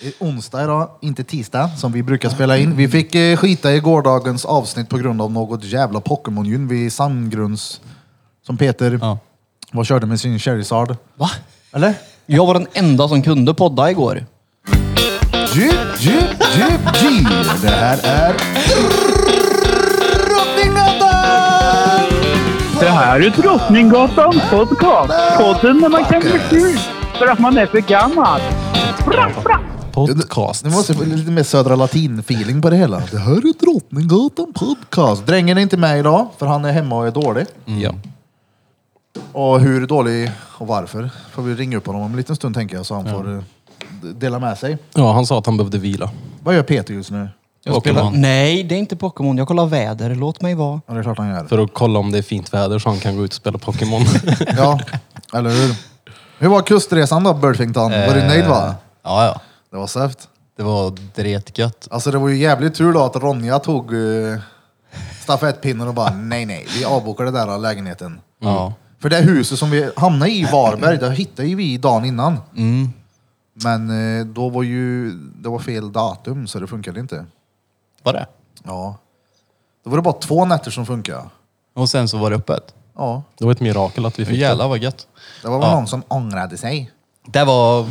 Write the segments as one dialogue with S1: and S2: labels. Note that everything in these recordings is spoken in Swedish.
S1: Det är onsdag idag, inte tisdag som vi brukar spela in. Vi fick eh, skita i gårdagens avsnitt på grund av något jävla Pokémon-gyn vid Sandgrunds som Peter
S2: Ja.
S1: var körde med sin Charizard.
S2: Va?
S1: Eller?
S2: Jag var den enda som kunde podda igår.
S1: Djup, djup, djup, djup. Det här är Drottninggatan!
S3: Det här är Drottninggatan podcast. Podden när man kan bli ful för att man är för gammal. Bra, bra.
S2: Podcast.
S1: Nu måste jag få lite mer Södra Latin-feeling på det hela. Det här är Drottninggatan podcast. Drängen är inte med idag, för han är hemma och är dålig.
S2: Ja.
S1: Och hur dålig och varför får vi ringa upp honom om en liten stund tänker jag så han får eh, d- dela med sig.
S4: Ja, han sa att han behövde vila.
S1: Vad gör Peter just nu?
S2: Jag spelar... Nej, det är inte Pokémon. Jag kollar väder. Låt mig vara.
S1: Ja, det är klart han gör.
S4: För att kolla om det är fint väder så han kan gå ut och spela Pokémon.
S1: Ja, eller hur? Hur var kustresan då, Burfington? Var du nöjd va?
S5: Ja, ja.
S1: Det var säft.
S5: Det var dretgött.
S1: Alltså det var ju jävligt tur då att Ronja tog uh, stafettpinnen och bara nej, nej, vi avbokar det där lägenheten.
S2: Mm.
S5: Ja.
S1: För det huset som vi hamnade i i Varberg, det hittade ju vi dagen innan. Men eh, då var ju, det var fel datum så det funkade inte.
S5: Var det?
S1: Ja. Då var det bara två nätter som funkade.
S5: Och sen så var det öppet.
S1: Ja.
S4: Det var ett mirakel att vi
S5: Fy
S4: fick det.
S5: jävlar vad gött.
S1: Det var väl
S5: Ja.
S1: någon som ångrade sig.
S5: Det var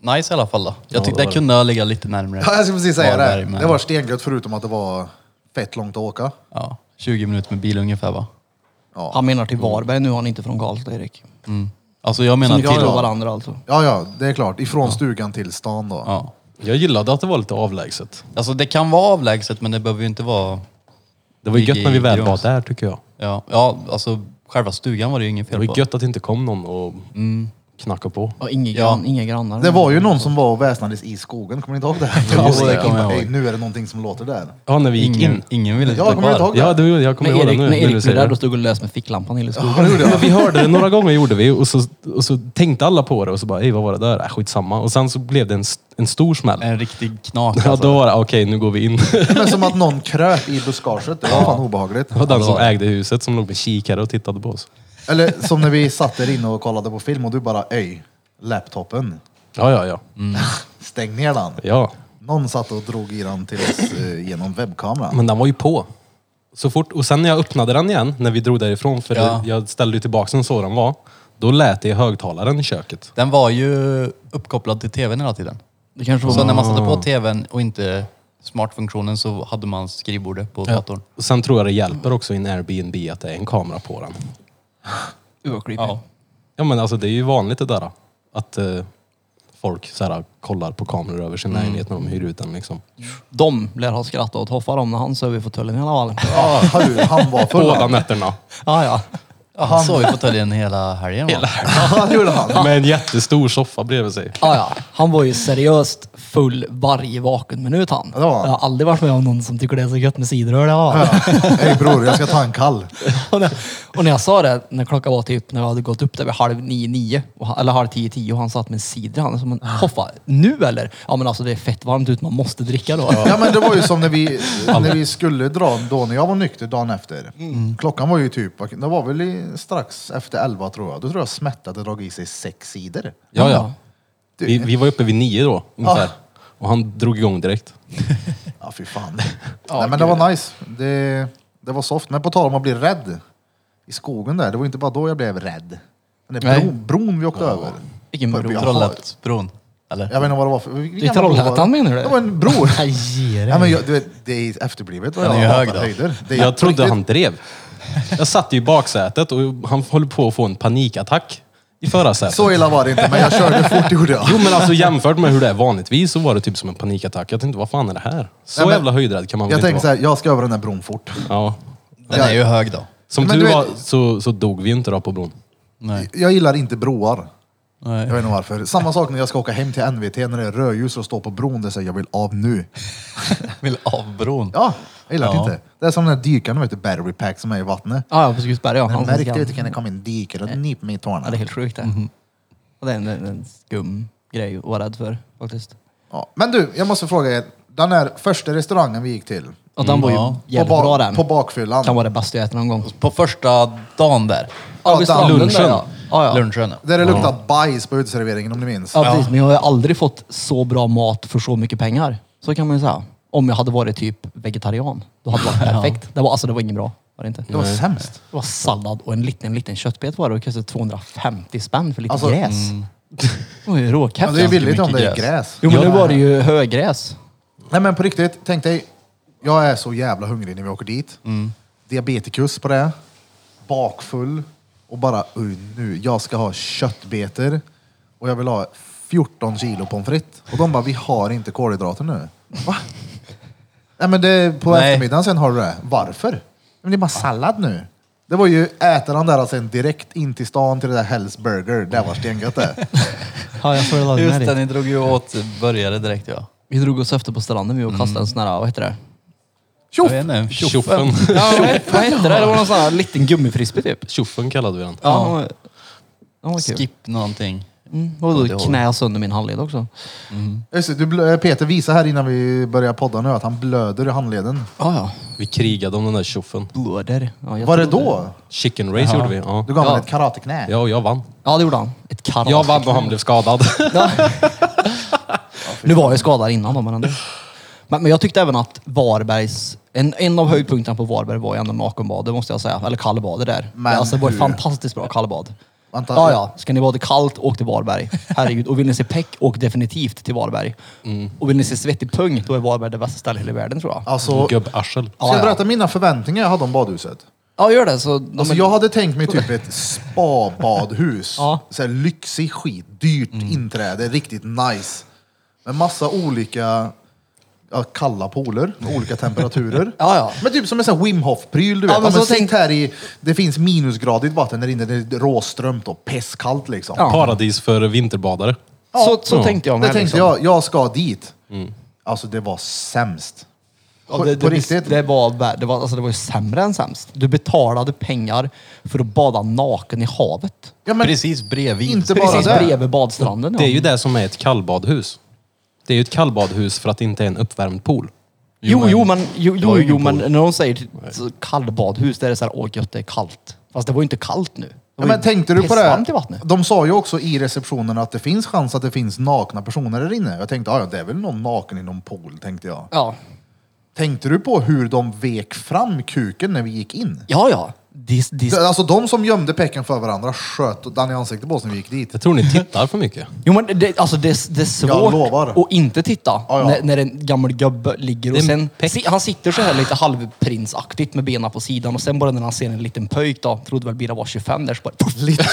S5: nice i alla fall då. Jag tyckte
S4: det
S5: det,
S4: var det.
S5: kunde ligga lite närmre.
S1: Ja, jag skulle precis säga
S5: Varberg,
S1: det.
S5: men-
S1: Det var stengött förutom att det var fett långt att åka.
S5: Ja, 20 minuter med bil ungefär va?
S1: Ja,
S2: Han menar till Varberg nu. Han är inte från Karlstad, Erik.
S5: Alltså jag menar
S2: Som
S5: till...
S2: tillhör varandra alltså.
S1: ja, ja det är klart. Ifrån stugan till stan då.
S5: Ja.
S4: Jag gillade att det var lite avlägset.
S5: Alltså det kan vara avlägset men det behöver ju inte vara...
S4: Det var ju
S5: Ligger
S4: gött när vi
S5: i
S4: väl
S5: Grums.
S4: var där tycker jag.
S5: Ja, ja alltså själva stugan var det ju inget
S4: Det
S5: fel
S4: var
S5: på.
S4: ju gött att det inte kom någon och knackade på.
S2: Och inga,
S5: Ja.
S2: gran, inga grannar.
S1: Det var ju någon som var och väsnades i skogen, kommer ni inte ihåg det?
S5: Jo, det kommer jag
S1: Hej,
S5: ihåg.
S1: Nu är det någonting som låter där.
S4: Ja, när vi gick
S5: Ingen,
S4: in.
S5: ingen ville
S1: Ja,
S5: sitta
S1: kommer du inte
S5: kvar.
S1: ihåg
S4: Ja, det, jag kommer
S2: När
S4: ihåg det
S2: Erik,
S4: nu.
S2: när
S4: när du
S2: Erik blev
S4: säger
S2: där, då
S4: det.
S2: stod och lös med ficklampan i skogen.
S1: Ja, det gjorde jag.
S4: Vi hörde det några gånger gjorde vi och så, och så tänkte alla på det och så bara, ej vad var det där? Äh, skitsamma. Och sen så blev det en, st- en stor smäll.
S5: En riktig knak
S4: Ja,
S5: alltså.
S4: då var det, okej nu går vi in.
S1: Det var som att någon kröp i buskaget. Det var fan obehagligt.
S4: Det var den
S5: det
S4: som
S5: var det.
S4: ägde huset som låg med kikare och tittade på oss.
S1: Eller som när vi satt där inne och kollade på film och du bara öj, laptopen.
S4: Ja, ja, ja.
S1: Stäng ner den.
S4: Ja,
S1: Någon satt och drog i den till oss eh, genom webbkameran.
S4: Men den var ju på. Så fort, och sen när jag öppnade den igen, när vi drog därifrån, för
S5: Ja.
S4: jag ställde ju tillbaka den så den var. Då lät det i högtalaren i köket.
S5: Den var ju uppkopplad till tvn hela tiden.
S2: Det kanske var
S5: Så när man
S2: satt...
S5: satte på tvn och inte smartfunktionen så hade man skrivbordet på datorn.
S4: Och sen tror jag det hjälper också i en Airbnb att det är en kamera på den.
S2: Ja.
S4: Ja men alltså det är ju vanligt det där. Att eh, folk så här, kollar på kameror över sin lägenhet när de hyr ut den liksom.
S2: De lär ha skrattat åt Hoffa om när han söv i fåtöljen i alla fall.
S1: Ja, hallå, han var full.
S4: Båda
S1: han.
S4: nätterna.
S2: Ja, ja.
S5: Ja, han sov i fåtöljen hela helgen. va?
S1: Ja, det gjorde han.
S4: Med en jättestor soffa bredvid sig.
S2: Ja, ja. Han var ju seriöst full varje vaken minut han.
S1: Ja, det var han.
S2: Jag har aldrig varit med om någon som tycker det är så gött med cideröl. Ja.
S1: Hej bror, jag ska ta en kall.
S2: Och, när, och när jag sa det, när klockan var typ, när jag hade gått upp där vid halv nio, nio, och han, eller halv tio, tio och han satt med en cider han som en
S1: Ah.
S2: hoffa. Nu eller? Ja men alltså det är fett varmt ut, man måste dricka då.
S1: Ja men det var ju som när vi, när vi skulle dra, då när jag var nykter dagen efter. Klockan var ju typ, det var väl i- strax efter elva tror jag. Då tror jag Smette hade dragit i sig sex sidor.
S4: Ja ja. Vi, vi var uppe vid nio då ungefär. Och han drog igång direkt.
S1: Ja fy fan. Nej men det var nice. Det, det var soft. Men på tal om att bli rädd. I skogen där, det var inte bara då jag blev rädd. Den där
S2: Nej.
S1: bron, bron vi åkte över.
S2: Vilken
S1: Uppe i
S2: bro?
S1: Har-
S5: Trollhättebron. Eller?
S1: Jag vet inte vad det var för...
S2: I Trollhättan menar du?
S1: Det var en bro.
S2: Nej, ge dig.
S1: Ja, men jag, du vet, det är efterblivet vad
S5: Den är ju
S1: jag
S5: hög
S1: hatar
S5: då.
S1: höjder. Det är
S4: Jag trodde
S1: riktigt-
S4: han drev. Jag satt ju i baksätet och han höll på att få en panikattack i förarsätet.
S1: Så illa var det inte, men jag körde fort gjorde jag.
S4: Jo men alltså jämfört med hur det är vanligtvis så var det typ som en panikattack. Jag tänkte, vad fan är det här? Så
S1: Nej, men-
S4: jävla höjdrädd kan man väl
S1: Jag
S4: inte
S1: tänkte
S4: vara?
S1: så här, jag ska över den här bron fort.
S4: Ja.
S5: Den är ju hög då.
S4: Som
S1: Men
S4: tur
S1: du vet-
S4: var så, så dog vi inte då på bron.
S5: Nej.
S1: Jag gillar inte broar.
S5: Nej.
S1: Jag vet inte varför. Samma sak när jag ska åka hem till NVT när det är rödljus och står på bron. Det säger jag vill av nu.
S5: Vill av bron.
S1: Ja, jag gillar det inte. Det är som den här dykaren, vet du, battery pack som är i vattnet.
S2: Ja, ja, på Skutsberg ja.
S1: Jag
S2: Han som
S1: märkte
S2: ska-
S1: att det kan komma en dykare och nypa mig i
S2: Ja, det är
S1: tårna.
S2: helt sjukt det.
S1: Mhm.
S2: Och det är en, en, en skum grej att vara rädd för faktiskt.
S1: Ja. Men du, jag måste fråga er. Den här första restaurangen vi gick till.
S2: Och den var ju
S5: Ja.
S2: jävligt
S1: Mm, på, ba-
S2: bra den.
S1: på bakfyllan.
S2: Kan vara det bästa jag ätit någon gång.
S5: På första dagen där.
S2: Ja, vid
S1: den
S2: stranden
S4: lunchen.
S2: Där, ja. Ja, ja.
S5: Lunchen. ja.
S1: Där det luktar bajs på uteserveringen om ni minns.
S2: Ja, precis. Men jag har ju aldrig fått så bra mat för så mycket pengar. Så kan man ju säga. Om jag hade varit typ vegetarian. Då hade det varit perfekt. Det var, alltså, det var inget bra. Var det inte?
S1: Det var sämst.
S2: Det var sallad och en liten, liten köttbet var det. Det kostade 250 spänn för lite
S1: Alltså,
S2: gräs. Det var ju
S1: Ja, det är
S2: råkefft.
S1: billigt om det är
S5: mycket gräs.
S1: gräs.
S2: Jo, men nu var det ju högräs.
S1: Nej men på riktigt, tänk dig. Jag är så jävla hungrig när vi åker dit. Diabetikus på det. Bakfull. Och bara, "Oj, nu, jag ska ha köttbeter. Och jag vill ha 14 kilo pommes frites. Och de bara, vi har inte kolhydrater nu. Va? Nej men det, på
S5: Nej.
S1: eftermiddagen sen har du det. Varför? Men det är bara sallad nu. Det var ju, äter han där och sen direkt in till stan till det där Hell's Burger. Det var stengött det.
S2: Ja, jag föredrar
S5: Just det, ni drog ju åt började direkt ja.
S2: Vi drog oss efter på stranden vi och kastade en sån här, vad heter det?
S5: Jag vet inte,
S4: Tjoffen.
S2: Ja, vad- vad hette det? Det var någon sån här liten gummifrisbee typ.
S4: Tjoffen kallade vi den.
S2: Ja. ja vad kul.
S5: Skip någonting.
S2: Mm, och då knäade jag sönder min handled också.
S1: Just det, du, blö- Peter visar här innan vi börjar podda nu att han blöder i handleden.
S2: Ja, ja.
S4: Vi krigade om den där tjoffen.
S2: Blöder. Ja, jag
S1: Var det
S2: trodde-
S1: då?
S4: Chicken race gjorde vi. Ja.
S1: Du gav
S2: Ja.
S1: honom ett karateknä.
S4: ja, och jag vann.
S2: Ja, det gjorde han. Ett karate.
S4: Jag vann och han blev skadad.
S2: Nu var jag skadad innan då, men ändå. Men, men jag tyckte även att Varbergs... En, en av höjdpunkterna på Varberg var ju ändå nakenbadet, måste jag säga. Eller kallbadet där.
S1: Men
S2: alltså, det var ett
S1: hur?
S2: fantastiskt bra kallbad.
S1: Vänta.
S2: Ja, ja. Ska ni bada kallt, åk till Varberg. Herregud. Och vill ni se peck, åk definitivt till Varberg.
S1: Mm.
S2: Och vill ni se svettig pung, då är Varberg det bästa stället i hela världen tror jag.
S1: Alltså, ska
S4: Gubbarsel.
S1: jag berätta mina förväntningar jag hade om badhuset?
S2: Ja, gör det. Så,
S1: Alltså, jag hade tänkt mig typ ett spa-badhus.
S2: Ja.
S1: Så här lyxig skit, dyrt
S2: Mm.
S1: inträde, riktigt nice. Med massa olika ja, kalla pooler, med olika temperaturer.
S2: Ja, ja.
S1: Men typ som en sån här Wim Hof-pryl, du vet.
S2: Ja,
S1: Ja,
S2: men
S1: men
S2: så
S1: sitt
S2: tänk-
S1: här i, det finns minusgradigt vatten där inne, det är råströmt och pestkallt liksom.
S2: Ja.
S4: Paradis för vinterbadare.
S2: så, så
S4: Ja.
S2: tänkte jag
S1: Det
S2: med.
S1: tänkte
S2: liksom.
S1: jag, jag ska dit. Alltså det var sämst.
S2: Mm. Ja,
S1: På-
S2: det,
S1: på
S2: det,
S1: riktigt.
S2: Det var, vär- det, var, alltså, det var ju sämre än sämst. Du betalade pengar för att bada naken i havet.
S1: Ja, men
S5: Precis bredvid.
S1: inte bara
S2: Precis
S1: det.
S2: bredvid badstranden.
S4: Det är ju det som är ett kallbadhus. Det är ju ett kallbadhus för att det inte är en uppvärmd pool.
S2: Jo, jo, men, jo,
S5: var
S2: jo,
S5: ju
S2: jo,
S5: ingen
S2: men när de säger t- så kallbadhus, där är det så här, åh gött, det är kallt. Fast det var ju inte kallt nu. Det var
S1: Ja, men
S2: ju
S1: tänkte du på det?
S2: pissvarmt
S1: här?
S2: i vattnet.
S1: De sa ju också i receptionen att det finns chans att det finns nakna personer där inne. Jag tänkte, "Ah, ja det är väl någon naken i någon pool, tänkte jag.
S2: Ja.
S1: Tänkte du på hur de vek fram kuken när vi gick in?
S2: ja, ja. Dis, dis.
S1: Det- Alltså de som gömde pecken för varandra sköt den i ansiktet på oss när vi gick dit.
S4: Jag tror ni tittar för mycket.
S2: Jo, men det, alltså, det, det är
S1: Jag
S2: svårt
S1: lovar.
S2: att inte titta
S1: Ja, ja.
S2: När, när en gammal gubbe ligger och
S4: Det är en
S2: sen...
S4: peck.
S2: Si, han sitter så här lite halvprinsaktigt med benen på sidan och sen bara när han ser en liten pöjk då, trodde väl Bira var 25 där, så bara... Liten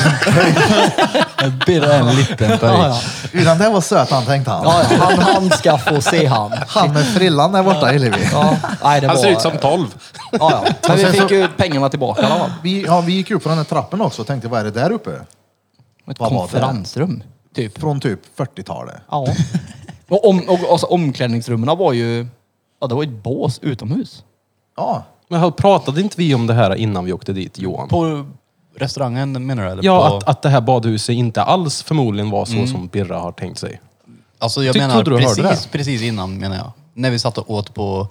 S5: Birra är en liten
S2: ja, ja.
S1: Utan det var söt han, tänkte han.
S2: Ja, ja. Han, han ska få se han.
S1: Han med frillan där borta i Levi.
S2: Ja. Nej, det
S4: Han
S2: var,
S4: ser ut som 12.
S2: ja, ja. Men vi
S1: sen så-
S2: fick ju pengarna tillbaka i alla fall.
S1: Vi, ja, vi gick upp på den här trappen också och tänkte, vad är det där uppe?
S2: Ett
S1: Vad var det?
S2: konferensrum, typ.
S1: Från typ 40-talet.
S2: Ja. Och, om, och alltså, omklädningsrummen var ju... Ja, det var ju ett bås utomhus.
S1: Ja,
S4: Men hur pratade inte vi om det här innan vi åkte dit, Johan?
S5: På restaurangen menar du? Eller
S4: Ja,
S5: på...
S4: att, att det här badhuset inte alls förmodligen var så som Birra har tänkt sig.
S5: Alltså jag
S4: Tyck-
S5: menar
S4: trodde du hörde
S5: precis, precis innan menar jag. När vi satt och åt på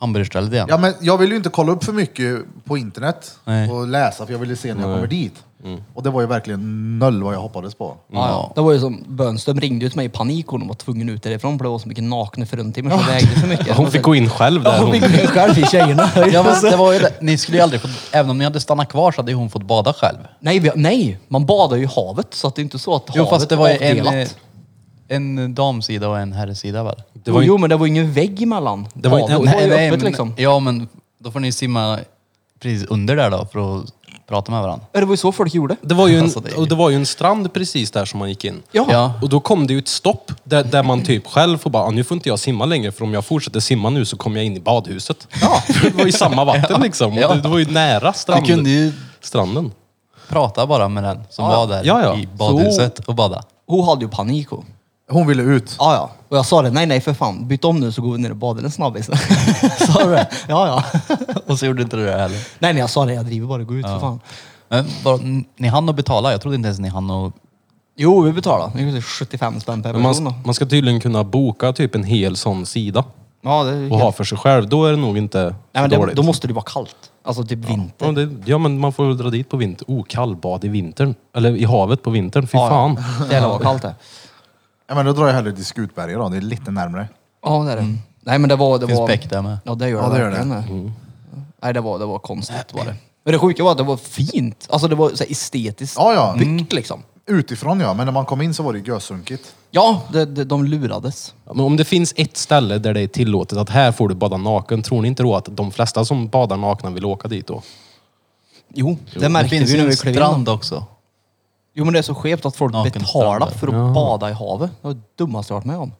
S5: hamburgerstället igen.
S1: Ja, men jag ville ju inte kolla upp för mycket på internet
S5: Nej.
S1: och läsa för jag ville se när jag kommer dit.
S5: Mm.
S1: Och det var ju verkligen noll vad jag hoppades på.
S2: Ja, ja. Det var ju som Bönström ringde ju till mig i panik och hon var tvungen ut därifrån för det var så mycket nakna fruntimmer som vägde så mycket.
S4: Hon fick gå in själv där.
S2: Ja, hon
S4: Hon,
S2: fick gå in själv i tjejerna.
S5: Ja, men det var ju det. Ni skulle ju aldrig få, även om ni hade stannat kvar så hade ju hon fått bada själv.
S2: Nej, vi, nej, man badar ju i havet så att det är inte så att havet
S5: Jo fast det var ju
S2: är
S5: en, eh,
S2: avdelat.
S5: en damsida och en herrsida väl?
S4: det var ju-
S2: Jo, men det var ju ingen vägg emellan.
S4: Det var ju-
S2: Havet
S4: nej,
S2: var ju öppet
S5: men,
S2: liksom.
S5: Ja men då får ni simma precis under där då för att prata med varandra.
S2: Ja, Det var ju så folk gjorde.
S4: det var ju en,
S5: Alltså, det är ju-
S4: och det var ju en strand precis där som man gick in.
S2: Ja.
S5: Ja.
S4: Och då kom det ju ett stopp där, där man typ själv får bara, "Ah, nu får inte jag simma längre för om jag fortsätter simma nu så kommer jag in i badhuset. Ja. det var ju samma vatten liksom. Och
S5: Ja.
S4: Det, det var ju nära strand,
S5: Du kunde ju
S4: stranden.
S5: prata bara med den som var där
S4: Ja, ja.
S5: i badhuset och bada.
S2: Hon hade ju panik hon.
S1: Hon ville ut.
S2: Ja, ja. Och jag sa det, nej, nej för fan. Byt om nu så går vi ner och badar en snabbis. sa du det? Ja, ja.
S5: Och så gjorde inte du det heller.
S2: Nej, nej, jag sa det. Jag driver bara. Gå ut för fan.
S5: Men bara, ni hann att betala? Jag trodde inte ens ni hann att...
S2: Jo, vi betalar. Det kostar 75 spänn per
S4: Men
S2: person. då.
S4: man, man ska tydligen kunna boka typ en hel sån sida.
S2: Ja, det är helt...
S4: och ha för sig själv, då är det nog inte
S2: Nej, men
S4: så
S2: det,
S4: dåligt.
S2: då måste det vara kallt. Alltså typ vinter.
S4: ja, det, ja, men man får väl dra dit på vintern. Oh, kallbad i vintern. Eller i havet på vintern. Fy
S2: Ja,
S4: fan.
S2: Det är vad kallt det.
S1: Ja, men då drar jag hellre till Skutberget då, det är lite närmre.
S2: Ja, det är det. Nej, men det var... Det
S5: Finns
S2: var...
S5: bäck där med.
S2: Mm.
S5: Mm.
S2: Ja, det gör
S1: Ja,
S2: det,
S1: det gör
S2: verkligen. Nej, det var, det var konstigt var det. Men det sjuka var att det var fint. Alltså det var så här estetiskt
S1: Ja, ja.
S2: byggt liksom.
S1: Utifrån ja, men när man kom in så var det ju gösunkigt.
S2: Ja, det, det, de lurades.
S4: Ja, Men om det finns ett ställe där det är tillåtet att här får du bada naken, tror ni inte då att de flesta som badar nakna vill åka dit då?
S2: Jo, det
S5: Det
S2: märkte
S5: finns
S2: vi
S5: ju
S2: när
S5: en
S2: vi klev in.
S5: strand också.
S2: Jo, men det är så skevt att folk
S5: Naken
S2: betalar
S5: strand.
S2: för att bada i havet. Det var det dummaste jag varit med om.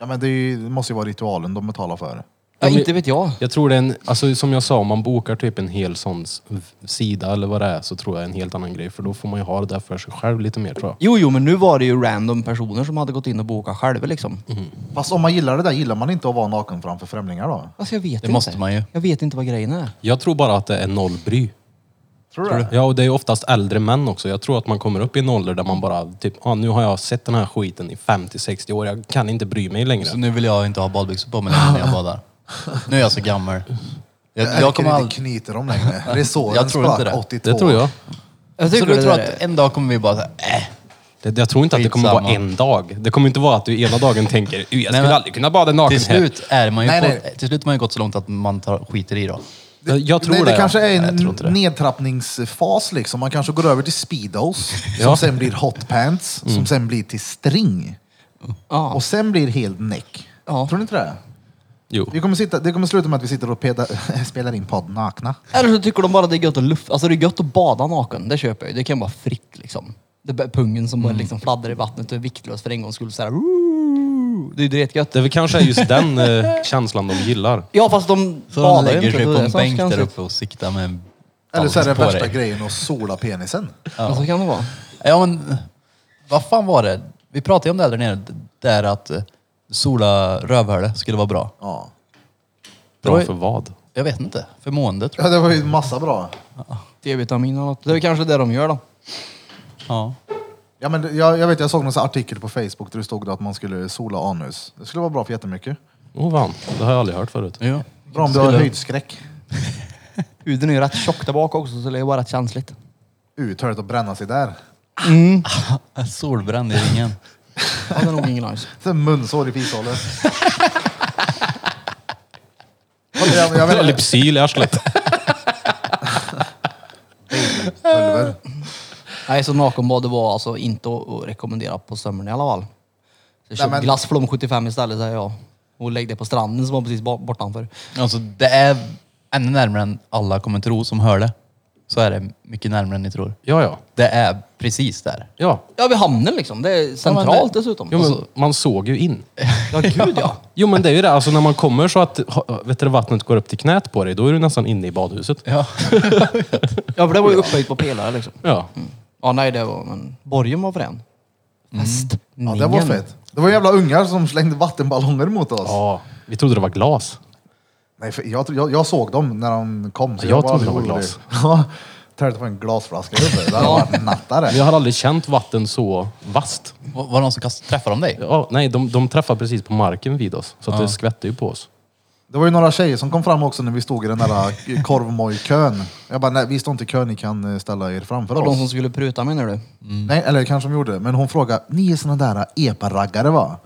S1: Ja, men det, är ju, det måste ju vara ritualen de betalar för.
S2: Ja,
S4: men-
S2: inte vet jag.
S4: Jag tror det är en, alltså som jag sa, om man bokar typ en hel sån s- sida eller vad det är så tror jag är en helt annan grej. För då får man ju ha det där för sig själv lite mer tror jag.
S2: Jo, jo, men nu var det ju random personer som hade gått in och bokat själva liksom.
S5: Mm.
S1: Fast om man gillar det där, gillar man inte att vara naken framför främlingar då?
S2: Alltså jag vet inte.
S5: måste man ju.
S2: Jag vet inte vad grejen är.
S4: Jag tror bara att det är noll bry.
S1: Tror du det?
S4: Ja, och det är ju oftast äldre män också. Jag tror att man kommer upp i en ålder där man bara typ, ah, nu har jag sett den här skiten i 50-60 år, jag kan inte bry mig längre.
S5: Så nu vill jag inte ha badbyxor på mig längre när jag badar. Nu är jag så gammal.
S2: Äh,
S5: Jag, jag kommer
S1: Ärker inte
S5: aldrig...
S1: knyter dem längre. Det är så
S5: Jag tror inte det.
S1: 82.
S4: Det tror jag.
S2: Jag
S5: Så
S2: tycker
S5: du
S2: Alltså, det
S5: tror
S2: där
S5: att en dag kommer vi bara så här, äh,
S4: Det, jag tror inte att det kommer vara
S5: Skitsamma.
S4: en dag. Det kommer inte vara att du ena dagen tänker, "Uh, jag skulle
S5: men-
S4: aldrig kunna bada naken
S5: till
S4: här."
S5: slut är man ju
S1: Nej,
S5: på,
S1: nej.
S5: Till slut har man ju gått så långt att man tar, skiter i då.
S4: Jag, jag tror
S1: Nej, det,
S4: det. ja.
S1: kanske är en
S5: Jag tror inte det.
S1: nedtrappningsfas liksom. Man kanske går över till speedos, som
S4: Ja.
S1: sen blir hotpants,
S5: Mm.
S1: som sen blir till string.
S2: Ja.
S1: Och sen blir helt neck.
S2: Ja.
S1: Tror ni inte det?
S4: Jo.
S1: Vi kommer sitta, det kommer sluta med att vi sitter och peda, spelar in podd nakna.
S2: Eller så tycker de bara det är gött att lufta. Alltså det är gött att bada naken. Det köper jag ju. Det kan vara fritt liksom. Det är bara pungen som
S5: Mm.
S2: bara liksom fladdrar i vattnet och är viktlös för en gångs skull. Så här, "Woo!" det är ju dretgött.
S4: Det är väl kanske är just den eh, känslan de gillar.
S2: Ja fast de
S5: Så de
S2: badar ju
S5: lägger
S2: inte.
S5: sig
S2: Det
S5: på
S2: är
S5: en
S2: så
S5: bänk där
S2: konstigt.
S5: uppe och siktar med en
S1: Eller så är det
S5: på
S1: värsta
S5: dig.
S1: grejen att sola penisen.
S2: Ja. Så kan det vara.
S5: Ja men, vad fan var det? Vi pratade ju om det här där nere, d- där att eh, sola rövhålet skulle vara bra.
S1: Ja.
S5: Det var
S4: Bra
S5: ju-
S4: för vad?
S5: Jag vet inte, för måendet tror
S1: ja, det var ju massa bra.
S2: D-vitamin och något. Det är väl kanske det de gör då.
S5: jag. Ja.
S1: Ja, men det- jag, jag, vet, jag såg någon sån här artikel på Facebook där det stod att man skulle sola anus. Det skulle vara bra för jättemycket.
S4: Åh oh, fan, det har jag aldrig hört förut.
S5: Jo.
S1: Bra om du har höjdskräck.
S2: Huden är ju rätt tjock där bak också så det är ju bara rätt känsligt.
S1: Uthörligt att bränna sig där.
S5: Äh, Solbränd i ringen.
S2: Ja, det är nog ingen nice.
S1: Sen munsår i fishålet. jag, jag vet,
S4: Lypsyl i arslet.
S1: pulver.
S2: Nej, så nakenbad det var alltså inte att att rekommendera på sommaren i alla fall. Så köp
S1: men-
S2: glass Flom 75 istället säger jag. Och lägg det på stranden som var precis ba- bortanför.
S5: Alltså det är ännu närmare än alla kommer tro som hör det. Så är det mycket närmare än ni tror.
S4: Ja, ja.
S5: Det är precis där.
S4: ja.
S2: Ja, vid hamnen liksom. Det är centralt
S5: det-
S2: dessutom. Alltså,
S4: Jo,
S1: Alltså-
S4: men, man såg ju in.
S2: Ja, gud ja.
S4: Jo men det är ju det, alltså när man kommer så att ha- vet du, vattnet går upp till knät på dig, då är du nästan inne i badhuset.
S5: Ja.
S2: Ja, för det var ju upphöjt på pelare liksom.
S4: Ja.
S2: Ja, nej det var... Men Mm. borgen var frän. Fest.
S1: Ja, det var fett. Det var jävla ungar som slängde vattenballonger mot oss.
S4: ja. Vi trodde det var glas.
S1: Nej, för jag, tro- jag, jag såg dem när de kom. Så
S4: Jag trodde det var
S1: aldrig
S4: glas.
S1: orolig. Ja, Tänkte på en glasflaska uppe. Det hade varit nattare.
S4: Men Jag har aldrig känt vatten så vasst.
S5: Var var det någon som kast- träffade de dig?
S4: Ja, nej, de, de träffade precis på marken vid oss, så att det skvätte ju på oss.
S1: Det var ju några tjejer som kom fram också när vi stod i den där korvmoj-kön. Jag bara, nej vi står inte i kön, ni kan eh, ställa er framför
S2: Och
S1: oss.
S2: de som skulle pruta menar du?
S1: Nej, eller kanske de gjorde. Men hon frågade, ni är såna där epa-raggare va?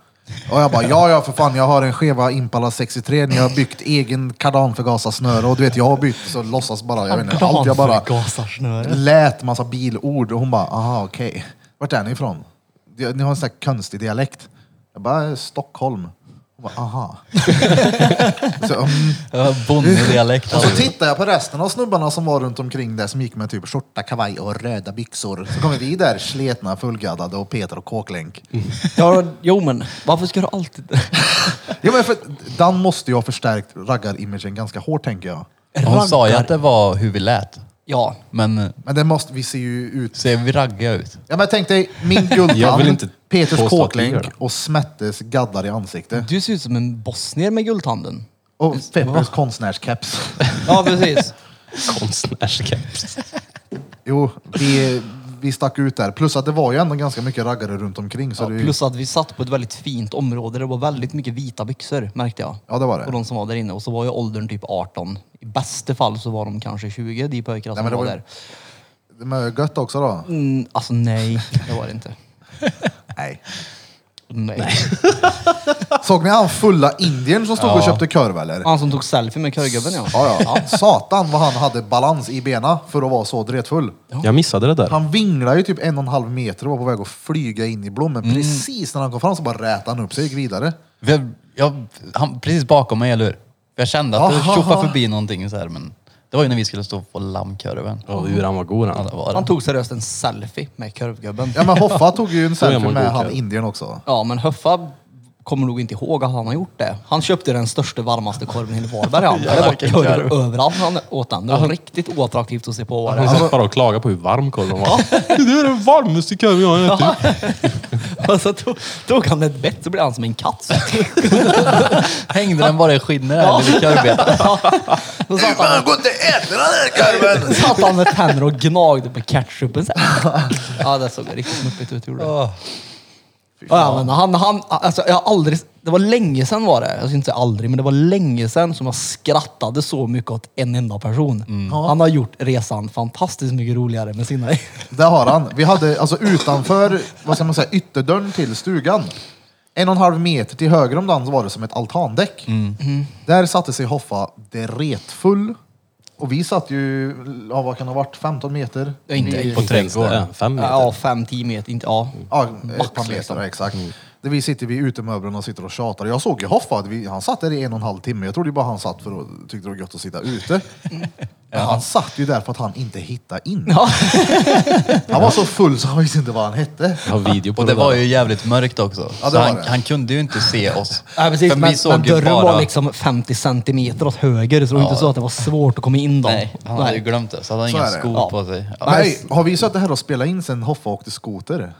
S1: Och jag bara, ja ja för fan, jag har en skeva Impala 63, ni har byggt egen kardanförgasarsnöre och du vet jag har bytt så låtsas bara, jag vet inte, allt. Jag bara
S2: Kardanförgasarsnöre.
S1: lät massa bilord och hon bara, aha okej. Vart är ni ifrån? "Ja, Ni har en sån här konstig dialekt. Jag bara, "Eh, Stockholm. Hon bara, aha. så, mm.
S5: Bonnedialekt.
S1: Och så tittar jag på resten av snubbarna som var runt omkring där som gick med typ skjorta, kavaj och röda byxor. Så kommer vi där sletna, fullgaddade och petar och kåklänk.
S4: Mm.
S2: Ja, jo men varför ska du alltid...
S1: Ja, men för, Dan måste ju ha förstärkt raggarimagen ganska hårt tänker jag.
S5: Hon sa ju att det var hur vi lät.
S2: Ja.
S5: Men eh,
S1: Men det måste, vi ser ju ut...
S5: ser vi raggiga ut?
S1: Ja, men tänk dig min
S4: Jag vill
S1: guldtand,
S4: inte
S1: Peters
S4: påstå att vi gör
S1: kåklänk
S4: det.
S1: och Smettes gaddar i ansikte.
S2: Du ser ut som en bosnier med guldtanden.
S1: Och Peppers konstnärskeps.
S2: Ja, precis.
S4: Konstnärskeps.
S1: Jo, vi, vi stack ut där. Plus att det var ju ändå ganska mycket raggare runt omkring. Så
S2: Ja,
S1: det,
S2: plus att vi satt på ett väldigt fint område. Det var väldigt mycket vita byxor märkte jag.
S1: Ja, det var det.
S2: Och de som var där inne. Och så var ju åldern typ 18. I bästa fall så var de kanske 20, de pojkarna som
S1: men det
S2: var,
S1: var ju-
S2: där.
S1: det var gött också då.
S2: Mm, alltså nej, det var det inte.
S1: Nej.
S2: Nej.
S1: Såg ni han fulla indiern som stod och köpte korv eller?
S2: Han som tog selfie med körgubben ja.
S1: Ja, ja. Satan vad han hade balans i benen för att vara så dretfull.
S4: Jag missade det där.
S1: Han vinglade ju typ en och en halv meter och var på väg att flyga in i blommen.
S4: Mm.
S1: Precis när han kom fram så bara rätade han upp sig och gick vidare.
S5: Vi, jag, han, precis bakom mig, eller hur? Jag kände att det
S1: Aha.
S5: tjoffade förbi någonting så här, men det var ju när vi skulle stå på lammkorven.
S4: Ja, hur han var god
S5: Ja,
S4: han.
S5: det var
S2: Han
S5: det.
S2: tog seriöst en selfie med körvgubben.
S1: Ja men Hoffa tog ju en
S4: är
S1: selfie
S4: man
S1: med
S4: god
S1: han
S4: kille.
S1: indiern också.
S2: Ja, men Höffa kommer nog inte ihåg att han har gjort det. Han köpte den största, varmaste korven i hela Varberg. han. Det var
S5: Jävlar, vilken
S2: korv överallt han åt den. Det var riktigt oattraktivt att se på. Var det.
S4: Han satt bara och klagade på hur varm korven var. Alltså- det är den varmaste korven jag har ätit.
S2: Och så tog, tog han ett bett så blev han som en katt.
S5: Hängde den bara i skinnet där, eller vid körbetan?
S2: Så satt han,
S1: Gå inte äta den här korven!
S2: satt han med tänder och gnagde på ketchupen. Så här. Ja, det såg riktigt smuppigt ut. Gjorde det. Ja, men han, han, alltså, jag har aldrig, det var länge sedan var det, jag ska inte säga aldrig, men det var länge sedan som jag skrattade så mycket åt en enda person.
S4: Mm.
S2: Han har gjort resan fantastiskt mycket roligare med sina...
S1: Där har han. Vi hade alltså utanför, vad ska man säga, ytterdörren till stugan. En och en halv meter till höger om den så var det som ett altandäck.
S2: Mm.
S1: Där satte sig Hoffa dretfull. Och vi satt ju, ja, vad kan det ha varit, 15 meter?
S2: Ja, inte
S1: Vi-
S4: På trädgården. Mm. Fem meter.
S2: Mm. Ja, fem, tio meter, inte, ja.
S1: Ja,
S2: Max,
S1: ett par meter,
S2: liksom.
S1: ja, exakt. Där vi sitter vid utemöblerna och sitter och tjatar. Jag såg ju Hoffa, att vi, han satt där i en och en halv timme. Jag trodde ju bara han satt för att tyckte det var gött att sitta ute. Men han satt ju där för att han inte hittade in.
S2: Ja.
S1: Han var så full så han visste inte vad han hette.
S4: Jag har video på
S5: Och
S4: det,
S5: det var
S4: där.
S5: ju jävligt mörkt också.
S1: Ja, det
S5: så
S1: var
S5: han,
S1: det.
S5: han kunde ju inte se oss.
S2: Ja, precis,
S5: För
S2: men,
S5: vi såg
S2: men
S5: ju
S2: dörren
S5: bara-
S2: var liksom 50 centimeter åt höger, så det var inte så att det var svårt att komma in dem.
S5: Nej, han hade ju glömt det. Så hade han
S1: Så
S5: inga
S1: är det.
S5: skor
S2: Ja.
S5: på sig. Ja.
S1: Nej, har vi suttit här och spelat in sen Hoffa åkte skoter?
S5: Eh,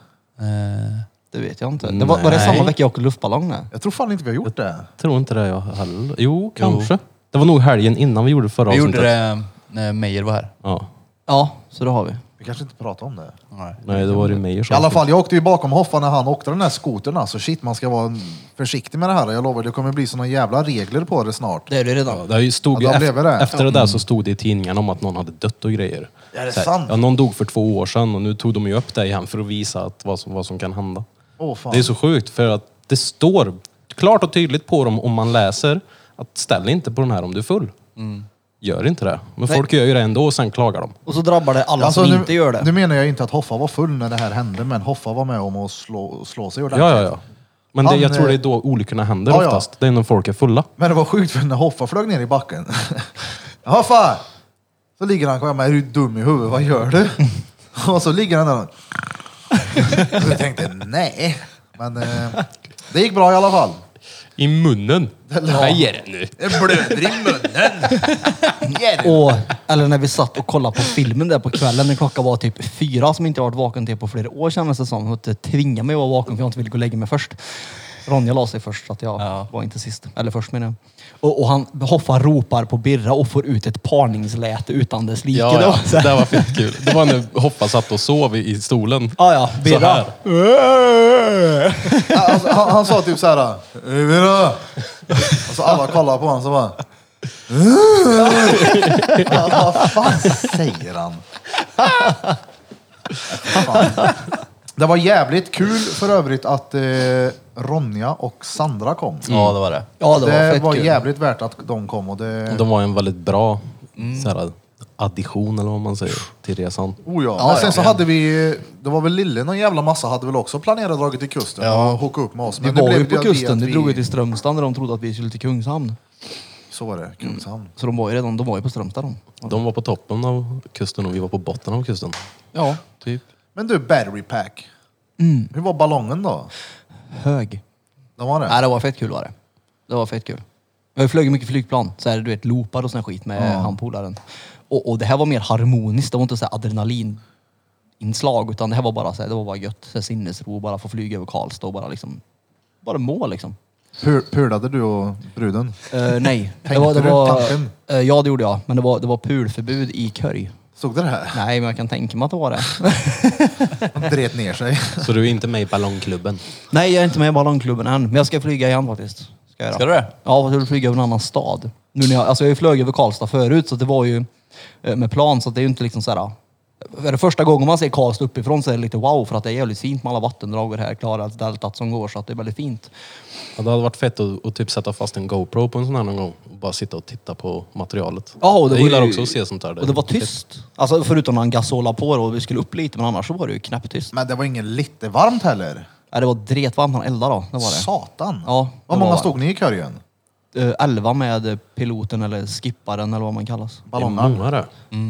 S2: Det vet jag inte. Det var, var det
S4: Nej.
S2: samma vecka jag åkte luftballong? där?
S1: Jag tror fan inte vi har gjort det.
S4: Tror inte det jag heller. Jo, kanske. Det var nog helgen innan vi gjorde förra
S5: vi
S4: avsnittet.
S5: gjorde det när Meyer var här.
S4: Ja.
S2: Ja, så det har vi.
S1: Vi kanske inte pratar om det.
S4: Nej, det var ju Meyer
S1: I
S4: som...
S1: alla fall, jag åkte ju bakom Hoffa när han åkte den här skotern. Alltså shit, man ska vara försiktig med det här. Jag lovar, det kommer bli såna jävla regler på det snart.
S2: Det är det redan.
S4: Ja, det stod ju
S1: Ja, då blev det.
S4: efter, efter det där så stod det i tidningarna om att någon hade dött och grejer.
S1: Är det
S4: Så här,
S1: sant?
S4: Ja, någon dog för två år sedan och nu tog de ju upp det igen för att visa att vad, som, vad som kan hända.
S1: Åh, fan.
S4: Det är så sjukt för att det står klart och tydligt på dem om man läser att ställ inte på den här om du är full.
S1: Mm.
S4: Gör inte det. Men folk gör ju det ändå och sen klagar de.
S2: Och så drabbar det alla som
S1: Alltså,
S4: Alltså,
S1: nu,
S2: inte gör det.
S1: nu menar jag inte att Hoffa var full när det här hände, men Hoffa var med om att slå, slå sig
S4: Ja,
S1: ordentligt.
S4: ja, ja. Men det,
S1: Han,
S4: jag tror
S1: eh,
S4: det är då olyckorna händer
S1: Ja, ja.
S4: oftast. Det är när folk är fulla.
S1: Men det var sjukt för när Hoffa flög ner i backen. Hoffa! Så ligger han kvar med, är du dum i huvudet? Vad gör du? Och så ligger han där och... Så jag tänkte, nej. Men eh, det gick bra i alla fall.
S4: I munnen! Vad är det nu?
S1: Jag blöder i munnen.
S2: Och, eller när vi satt och kollade på filmen där på kvällen när klockan var typ fyra som inte jag varit vaken till på flera år kändes det som. Hon tvingade mig att vara vaken för jag inte ville gå och lägga mig först. Ronja la sig först så att jag var inte sist. Eller först menar jag. Och, och han Hoffa ropar på Birra och får ut ett parningsläte utan dess like.
S4: Ja,
S2: Det
S4: ja.
S2: var så
S4: Det
S2: här-
S4: där var fett kul. Det var när Hoppa satt och sov i i stolen.
S2: ja, Ah, ja.
S4: Så
S2: Birra.
S4: här.
S1: Alltså, han, han sa typ så här. "Hej, Birra! Och så alla kollar på honom så bara... "Åh." Alltså, Vad fan säger han? Fan. Det var jävligt kul för övrigt att eh, Ronja och Sandra kom.
S5: Ja, det var det.
S2: Ja, det var
S1: det
S2: fett
S1: var
S2: kul.
S1: jävligt värt att de kom. Och det...
S4: De var en väldigt bra
S1: Mm.
S4: så här, addition eller vad man säger till resan.
S1: Oh ja. Men sen så hade vi, det var väl Lille någon jävla massa hade väl också planerat att dra till kusten och hooka upp med oss.
S2: Vi
S1: nu
S2: var ju
S1: blev det
S2: på
S1: att vi-
S2: kusten.
S1: att
S2: Vi
S1: vi-
S2: drog ju till Strömstad när de trodde att vi skulle till Kungshamn.
S1: Så var det, Kungshamn.
S2: Så de var ju redan de var ju på Strömstad de.
S4: De var på toppen av kusten och vi var på botten av kusten.
S2: Ja.
S4: Typ.
S1: Men du, battery pack. Hur var ballongen då?
S2: Hög.
S1: Den var det?
S2: Nej, det var fett kul var det. Det var fett kul. Jag har ju flugit mycket flygplan, så här, du vet loopar och sån här skit med handpolaren. Och, och det här var mer harmoniskt, det var inte så här adrenalininslag utan det här var bara så här, det var bara gött, så här, sinnesro, bara få flyga över Karlstad och bara liksom, bara må liksom.
S1: Pul- Pulade du och bruden?
S2: Eh, nej, det
S1: Tänkte
S2: var, det
S1: du
S2: var,
S1: tanken?
S2: eh, ja det gjorde jag, men det var, det var pulförbud i Körj.
S1: Stod det det här?
S2: Nej, men jag kan tänka mig att det var det.
S1: Han dret ner sig.
S4: Så du är inte med i ballongklubben?
S2: Nej, jag är inte med i ballongklubben än, men jag ska flyga igen faktiskt. Ska, jag göra.
S5: Ska du det?
S2: Ja, jag vill flyga över en annan stad. Nu när jag, alltså jag har ju flög över Karlstad förut, så det var ju eh, med plan, så att det är ju inte liksom så här... eh, Är det första gången man ser Karlstad uppifrån så är det lite wow, för att det är jävligt fint med alla vattendrag och det här Klarälvsdeltat som går, så att det är väldigt fint.
S4: Ja, det hade varit fett att, att typ sätta fast en GoPro på en sån här någon gång och bara sitta och titta på materialet.
S2: Ja, och det
S4: jag
S2: var
S4: gillar
S2: ju-
S4: också att se sånt där.
S2: Och det var tyst. Alltså förutom när han gasola på då, och vi skulle upp lite, men annars så var det ju knäpptyst.
S1: Men det var inget lite varmt heller.
S2: Ja, det var dretvarmt, han eldade då. Det var det.
S1: Satan.
S2: Ja, det
S1: Vad
S2: var
S1: många
S2: varmt.
S1: stod ni i körjen?
S2: Eh, elva med piloten eller skipparen eller vad man kallas.
S4: ballongar.
S1: Ballongar?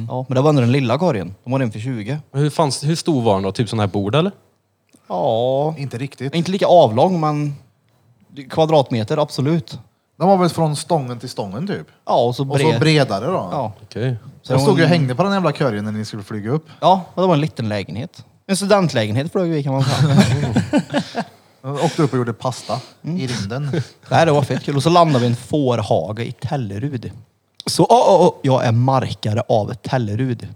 S2: Ja, men det var ändå den lilla korgen. De var den för 20.
S4: Hur, fanns, hur stor var den då? Typ sån här bord eller?
S2: Ja.
S1: Inte riktigt.
S2: Inte lika avlång, men kvadratmeter, absolut.
S1: De var väl från stången till stången typ?
S2: Ja, och så
S1: Och
S2: bred.
S1: så bredare då?
S2: Ja.
S4: Okej.
S2: Så
S1: Jag
S2: det
S1: stod
S2: var
S1: ju
S2: en-
S1: och hängde på den jävla körjen när ni skulle flyga upp.
S2: Ja, och det var en liten lägenhet. En studentlägenhet flög vi kan man säga.
S1: Jag åkte upp och gjorde pasta
S2: Mm.
S1: i rymden.
S2: Nej, det var fett kul. Och så landade vi i en fårhage i Tellerud. Så åh, åh, åh, jag är markare av Tellerud.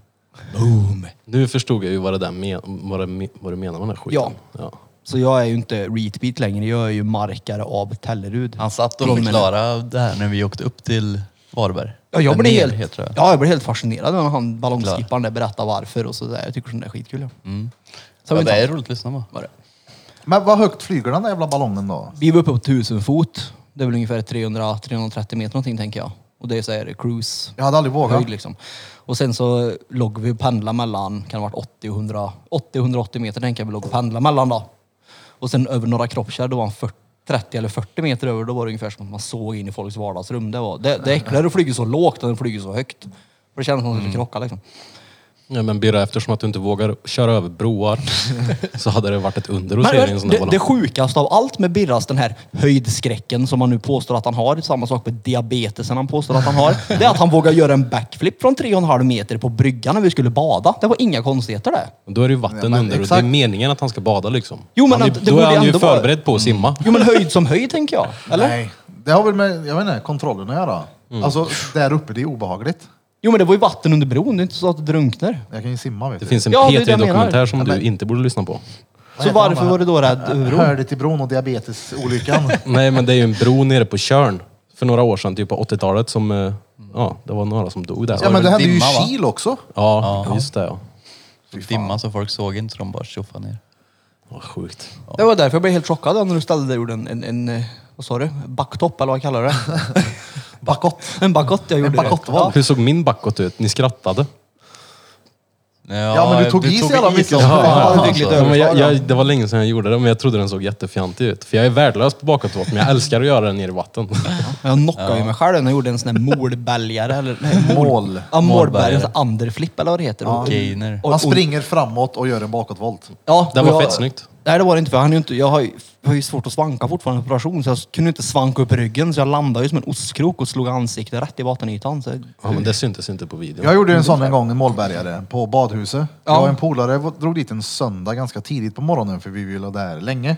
S2: Boom!
S4: Nu förstod jag ju vad det där men, vad det, me- vad du menar med den här skiten.
S2: Ja. Så jag är ju inte retbeat längre, jag är ju markare av Tellerud.
S5: Han satt och
S2: Filmen.
S5: förklarade det här när vi åkte upp till Varberg.
S2: Ja, jag
S5: En
S2: blev helt,
S5: helhet, tror jag.
S2: ja, jag blev helt fascinerad när han ballongskipparen där berättade varför och så där. Jag tycker sånt där är skitkul. Ja. Så
S5: Ja,
S2: vi,
S5: det
S2: tar-
S5: är roligt att lyssna på.
S2: var det.
S1: Men vad högt flyger den där jävla ballongen då?
S2: vi var uppe på 1000 fot. Det är väl ungefär 300-330 meter någonting tänker jag. Och det är så här cruise.
S1: Jag hade aldrig vågat.
S2: Höjd liksom. Och sen så låg vi och pendlade mellan, kan det ha varit 80 och 100, 80 180 meter tänker jag vi låg och pendlade mellan då. Och sen över några kroppskärr, då var han 40, 30 eller 40 meter över, då var det ungefär som att man såg in i folks vardagsrum. Det, var, det, det är äckligare att flyga så lågt än att flyga så högt. För det kändes som att man skulle krocka liksom.
S4: Ja, men Birra, eftersom att du inte vågar köra över broar så hade det varit ett under att se dig i en sån där
S2: det,
S4: ballong.
S2: det sjukaste av allt med Birras, den här höjdskräcken som han nu påstår att han har, samma sak med diabetesen han påstår att han har, det är att han vågar göra en backflip från 3,5 meter på bryggan när vi skulle bada. Det var inga konstigheter det.
S4: Då är det ju vatten
S1: Ja, men
S4: under
S1: exakt.
S4: och det är meningen att han ska bada liksom.
S2: Jo, men
S4: han är,
S2: att det
S4: då
S2: borde
S4: är han ju
S2: ändå vara- Mm.
S4: förberedd på att simma.
S2: Jo men höjd som höjd tänker jag. Eller? Mm.
S1: Nej, det har väl med jag vet inte, kontrollen att göra. Alltså, där uppe det är obehagligt.
S2: Jo men det var ju vatten under bron, det är inte så att det drunknar.
S1: Jag kan ju simma vet
S4: Det
S1: du.
S4: finns en
S2: Ja, det är det jag menar.
S4: P3-dokumentär som du inte borde lyssna på.
S1: Vad
S2: Så
S1: heter de
S2: varför
S1: här?
S2: var du då rädd över bron?
S1: Hörde till bron och diabetesolyckan.
S4: Nej, men det är ju en bro nere på Tjörn för några år sedan, typ på 80-talet, som... eh, Ja, det var några som dog där.
S1: ja men det hände ju i
S5: dimma, va?
S1: Kil också.
S4: Ja, just det. Ja.
S5: Dimma så folk såg inte så de bara tjoffade ner.
S4: Vad sjukt.
S2: Det var därför jag blev helt chockad då när du ställde dig ur en, en, en eh, vad sa du? Backtopp eller vad kallar du det?
S1: Bakåt.
S2: En backott jag gjorde.
S1: backottvall.
S4: Hur såg min backåt ut? Ni skrattade.
S1: Ja, men du tog i så jävla mycket.
S2: Ja, det fick lite
S4: Ja, men jag,
S2: överslag,
S4: jag, det var länge sedan jag gjorde det, men jag trodde den såg jättefjantig ut. För jag är värdelös på bakåtvolt, men jag älskar att göra den nere i vatten.
S2: Jag knockade ju mig själv när jag gjorde en sån där målbälgare eller nej,
S1: Mål.
S2: Ja, målbälgare.
S5: Målbälgare.
S2: En sån här underflip eller vad det heter. Och-
S5: Gainer.
S2: och-
S1: Man
S2: och-
S1: springer framåt och gör en bakåtvolt.
S2: Ja,
S4: Det
S2: och
S4: var
S2: jag-
S4: fett snyggt.
S2: Nej det var det inte för han är ju inte, jag har ju, jag har ju svårt att svanka fortfarande på operation så jag kunde inte svanka upp ryggen så jag landade ju som en ostkrok och slog ansiktet rätt i vattenytan. Så,
S4: Ja, men det syntes inte på videon.
S1: Jag gjorde en sån en gång, en målbergare, på badhuset. Jag och en polare var- drog dit en söndag ganska tidigt på morgonen för vi ville vara där länge.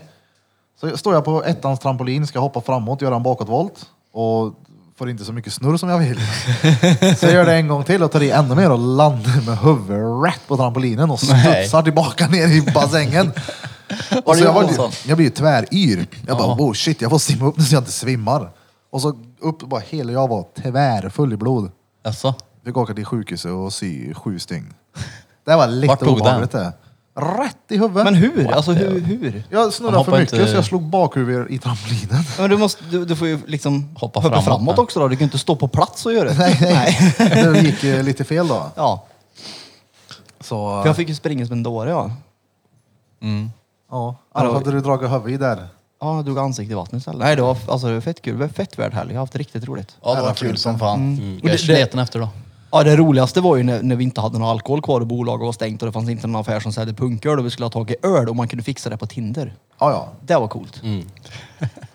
S1: Så står jag på ettans trampolin, ska hoppa framåt, göra en bakåtvolt och får inte så mycket snurr som jag vill. Så jag gör det en gång till och tar i ännu mer och landar med huvudet rätt på trampolinen och studsar tillbaka ner i bassängen. Och så jag, var, ju- jag blir ju tväryr. Jag bara, oh shit, jag får simma upp nu så jag inte svimmar. Och så upp bara hela jag var tvärfull i blod.
S5: Alltså,
S1: Fick åka till sjukhuset och sy sju stygn. Det var lite
S5: Vart tog
S1: obehagligt det. Rätt i huvudet.
S2: men hur? Alltså hur? hur?
S1: Jag
S5: Han
S1: snurrade
S5: hoppar
S1: för mycket
S5: inte-
S1: så jag slog bakhuvudet i trampolinen.
S2: Ja, Men du, måste, du, du får ju liksom
S5: Hoppa framåt
S2: framåt
S5: med.
S2: också då. Du kan ju inte stå på plats och göra det.
S1: Nej, nej. det gick eh, lite fel då.
S2: Ja,
S1: Så,
S2: för jag fick ju springa som en dåre ja.
S5: Mm.
S1: ja. Annars hade du dragit huvudet i där.
S2: Ja, jag drog ansiktet i vattnet istället. Nej, det var, alltså, det var fett kul. Det var fett värd helg. Jag har haft riktigt roligt.
S5: ja det var
S1: Jävla
S5: kul
S1: filmen.
S5: som fan.
S2: Och
S5: Jag är
S2: det-
S5: sliten efter då.
S2: Ja, det roligaste var ju när, när vi inte hade någon alkohol kvar och bolaget var stängt och det fanns inte någon affär som sålde punköl och vi skulle ha tag i öl och man kunde fixa det på Tinder.
S1: Ja, ja.
S2: Det var coolt.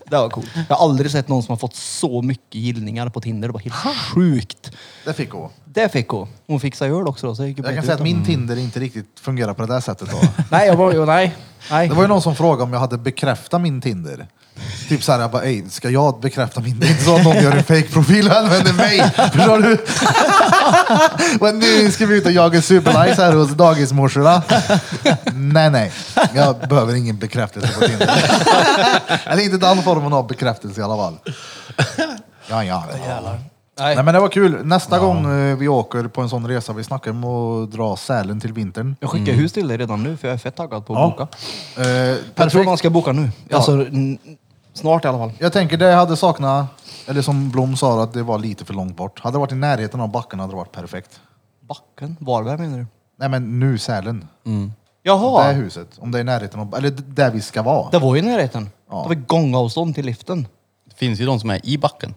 S2: Det var coolt. Jag har aldrig sett någon som har fått så mycket gillningar på Tinder. Det var helt sjukt.
S1: Det fick gå.
S2: Det fick hon. Hon fixade öl också då. Så jag, gick ju
S1: Jag
S2: bara
S1: kan
S2: ut
S1: säga att
S2: då.
S1: min Tinder inte riktigt fungerar på det där sättet då.
S2: Nej, jag var, nej. Nej.
S1: Det var ju någon som frågade om jag hade bekräftat min Tinder. Typ såhär, jag bara, ey, ska jag bekräfta min? Det är inte så att någon gör en fake-profil och använder mig. Förstår du? Men nu ska vi ut och jaga superlice här hos dagismorsorna. Nej, nej. Jag behöver ingen bekräftelse på Tinder. Eller inte den formen av bekräftelse i alla fall. Ja, ja. Nej. men det var kul. Nästa gång eh, vi åker på en sån resa, vi snackar om att dra Sälen till vintern.
S2: Jag skickar hus till dig redan nu för jag är fett taggad på att
S1: Ja.
S2: boka.
S1: Eh,
S2: Jag tror
S1: perfekt.
S2: man ska boka nu. Alltså, n- snart i alla fall.
S1: Jag tänker det jag hade saknat, eller som Blom sa, att det var lite för långt bort. Hade det varit i närheten av backen hade det varit perfekt.
S2: Backen? Varberg menar du?
S1: Nej men nu Sälen. Det här
S2: Jaha!
S1: huset. Om det är i närheten av, eller d- där vi ska vara.
S2: Det var ju i närheten.
S1: Ja.
S2: Det var gångavstånd till liften.
S5: Det finns ju de som är i backen.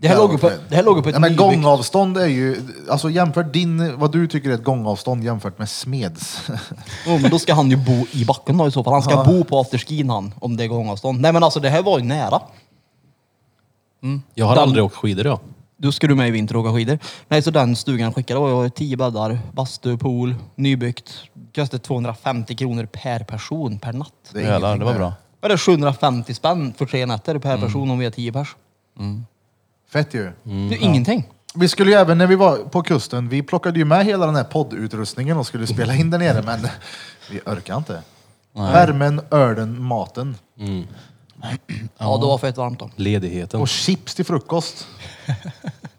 S2: Det här
S1: Ja,
S2: låg ju på,
S1: okej.
S2: det här låg ju på ett
S1: Nej, men
S2: nybyggt-
S1: gångavstånd är ju, alltså jämför din, vad du tycker är ett gångavstånd jämfört med Smeds.
S2: Jo, men då ska han ju bo i backen då i så fall. Han ska bo på afterskin han, om det är gångavstånd. Nej men alltså det här var ju nära.
S4: Jag har
S2: Den-
S4: aldrig åkt skidor jag.
S2: Då ska du med i vinter och åka skidor. Nej, så den stugan skickade var ju tio bäddar, bastu, pool, nybyggt. Kostade 250 kronor per person per natt.
S1: Det är
S5: Jävlar,
S1: ingenting
S5: det var
S1: där.
S5: bra.
S2: Var det 750 spänn för tre nätter
S1: Mm.
S2: per person om vi är tio pers?
S1: Fett ju.
S2: det är ingenting.
S1: Vi skulle ju även när vi var på kusten, vi plockade ju med hela den här poddutrustningen och skulle spela in där nere, men vi orkar inte. Värmen, ölen, maten
S2: Ja, det var fett varmt då.
S4: Ledigheten.
S1: och chips till frukost. Det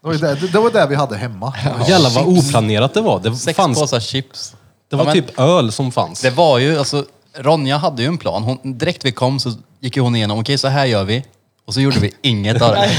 S1: var ju det, det, var det vi hade hemma.
S4: Jävlar vad oplanerat det var. Det,
S5: Sex
S4: fanns,
S5: påsar chips.
S4: det
S5: Ja,
S4: var
S5: men
S4: typ öl som fanns.
S5: Det var ju, alltså Ronja hade ju en plan. Hon, direkt vi kom så gick ju hon igenom, okej så här gör vi. Och så gjorde vi inget av det.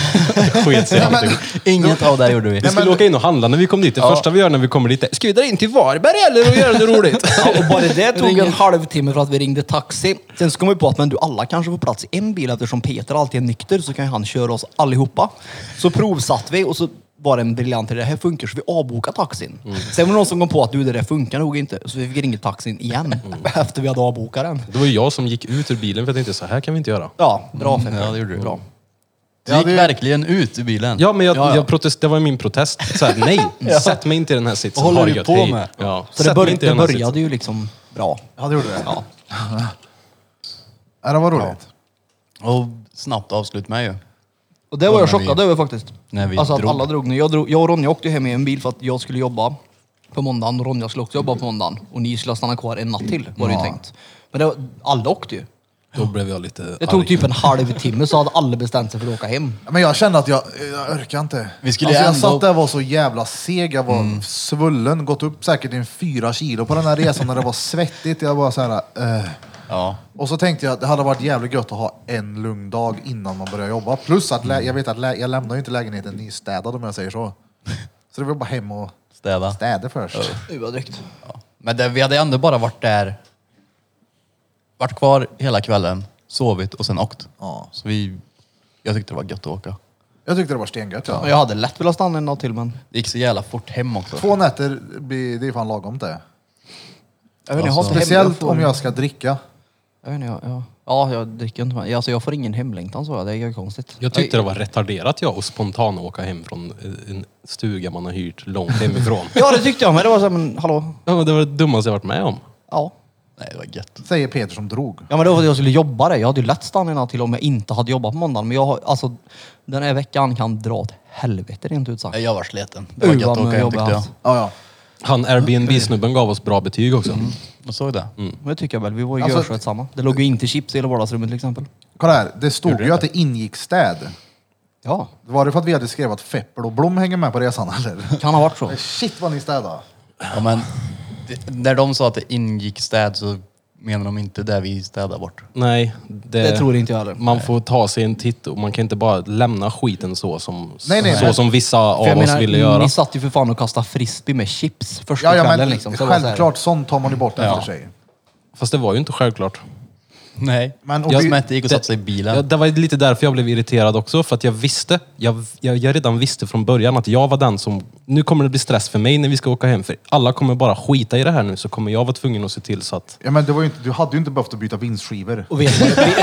S4: Sket sig i
S1: Nej, men-
S4: allting.
S5: Inget av det gjorde vi.
S4: Vi skulle åka in och handla när vi kom dit. Det
S5: Ja.
S4: första vi gör när vi kommer dit är, ska vi dra in till Varberg eller och göra det roligt?
S2: Ja, och bara det tog en halvtimme för att vi ringde taxi. Sen så kom vi på att men du, alla kanske får plats i en bil eftersom Peter alltid är nykter så kan ju han köra oss allihopa. Så provsatt vi och så var det en briljant idé. Det här funkar så vi avbokade taxin. Sen var det någon som kom på att du det där funkar nog inte. Så vi fick ringa taxin igen efter vi hade avbokat den.
S4: Det var ju jag som gick ut ur bilen för jag tänkte så här kan vi inte göra.
S2: Ja, bra Peter.
S5: Ja, det gjorde du.
S2: Bra.
S5: Du gick
S1: Ja, det-
S5: verkligen ut ur bilen.
S4: Ja, men jag,
S5: Ja, ja.
S4: Jag protest, det var ju min protest. Så här, nej, sätt mig inte i den här sitsen.
S5: Vad håller
S4: Ha det
S5: du
S4: gött,
S5: på
S4: hej.
S5: med?
S4: Ja.
S2: Så det,
S4: sätt mig
S2: bör,
S4: inte i
S2: det
S4: den här
S2: började
S4: sitsen.
S2: ju liksom bra.
S1: Ja, det gjorde det.
S2: Ja.
S1: Ja, det var roligt.
S5: Och snabbt avslut med ju.
S2: Och det var
S5: Ja,
S2: jag
S5: när vi-
S2: chockad över faktiskt.
S5: när vi
S2: alltså att
S5: drog.
S2: alla drog nu. Jag, drog, jag och Ronja åkte hem i en bil för att jag skulle jobba på måndagen och Ronja skulle också jobba på måndagen. Och ni skulle stanna kvar en natt till var det ju tänkt. Men det var, alla åkte
S5: Eh,
S2: ju.
S4: Då blev jag lite
S2: Det tog
S4: arg.
S2: typ en halvtimme så hade alla bestämt sig för att åka hem.
S1: Men jag kände att jag, jag orkar inte.
S5: Vi skulle
S1: alltså, jag
S5: ändå- Mm.
S1: satt där och var så jävla seg. Jag var svullen, gått upp säkert en fyra kilo på den här resan när det var svettigt. Jag var så här, eh.
S5: Ja.
S1: Och så tänkte jag att det hade varit jävligt gött att ha en lugn dag innan man börjar jobba. Plus att
S5: Mm.
S1: lä- jag vet att lä- jag lämnar ju inte lägenheten nystädad om jag säger så. Så det var bara hem och
S5: Städa.
S1: städa först.
S2: Nu var drygt.
S5: Men det, vi hade ändå bara varit där, varit kvar hela kvällen, sovit och sen åkt.
S1: Ja.
S5: Så vi, jag tyckte det var gött att åka.
S1: Jag tyckte det var stengött. Ja.
S2: Men jag hade lätt velat stanna en natt till men...
S5: Det gick så jävla fort hem också.
S1: Två nätter, blir- det är fan lagom det.
S2: Jag vet inte, jag har inte
S1: Alltså, Speciellt
S2: hemlängtan.
S1: om jag ska dricka.
S2: Jag vet inte, jag, ja. ja, jag dricker inte. men- Alltså jag får ingen hemlängtan så jag. Det är ju konstigt.
S4: Jag tyckte det var retarderat jag att spontan åka hem från eh, en stuga man har hyrt långt hemifrån.
S2: Ja, det tyckte jag men det var så här, men hallå?
S4: ja, men det var det dummaste jag varit med om.
S2: Ja.
S5: Nej, det var gött.
S1: Säger Peter som drog.
S2: Ja men det var för att jag skulle jobba det. Jag hade ju lätt stannat en natt till om jag inte hade jobbat på måndagen. Men jag har, alltså den här veckan kan dra åt helvete rent ut sagt.
S5: Nej, Jag var sliten. Det var
S2: Uh,
S5: gött
S2: vad
S5: att åka hem
S2: jobb jag
S5: tyckte jag.
S2: haft.
S1: Ja, ja.
S4: Han Airbnb-snubben gav oss bra betyg också.
S5: Jag såg det.
S2: Men det tycker jag väl. Vi var ju
S1: Alltså-
S2: görsköt samma. Det låg ju inte chips i hela vardagsrummet till exempel.
S1: Kolla här, det stod ju att det ingick städ.
S2: Ja,
S1: Var det för att vi hade skrivit att Feppel och Blom hänger med på resan eller?
S2: kan ha varit så.
S1: Shit vad ni städade.
S5: Ja, men, det, när de sa att det ingick städ så menar de inte det vi städade bort.
S4: Nej, det,
S2: Det tror inte jag heller.
S4: Man får ta sig en titt och man kan inte bara lämna skiten så som,
S1: Nej, nej,
S4: så
S1: nej.
S4: som vissa av
S2: För jag
S4: oss
S2: menar,
S4: ville göra.
S2: ni satt ju för fan och kastade frisbee med chips första
S1: Ja, ja
S2: kvällen
S1: men
S2: liksom. Så det var så här-
S1: självklart, sånt tar man ju bort efter sig.
S4: Fast det var ju inte självklart.
S5: Nej.
S1: Men-
S5: Men,
S1: och
S5: jag
S1: vi-
S5: som inte gick och satte sig i bilen.
S4: Ja, det var lite därför jag blev irriterad också, för att jag visste, jag, jag, jag redan visste från början att jag var den som, nu kommer det bli stress för mig när vi ska åka hem, för alla kommer bara skita i det här nu, så kommer jag vara tvungen att se till så att...
S1: Ja, men det var ju inte, du hade ju inte behövt att byta vinstskivor.
S2: Och vet du,
S4: Ja,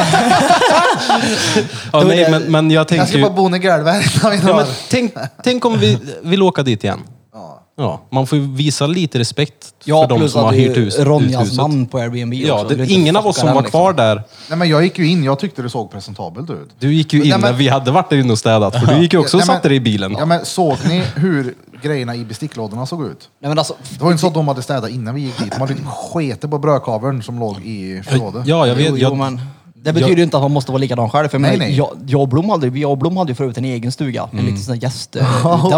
S2: var
S4: nej,
S2: det-
S4: men, men jag
S1: Jag
S4: tänkte
S1: ska
S4: ju...
S1: bara bo i golvet.
S4: Ja, men tänk, tänk om vi vill åka dit igen.
S1: Ja.
S4: Ja, man får ju visa lite respekt
S2: Ja,
S4: för de
S2: plus
S4: som
S2: att
S4: har
S2: det
S4: hyrt
S2: är
S4: hus, ut
S2: Ronjas
S4: huset.
S2: namn på Airbnb
S4: Ja,
S2: också. Du
S4: det,
S2: vill inte
S4: ingen av oss
S2: fucka
S4: som
S2: den,
S4: var kvar
S2: liksom.
S4: där.
S1: Nej men jag gick ju in, jag tyckte det såg presentabelt ut.
S4: Du gick ju in
S1: Ja, men-
S4: när vi hade varit där inne och städat, för du gick ju också och
S1: Ja, men-
S4: satte dig i bilen.
S1: Ja, men såg ni hur grejerna i besticklådorna såg ut?
S2: Nej, men alltså,
S1: Det var ju inte så att de hade städat innan vi gick dit. De hade ju sketit på brödkaveln som låg i förrådet.
S4: Ja, jag vet.
S2: jo,
S4: jag,
S2: jo, men det betyder ju inte att man måste vara likadan själv. För
S1: Nej,
S2: nej,
S1: nej.
S2: Jag, jag, och Blom hade, jag och Blom hade ju förut en egen stuga. En liten sån där gäst...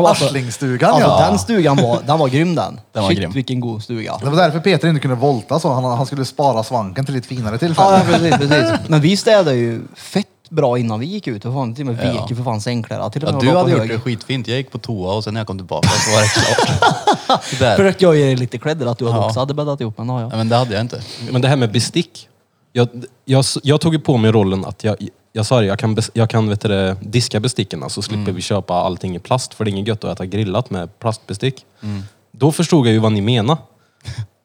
S1: Arslingsstugan,
S2: alltså,
S1: ja.
S2: Den stugan var, den var grym den.
S5: Den var
S2: Shit
S5: grym.
S2: vilken god stuga.
S1: Det var därför Peter inte kunde volta så. Han, han skulle spara svanken till ett finare tillfälle.
S2: Ja, precis, precis. Men vi städade ju fett bra innan vi gick ut. För fan, till och med vek ju för fan sängkläderna. Till och med
S5: Ja,
S2: var på
S5: du hade gjort
S2: hög.
S5: det skitfint. Jag gick på toa och sen när jag kom tillbaka så var det klart. Det där.
S2: Försökte jag ge dig lite cred där att du hade
S5: Ja.
S2: också hade bäddat ihop. Men ja, ja.
S5: Nej, men det hade jag inte.
S4: Men det här med bestick. Jag, jag, jag tog ju på mig rollen att jag, jag sa det, jag kan, bes- jag kan vet du, det, diska besticken så slipper
S1: Mm.
S4: vi köpa allting i plast för det är inget gött att äta grillat med plastbestick.
S1: Mm.
S4: Då förstod jag ju vad ni menar.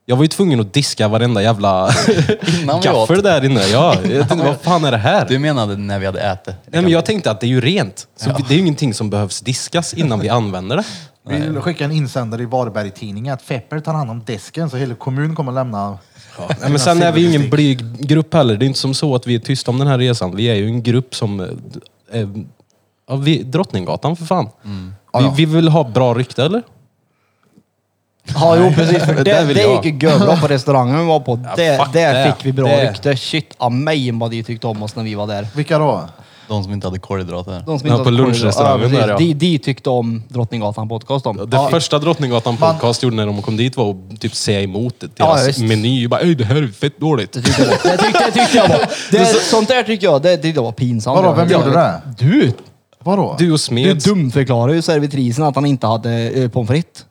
S4: Jag var ju tvungen att diska varenda jävla
S5: Innan vi åt.
S4: gaffel där inne. Ja, jag tänkte, vad fan är det här?
S5: Du menade när vi hade ätit?
S4: Nej, men jag tänkte att det är ju rent. Så Det är ju ingenting som behövs diskas innan vi använder det.
S1: Vi vill skicka en insändare i Varberg-tidningen att Fepper tar hand om disken så hela kommunen kommer lämna...
S4: Nej, men sen är vi ju ingen blyg grupp heller. Det är inte som så att vi är tysta om den här resan. Vi är ju en grupp som... eh, eh, Ja, vi, Drottninggatan för fan.
S2: Mm.
S1: Ja,
S4: Vi, vi vill ha bra rykte eller?
S2: Ja, jo precis. För det,
S4: Där
S2: det,
S4: vill jag.
S2: gick ju görbra på restaurangen vi var på. det,
S4: fuck
S2: där
S4: det.
S2: fick vi bra
S4: Det.
S2: rykte. Shit, amen vad de tyckte om oss när vi var där.
S1: Vilka då?
S5: De som inte hade kolhydrater.
S2: De som inte
S4: Ja, på
S2: hade koll-
S4: lunchrestaurangen
S2: precis.
S4: där, ja.
S2: de, de tyckte om Drottninggatan podcast om.
S4: Det första Drottninggatan podcast gjorde när de kom dit var att typ säga emot det.
S2: Ja,
S4: deras
S2: visst.
S4: meny. Bara, "Ey, det här är fett dåligt.
S2: Det tyckte, det tyckte jag var... Det, sånt där tyckte jag det, det var pinsamt.
S1: Vadå, vem gjorde det?
S2: Du!
S1: Vadå?
S4: Du
S2: Du
S4: och Smeds.
S2: dumförklarade ju servitrisen att han inte hade eh, pommes frites.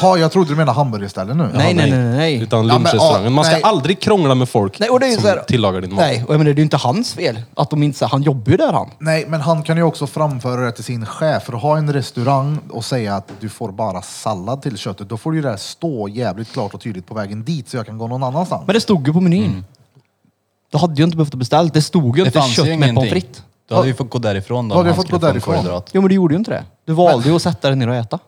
S1: Jaha, jag trodde du menade hamburgerställe nu.
S2: Nej, nej, nej, nej, nej.
S4: Utan
S1: Ja, men,
S4: lunchrestaurangen. Man ska
S1: ja, nej.
S4: aldrig krångla med folk
S2: Nej, och det är ju
S4: som
S2: så här-
S4: tillagar din mat.
S2: Nej, och jag menar det är ju inte hans fel att de inte... Han jobbar ju där han.
S1: Nej, men han kan ju också framföra det till sin chef. För att ha en restaurang och säga att du får bara sallad till köttet, då får du ju det här stå jävligt klart och tydligt på vägen dit så jag kan gå någon annanstans.
S2: Men det stod ju på menyn.
S4: Mm.
S2: Du hade ju inte behövt beställa. Det stod ju inte kött med pommes frites.
S5: Du hade ju fått gå därifrån då.
S1: Då
S5: om
S1: hade jag
S5: han
S1: fått gå
S5: skulle få
S1: därifrån.
S5: en kolhydrat.
S2: Jo men du gjorde ju inte det. Du valde ju att sätta dig ner och äta.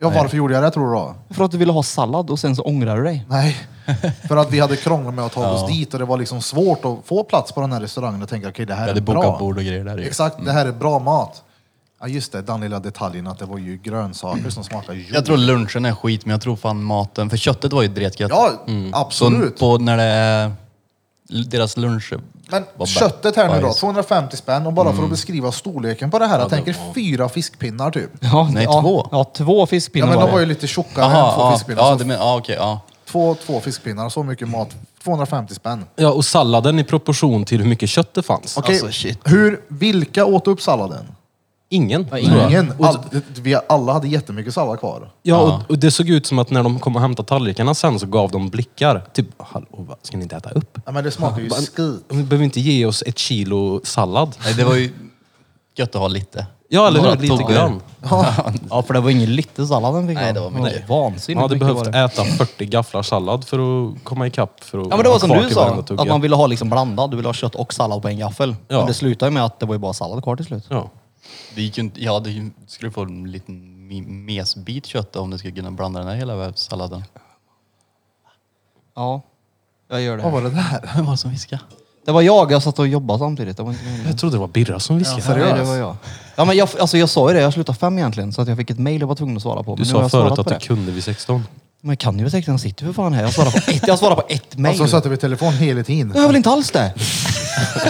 S1: ja, varför gjorde jag det tror du då?
S2: För att du ville ha sallad och sen så ångrar du dig.
S1: Nej, för att vi hade krånglat med att ta oss dit och det var liksom svårt att få plats på den här restaurangen och tänka okej, det här
S5: Vi
S1: är
S5: hade bokat
S1: bra.
S5: bord och grejer Mm. där ju.
S1: Exakt, det här är bra mat. Ja just det, den lilla detaljen att det var ju grönsaker som smakade jord.
S5: Jag tror lunchen är skit, men jag tror fan maten... För köttet var ju dretgött.
S1: Ja,
S5: så
S1: absolut.
S5: på när det är deras lunch...
S1: Men
S5: Vad
S1: köttet här nu då,
S5: bajs.
S1: 250 spänn och bara
S5: Mm.
S1: för att beskriva storleken på det här. Jag tänker fyra fiskpinnar typ.
S2: Ja,
S5: Nej,
S2: ja,
S5: två.
S2: Ja, två
S1: Ja
S2: fiskpinnar
S1: men de
S2: det.
S1: var ju lite tjockare än två
S5: Jaha, ja,
S1: fiskpinnar.
S5: ja,
S1: så
S5: det men, ja, okej, ja.
S1: två, två fiskpinnar, så mycket mat. 250 spänn.
S4: Ja, och salladen i proportion till hur mycket kött det fanns.
S1: Okej,
S5: Alltså, shit.
S1: hur, vilka åt upp salladen?
S4: Ingen.
S2: Ja,
S4: tror jag.
S1: Ingen. All, vi alla hade jättemycket sallad kvar.
S4: Ja, och, och det såg ut som att när de kom och hämtade tallrikarna sen så gav de blickar. Typ, hallå, vad, ska ni inte äta upp?
S1: Ja, men det smakar ju skit.
S4: Ni behöver inte ge oss ett kilo sallad.
S5: Nej, det var ju gött att ha lite.
S4: Ja, eller
S5: Några
S4: hur? Lite
S5: tuggar.
S4: grann.
S2: Ja, för det var ingen liten sallad den fick
S5: Nej,
S2: jag.
S5: det var mycket.
S4: Man
S2: vansinnigt
S4: hade
S2: mycket
S4: behövt
S2: var det.
S4: äta 40 gafflar sallad för att komma ikapp. För att
S2: Ja men det var
S4: ha
S2: som
S4: kvar
S2: du
S4: till
S2: sa,
S4: varenda tugga.
S2: att man ville ha liksom blandad. Du ville ha kött och sallad på en gaffel.
S4: Ja.
S2: Men det slutade ju med att det var ju bara sallad kvar till slut.
S4: Ja.
S5: Det gick ju inte... Ja, det ju- skulle få en liten mi- mesbit kött då, om du skulle kunna blanda den här hela salladen.
S2: Ja, jag gör det.
S1: Vad
S2: här.
S1: var det där?
S5: Vem var det som viskade?
S2: Det var jag, jag satt och jobbade samtidigt. Det var inte meningen.
S4: Jag trodde det var Birra som viskade.
S1: seriöst?
S2: Nej, det var jag. Ja, men jag, alltså, jag sa ju det, jag slutade fem egentligen. Så att jag fick ett mejl jag var tvungen att svara på.
S4: Du
S2: nu har
S4: sa
S2: jag
S4: förut
S2: svarat
S4: att
S2: på
S4: du
S2: det.
S4: kunde vid 16.
S2: Men jag kan ju säkert, han sitter ju för fan här. Jag svarar på ett, jag svarar på ett mejl.
S1: Alltså satte vi telefon hela
S2: Jag har
S1: tiden.
S2: väl inte alls det?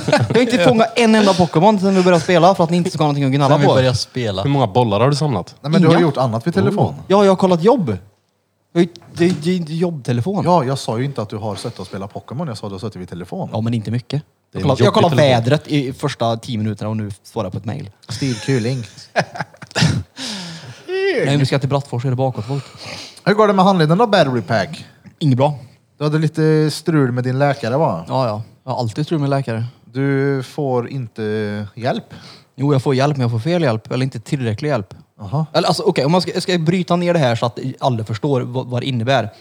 S2: Jag har inte fångat en enda Pokémon sedan vi började spela för att ni inte ska ha någonting att gnälla
S5: Sen vi
S2: på.
S5: började
S4: Hur
S5: spela.
S4: många bollar har du samlat?
S1: Nej men du har
S2: Inga. Oh.
S1: gjort annat vid telefon.
S2: Ja, jag har kollat jobb. Jag har ju- Det är ju inte jobbtelefon.
S1: Ja, jag sa ju inte att du har suttit och spelat Pokémon. Jag sa att du har suttit vid telefon.
S2: Ja, men inte mycket.
S4: är
S2: Jag
S4: en
S2: kollar, jag
S4: jobbig
S2: kollar
S4: telefon.
S2: vädret i första tio minuterna och nu svarar jag på ett mejl.
S1: Steve Kuling.
S2: Nej, vi ska till Brattfors och det bakåt folk.
S1: Hur går det med handleden då, battery pack?
S2: Inget bra.
S1: Du hade lite strul med din läkare va?
S2: Ja, ja. Jag har alltid strul med läkare.
S1: Du får inte hjälp.
S2: Jo, jag får hjälp, men jag får fel hjälp. Eller inte tillräcklig hjälp.
S1: Aha.
S2: Eller alltså, okej, om man ska, jag ska bryta ner det här så att alla förstår vad, vad det innebär.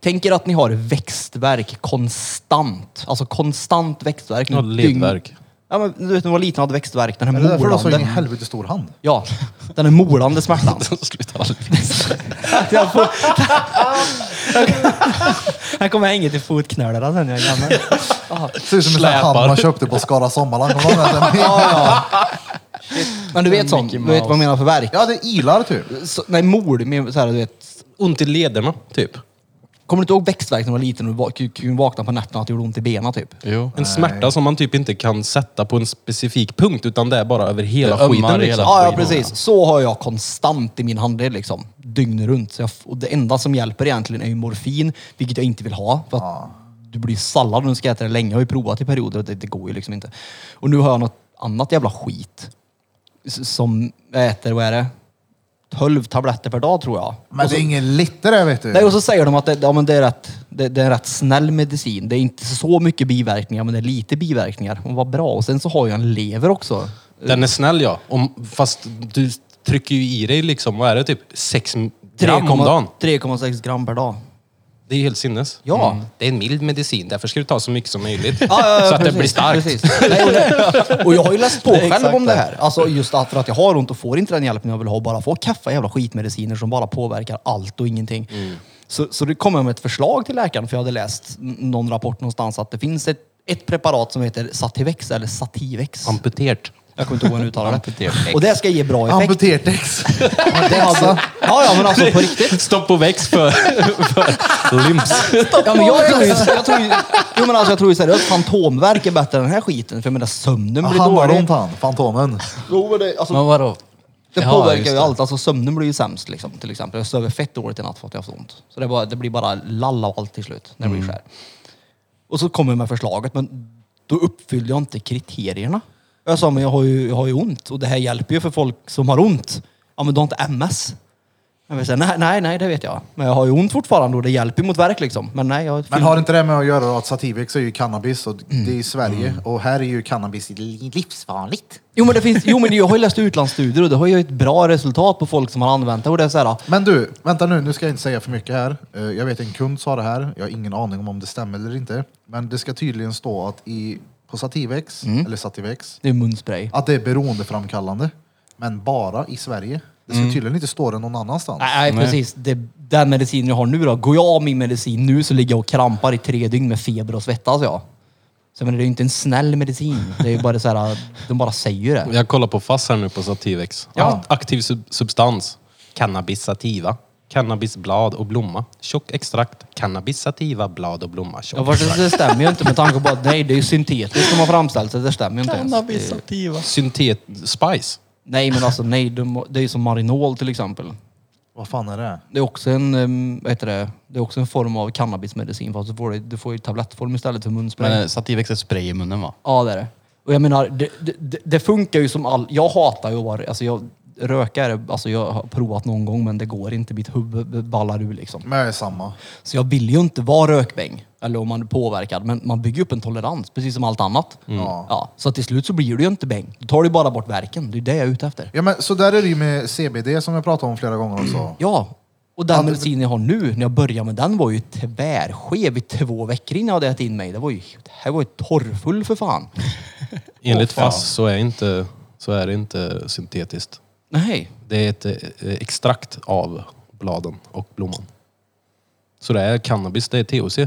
S2: Tänk er att ni har växtverk konstant. Alltså konstant växtverk.
S4: Ja, ledvärk.
S2: Ja, men du vet när man var liten och hade växtverk, den här
S1: Är det därför du har så in i
S2: molande.
S1: helvete stor hand?
S2: Ja, den är molande smärtan.
S4: Sluta aldrig.
S2: Jag får... Här kommer jag hänga till fotknölarna sen när jag är gammal. Ja.
S1: Ser ut som en sån här hand
S4: Släpar.
S1: man köpte på Skara Sommarland. Kommer du ihåg den?
S2: Men du vet sånt, du vet vad jag menar för verk?
S1: Ja, det är ilar typ.
S2: Så, nej, mord, men så här, du vet.
S4: Ont i lederna, typ.
S2: Kommer du inte ihåg växtverk när du var liten och du va- kunde- kunde vakna på nätterna och att det gjorde ont i benen typ?
S5: Jo.
S4: En smärta som man typ inte kan sätta på en specifik punkt utan det är bara över hela
S5: Det ömmar
S4: skiten.
S5: i
S4: Liksom.
S5: hela-
S2: Ja, ja, precis. Så har jag konstant i min handled liksom. Dygnet runt. Så jag, f- och det enda som hjälper egentligen är ju morfin, vilket jag inte vill ha. För att Du blir sallad och du ska äta det länge. Jag har ju provat i perioder och det, det går ju liksom inte. Och nu har jag något annat jävla skit. S- Som jag äter, vad är det? 12 tabletter per dag tror jag.
S1: Men det är ingen litter det vet du.
S2: Nej, och så säger de att det, ja, men det, är rätt, det, det är en rätt snäll medicin. Det är inte så mycket biverkningar, men det är lite biverkningar. Och vad bra. Och sen så har jag en lever också.
S4: Den är snäll ja. Om, fast du trycker ju i dig liksom, vad är det, typ 6 gram om
S2: 3,-
S4: dagen.
S2: 3,6 gram per dag.
S4: Det är helt sinnes.
S2: Ja.
S4: Det är en mild medicin, därför ska du ta så mycket som
S2: Mm.
S4: möjligt.
S2: Ja, ja, ja,
S4: så att
S2: precis,
S4: det blir starkt.
S2: precis. Nej, och, det, och jag har ju läst på
S5: Det är
S2: själv
S5: exakt
S2: om det
S5: det.
S2: här. Alltså just att för att jag har ont och får inte den hjälpen jag vill ha och bara får kaffa jävla skitmediciner som bara påverkar allt och ingenting. Så, så det kom jag med ett förslag till läkaren för jag hade läst n- någon rapport någonstans att det finns ett, ett preparat som heter Sativex eller Sativex.
S4: Amputerat.
S2: Jag kommer inte ihåg hur den uttalar det.
S5: Amputerex.
S2: Och det ska ge bra effekt.
S1: Amputertex.
S2: Det har vi- ja, ja, men alltså på riktigt.
S4: Stopp och väx för, för limps.
S2: Ja, men jag tror ju, jag tror ju, jo, men alltså, jag tror ju seriöst fantomvärk är bättre än den här skiten. För jag menar sömnen blir
S1: Han har
S2: dålig.
S1: ont han, Fantomen.
S2: Jo, men det, alltså,
S5: Men vadå?
S2: det
S5: Ja,
S2: påverkar
S5: just
S2: ju
S5: det.
S2: allt. Alltså sömnen blir ju sämst liksom, till exempel. Jag sover fett dåligt i natt för att jag har haft ont. Så det, är bara, det blir bara lalla och allt till slut när det blir skär. Och så kommer jag med förslaget men då uppfyllde jag inte kriterierna. Jag sa men jag har ju, jag har ju ont och det här hjälper ju för folk som har ont. Ja men du har inte MS. Jag vill säga, nej, nej, nej, det vet jag. Men jag har ju ont fortfarande och det hjälper ju mot värk liksom. Men nej, jag
S1: Men har inte det med att göra att Sativex är ju cannabis och det är i Sverige och här är ju cannabis li- livsfarligt.
S2: Jo men, det finns, jo men jag har ju läst utlandsstudier och det har ju ett bra resultat på folk som har använt det. Och det är så här, ah,
S1: Men du, vänta nu, nu ska jag inte säga för mycket här. Eh, Jag vet en kund sa det här, jag har ingen aning om om det stämmer eller inte. Men det ska tydligen stå att i, på Sativex,
S2: Mm.
S1: eller Sativex,
S2: det är munspray.
S1: att det är beroendeframkallande. Men bara i Sverige. Det ska tydligen inte stå det någon annanstans.
S2: Nej, nej, precis. Det, den medicin jag har nu då. Går jag av min medicin nu så ligger jag och krampar i tre dygn med feber och svettas jag. Så men det är ju inte en snäll medicin. Det är ju bara så här, ah, de bara säger det.
S4: Jag kollar på FASS här nu på Sativex.
S2: Ja.
S4: Aktiv sub substans. Cannabis sativa. Cannabisblad och blomma. Tjock extrakt. Cannabis sativa, blad och blomma. Tjock
S2: Ja, fast det, det stämmer ju inte med tanke på att nej, det är ju syntetiskt de har framställt så det stämmer ju inte ens. Det,
S4: sativa. Syntet... Spice.
S2: nej, men alltså nej, de, det är ju som Marinol till exempel.
S1: Vad fan är det?
S2: Det är också en, em, vad heter det, det är också en form av cannabismedicin fast du får, det- du får ju tablettform istället för munspray.
S5: Men Sativex är spray i munnen va?
S2: Ja, det är det. Och jag menar, det, det- det, det funkar ju som all... Jag hatar ju att vara... Alltså jag rökar, alltså jag har provat någon gång men det går inte. Mitt huvud ballar ur liksom.
S1: Men jag är samma.
S2: Så jag vill ju inte vara rökbäng. Eller om man är påverkad. Men man bygger upp en tolerans, precis som allt annat.
S1: Ja.
S2: Ja, så till slut så blir du ju inte bäng. Då tar du bara bort verken. Det är det jag är ute efter.
S1: Ja, men så där är det ju med CBD som jag pratade om flera gånger också.
S2: Ja. Och den medicin jag har nu, när jag började med den, var ju tvärskev i två veckor innan jag hade ätit in mig. Det var ju, det här var ju torrfull för fan.
S4: Enligt FASS så är, inte, så är det inte syntetiskt.
S2: Nej.
S4: Det är ett eh, extrakt av bladen och blomman. Så det är cannabis, det är THC.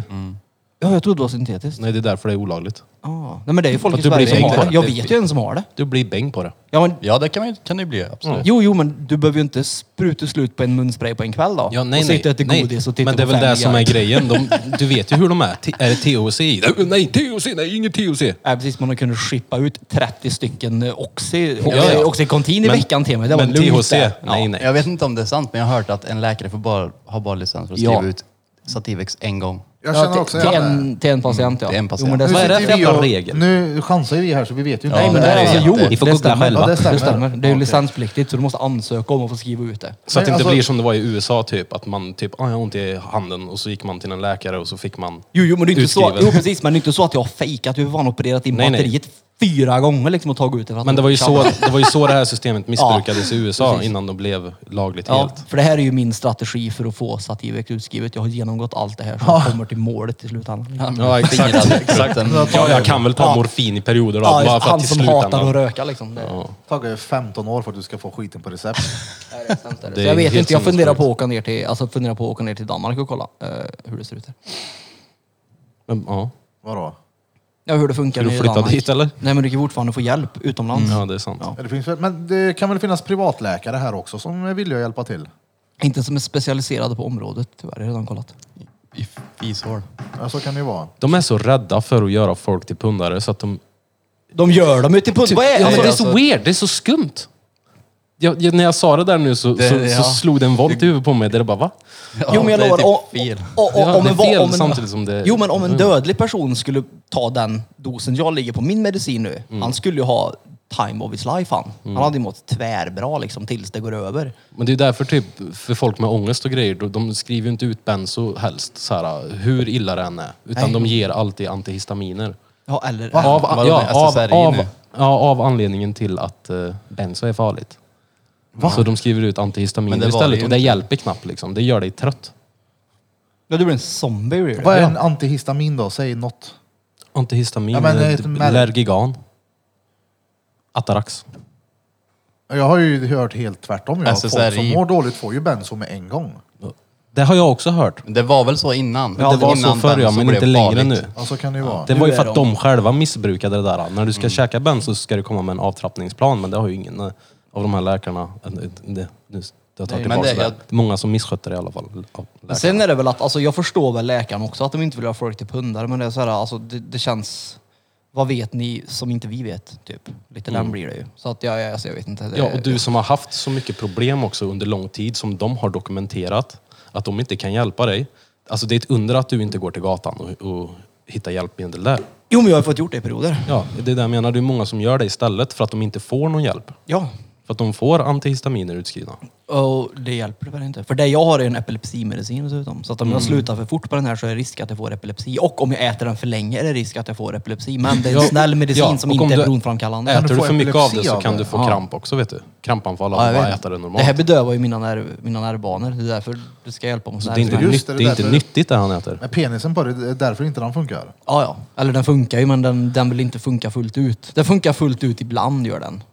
S2: Ja, jag trodde det var syntetiskt.
S4: Nej, det är därför det är olagligt.
S2: Ah. Nej men det är ju folk
S4: Att
S2: i
S4: du
S2: Sverige
S4: blir
S2: som
S4: bäng
S2: har
S4: på
S2: det.
S4: det.
S2: Jag vet ju en som har det.
S4: Du blir bäng på det.
S2: Ja, men,
S5: Ja, det kan, man, ju- kan det ju bli. Absolut.
S2: Jo, jo, men du behöver ju inte spruta slut på en munspray på en kväll då.
S4: Ja, nej,
S2: och
S4: nej.
S2: sitta och äta
S4: nej.
S2: godis och titta
S4: Men det är
S2: på
S4: väl det
S2: Family
S4: som är
S2: Guy.
S4: grejen. De, du vet ju hur de är. T- är det THC i? Nej, THC! Nej, inget THC!
S2: Nej, precis. Man har kunnat skippa ut 30 stycken eh, Oxy,
S4: Ja, ja.
S2: Oxycontin i
S4: Men-
S2: veckan till mig. Det var
S4: Men
S2: lugnt
S4: THC,
S2: där.
S4: nej, nej.
S5: Jag vet inte om det är sant, men jag har hört att en läkare får bara, har bara licens för att skriva
S2: Ja.
S5: ut Sativex en gång.
S1: Jag
S2: Ja,
S1: känner
S2: till-
S1: också
S2: till,
S1: igen det.
S2: en, till en patient, ja.
S5: till en patient.
S2: Jo, men det
S1: Nu
S4: Vad är
S2: stämmer.
S4: det
S1: sitter
S4: för
S1: vi
S4: jävla
S1: och-
S4: regel?
S1: Nu chansar vi här så vi vet ju inte.
S2: Nej, men
S5: Ja,
S2: det
S5: det
S2: är
S5: är
S2: alltså,
S5: jätte-
S2: jo,
S4: Ni får
S2: det
S4: googla
S2: stämmer.
S4: själva.
S2: Ja, det, stämmer.
S1: Ja,
S2: det
S1: det
S2: stämmer. Det är ju
S1: okej.
S2: licenspliktigt så du måste ansöka om att få skriva ut det.
S4: Så att det
S1: Nej,
S4: inte
S1: alltså-
S4: blir som det var i USA typ, att man typ, ah, jag har ont i handen och så gick man till en läkare och så fick man
S2: Jo, jo men det är inte så,
S4: utskrivet.
S2: jo, precis, men det är inte så att jag har fejkat. Du har fan opererat in
S4: Nej, nej.
S2: batteriet fyra gånger liksom och tagit ut det. för att
S4: Men det var, ju
S2: tjatar.
S4: så, det var ju så det här systemet missbrukades i USA
S2: precis.
S4: innan de blev lagligt
S2: Ja,
S4: helt.
S2: för det här är ju min strategi för att få stativek utskrivet. Jag har genomgått allt det här så jag kommer till målet i slutändan.
S4: Ja, exakt. exakt. Ja, jag kan väl ta morfin i perioder då,
S2: Ja,
S4: bara för att
S2: han
S4: till
S2: som
S4: slut
S2: hatar att röka liksom. Det,
S1: tagit 15 år för att du ska få skiten på recept.
S2: Nej, det är sant, det är det.
S4: Det
S2: Så
S4: är
S2: jag vet
S4: helt
S2: inte, jag funderar
S4: sinnessjukt.
S2: på att åka ner till, alltså funderar på att åka ner till Danmark och kolla eh, hur det ser ut där.
S4: Men, Mm, ja.
S1: Vadå?
S2: Ja, hur det funkar
S4: Ska du
S2: nere i
S4: flytta
S2: Danmark.
S4: dit, eller?
S2: Nej, men du kan fortfarande få hjälp utomlands.
S4: Mm. ja, det är sant.
S1: Ja, Det finns, väl- men det kan väl finnas privatläkare här också som är villiga att hjälpa till?
S2: Inte som är specialiserade på området, tyvärr. Jag har redan kollat.
S5: I fishål.
S1: Ja, så kan det ju vara.
S4: De är så rädda för att göra folk till pundare så att de...
S2: De gör dem ute i
S5: Typ-
S2: pund. Vad är
S4: Typ- Ja, alltså- men det är
S2: det?
S5: alltså,
S4: så weird, det är så skumt. Jag, jag, när jag sa det där nu så,
S5: Det-
S4: så,
S5: ja.
S4: så slog det en volt i huvudet på mig. Där det bara, va?
S2: Jo, men jag
S5: det är
S2: lovar.
S5: typ
S2: o- o-
S5: fel.
S2: o-
S4: Ja,
S2: om
S4: det är
S2: en va-
S4: fel
S2: om en-
S4: samtidigt som det-
S2: Jo, men om en
S4: Mm.
S2: dödlig person skulle ta den dosen jag ligger på min medicin nu.
S4: Mm.
S2: Han skulle ju ha time of his life han. Han hade ju mått tvärbra liksom tills det går över.
S4: Men det är ju därför typ, för folk med ångest och grejer, då- de skriver ju inte ut benzo helst, så här, hur illa det än är. Utan
S2: Nej.
S4: de ger alltid antihistaminer.
S2: Ja, eller...
S4: Av,
S5: Vadå, alltså
S4: ja,
S5: med
S4: av,
S5: SSRI
S4: av,
S5: nu?
S4: ja, av anledningen till att eh, benzo är farligt. Så de skriver ut
S5: Men
S4: antihistaminer
S5: det var det
S4: istället
S5: ju
S4: och det
S5: inte.
S4: hjälper knappt liksom. Det gör dig trött.
S2: Ja, du blir en zombie. blir du.
S1: Vad är en antihistamin då? Säg något.
S4: Antihistamin,
S1: Ja, men det är
S4: eh,
S1: ett märk-
S4: Lergigan. Atarax.
S1: Jag har ju hört helt tvärtom. Jag. Folk som
S5: SSRI.
S1: mår dåligt får ju benzo med en gång.
S4: Det har jag också hört.
S5: Det var väl så innan?
S4: det var
S5: innan
S4: så förr ja,
S5: benzo
S4: men
S5: blev
S4: inte längre
S5: farligt.
S4: nu.
S1: Ja, så kan det ju vara.
S4: Det var ju
S2: Nu
S4: för
S2: är
S4: att de själva missbrukade det där. När
S5: Mm.
S4: du ska käka benzo så ska du komma med en avtrappningsplan, men det har ju ingen eh, av de här läkarna... eh, Det, det, nu, jag tar
S5: Nej, men
S4: tillbaka
S5: det-
S4: det.
S5: jag-
S4: Det är Många som misskötte det i alla fall. av läkarna.
S2: Men Sen är det väl att, alltså jag förstår väl läkaren också att de inte vill ha folk till pundare, men det är så här, alltså det, det känns, vad vet ni som inte vi vet? Typ. Lite den blir det ju. Så att jag, jag, alltså, jag vet inte. Det,
S4: Mm. Eh, Ja, och du som har haft så mycket problem också under lång tid som de har dokumenterat, att de inte kan hjälpa dig. Alltså det är ett under att du inte går till gatan och, och hittar hjälpmedel där.
S2: Jo, men jag har fått gjort det i perioder.
S4: Ja, det är det jag menar. Det är många som gör det istället för att de inte får någon hjälp.
S2: Ja.
S4: För att de får antihistaminer utskrivna.
S2: Och det hjälper tyvärr inte. För det jag har är en epilepsimedicin dessutom. Så att om
S4: Mm.
S2: jag slutar för fort på den här så är det risk att jag får epilepsi. Och om jag äter den för länge är det risk att jag får epilepsi. Men det är en
S4: Ja,
S2: snäll medicin
S4: ja,
S2: som
S4: och om
S2: inte är
S4: du
S2: beroendeframkallande.
S1: du
S4: Äter du
S1: få
S4: för mycket av det
S1: epilepsi
S4: så
S1: av
S4: kan
S1: det?
S4: du få
S2: Ja.
S4: kramp också, vet du. Krampanfall av
S5: Ja, jag
S4: att bara
S5: vet.
S4: äta det normalt.
S2: Det här bedövar ju mina, nerv, mina nervbanor. Det är därför det ska hjälpa mot
S4: så det är inte,
S1: Just det,
S4: nytt,
S1: det
S4: det är inte
S1: därför-
S4: nyttigt det han äter.
S1: Men penisen på det, det är därför inte den funkar.
S2: Ja, ja. Eller den funkar ju, men den, den vill inte funka fullt ut. Den funkar fullt ut ibland, gör den.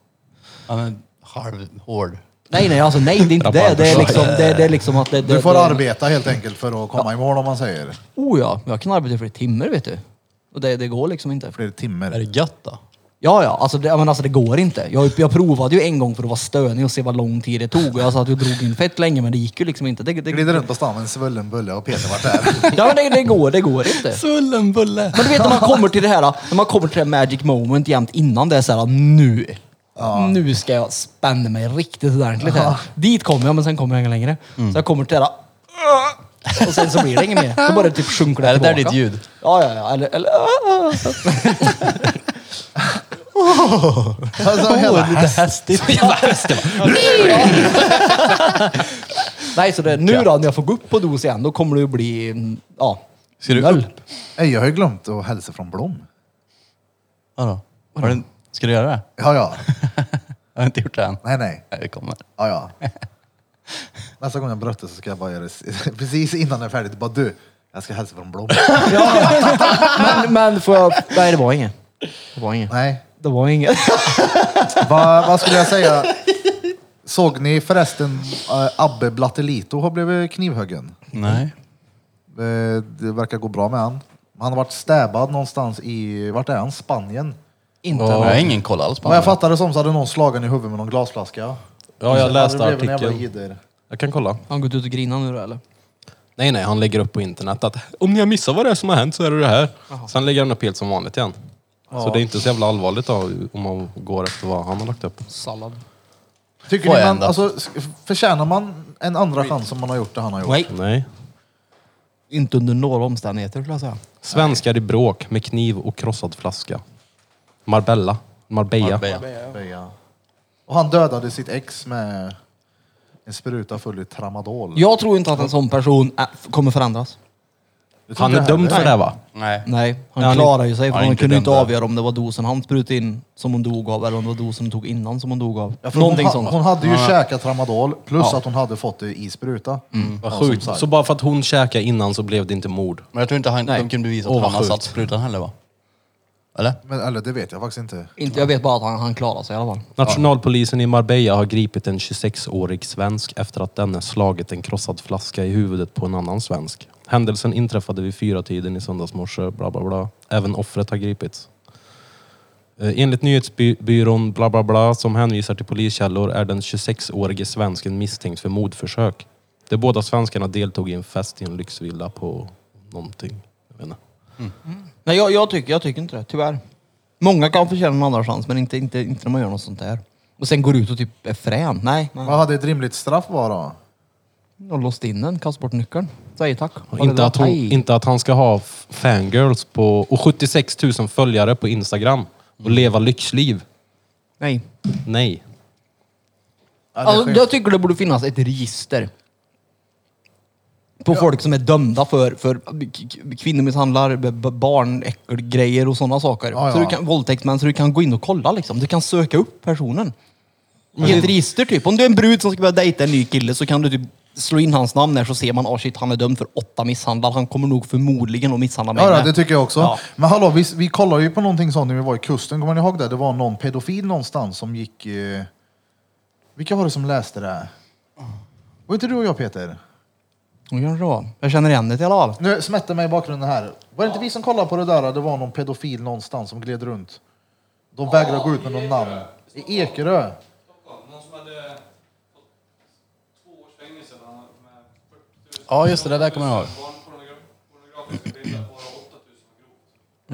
S5: Ja, men halvhård.
S2: Nej, nej, alltså nej, det är inte det. Det är liksom, det, det är liksom att det, det,
S1: Du får
S2: det,
S1: arbeta helt enkelt för att komma i mål om man säger.
S2: Oh ja, jag kan arbeta i flera timmar, vet du. Och det, det går liksom inte.
S1: Flera timmar.
S5: Är det gött då?
S2: Ja, ja, alltså det, ja, men alltså det går inte. Jag, jag provade ju en gång för att vara stönig och se vad lång tid det tog. Och Jag satt ju och drog in fett länge, men det gick ju liksom inte. Det, det,
S1: Glider runt på stan med en svullen bulle och Peter vart där.
S2: ja, men det, det går, det går inte.
S5: Sullenbulle!
S2: Men du vet när man kommer till det här, när man kommer till det här magic moment jämt innan det är så här nu. Nu ska jag spänna mig riktigt ordentligt här. Dit kommer jag men sen kommer jag ingen längre.
S5: Mm.
S2: Så jag kommer till det här och sen så blir det inget mer. Då bara typ sjunker det
S5: Är det där
S2: tillbaka.
S5: ditt ljud?
S2: Ja, ja, ja. Eller, eller,
S1: Alltså, hela hästen.
S5: hästigt.
S2: Nej, så det, nu då när jag får gå upp på dos igen, då kommer det ju bli, mm, ja.
S5: Ska du
S2: noll.
S5: upp?
S1: Ey, Jag har ju glömt att hälsa från Blom.
S5: Vadå? Har du, ska du göra det?
S1: Ja, ja.
S5: Jag har inte gjort det än.
S1: Nej, nej.
S5: Nej, det kommer.
S1: Ja, ja. Nästa gång jag brötter så ska jag bara göra det precis innan det är färdigt. Bara du, jag ska hälsa från Blom.
S2: Men, men får jag, nej det var inget. Det var inget.
S1: Nej,
S2: Det var inget.
S1: Va, vad skulle jag säga? Såg ni förresten eh, Abbe Blattelito har blivit knivhuggen?
S5: Nej.
S1: Eh, det verkar gå bra med han. Han har varit stäbad någonstans i, vart är han? Spanien?
S2: Inte.
S5: Jag har ingen koll alls på
S1: Vad jag
S5: honom.
S1: fattade som så hade någon slagit honom i huvudet med någon glasflaska.
S4: Ja, jag
S1: Sen hade
S4: läste
S1: det blivit en jävla
S4: artikeln.
S1: jidder.
S4: Jag kan kolla.
S2: Har han gått ut och grinat nu då eller?
S4: Nej, nej, han lägger upp på internet att om ni har missat vad det är som har hänt så är det det här. Sen lägger han upp helt som vanligt igen. Så det är inte så jävla allvarligt då, om man går efter vad han har lagt upp.
S2: Sallad.
S1: Tycker
S5: Får
S1: ni
S5: jag
S1: man,
S5: ändå?
S1: alltså, sk- förtjänar man en andra chans om man har gjort det han har gjort?
S2: Nej.
S4: Nej.
S2: Inte under några omständigheter skulle jag säga.
S4: Svenskar i bråk med kniv och krossad flaska. Marbella. Marbella.
S5: Marbella.
S1: Beja. Och han dödade sitt ex med en spruta full i tramadol.
S2: Jag tror inte att en sån person äh, kommer förändras.
S1: tror
S4: Han
S1: inte jag
S4: är dömd
S1: heller.
S4: för det va?
S5: Nej.
S2: Nej, han
S4: Ja, ni-
S2: klarade ju sig för
S5: Ja,
S2: hon
S5: inte
S2: kunde
S5: den
S2: inte
S5: där.
S2: avgöra om det var dosen han sprutade in som hon dog av eller om det var dosen hon tog innan som hon dog av.
S1: Ja, för
S2: Någonting
S1: hon, ha-
S2: sånt.
S1: hon hade ju käkat tramadol plus att hon hade fått det i spruta.
S4: Vad
S1: Ja,
S4: sjukt.
S1: som sagt.
S4: Så bara för att hon käkade innan så blev det inte mord.
S5: Men jag tror inte han, de kunde bevisa att
S4: Åh, vad
S5: han har
S4: sjukt.
S5: satt sprutan heller va? Eller?
S1: Men, eller det vet jag faktiskt inte.
S2: Inte, jag vet bara att han, han klarade sig i alla fall.
S4: Nationalpolisen i Marbella har gripit en 26-årig svensk efter att denne slagit en krossad flaska i huvudet på en annan svensk. Händelsen inträffade vid fyra tiden i söndagsmorse, bla bla bla. Även offret har gripits. Eh, Enligt nyhetsbyrån bla bla bla som hänvisar till poliskällor är den 26-årige svensken misstänkt för mordförsök. De båda svenskarna deltog i en fest i en lyxvilla på någonting. Jag vet inte.
S2: Nej, jag, jag, tycker, jag tycker inte det, tyvärr. Många kan förtjäna en andra chans, men inte, inte, inte när man gör något sånt där. Och sen går ut och typ är frän. Nej, man
S1: Vad hade ett rimligt straff vara då?
S2: har låst in den, kastat bort nyckeln. Säger tack.
S4: Och Inte att, hon, inte att han ska ha f- fangirls på, och 76 000 följare på Instagram
S2: Mm.
S4: och leva lyxliv.
S2: Nej.
S4: Nej.
S1: Ja, det är
S2: Alltså,
S1: skevt.
S2: jag tycker det borde finnas ett register. På folk som är dömda för, för k- k- kvinnomisshandlar, b- b- barnäckelgrejer och sådana saker.
S1: Ja, ja.
S2: Så du kan, våldtäktsmän, så du kan gå in och kolla liksom. Du kan söka upp personen. I ett register typ. Om du är en brud som ska börja dejta en ny kille så kan du typ slå in hans namn där så ser man, ah shit han är dömd för åtta misshandlar. Han kommer nog förmodligen att misshandla mig
S1: Ja, ja,
S2: med."
S1: det tycker jag också.
S2: Ja.
S1: Men hallå, vi, vi kollade ju på någonting sånt när vi var i kusten. Kommer ni ihåg det? Det var någon pedofil någonstans som gick... Eh... Vilka var det som läste det? här? Var inte du och jag Peter?
S2: Det kanske det var. Jag känner igen det i alla fall.
S1: Nu smätte mig i bakgrunden här. Var det inte vi som kollade på det där? Det var någon pedofil någonstans som gled runt. De vägrade gå ut med någon namn. I Ekerö.
S5: Ja just det, det där kommer jag ihåg.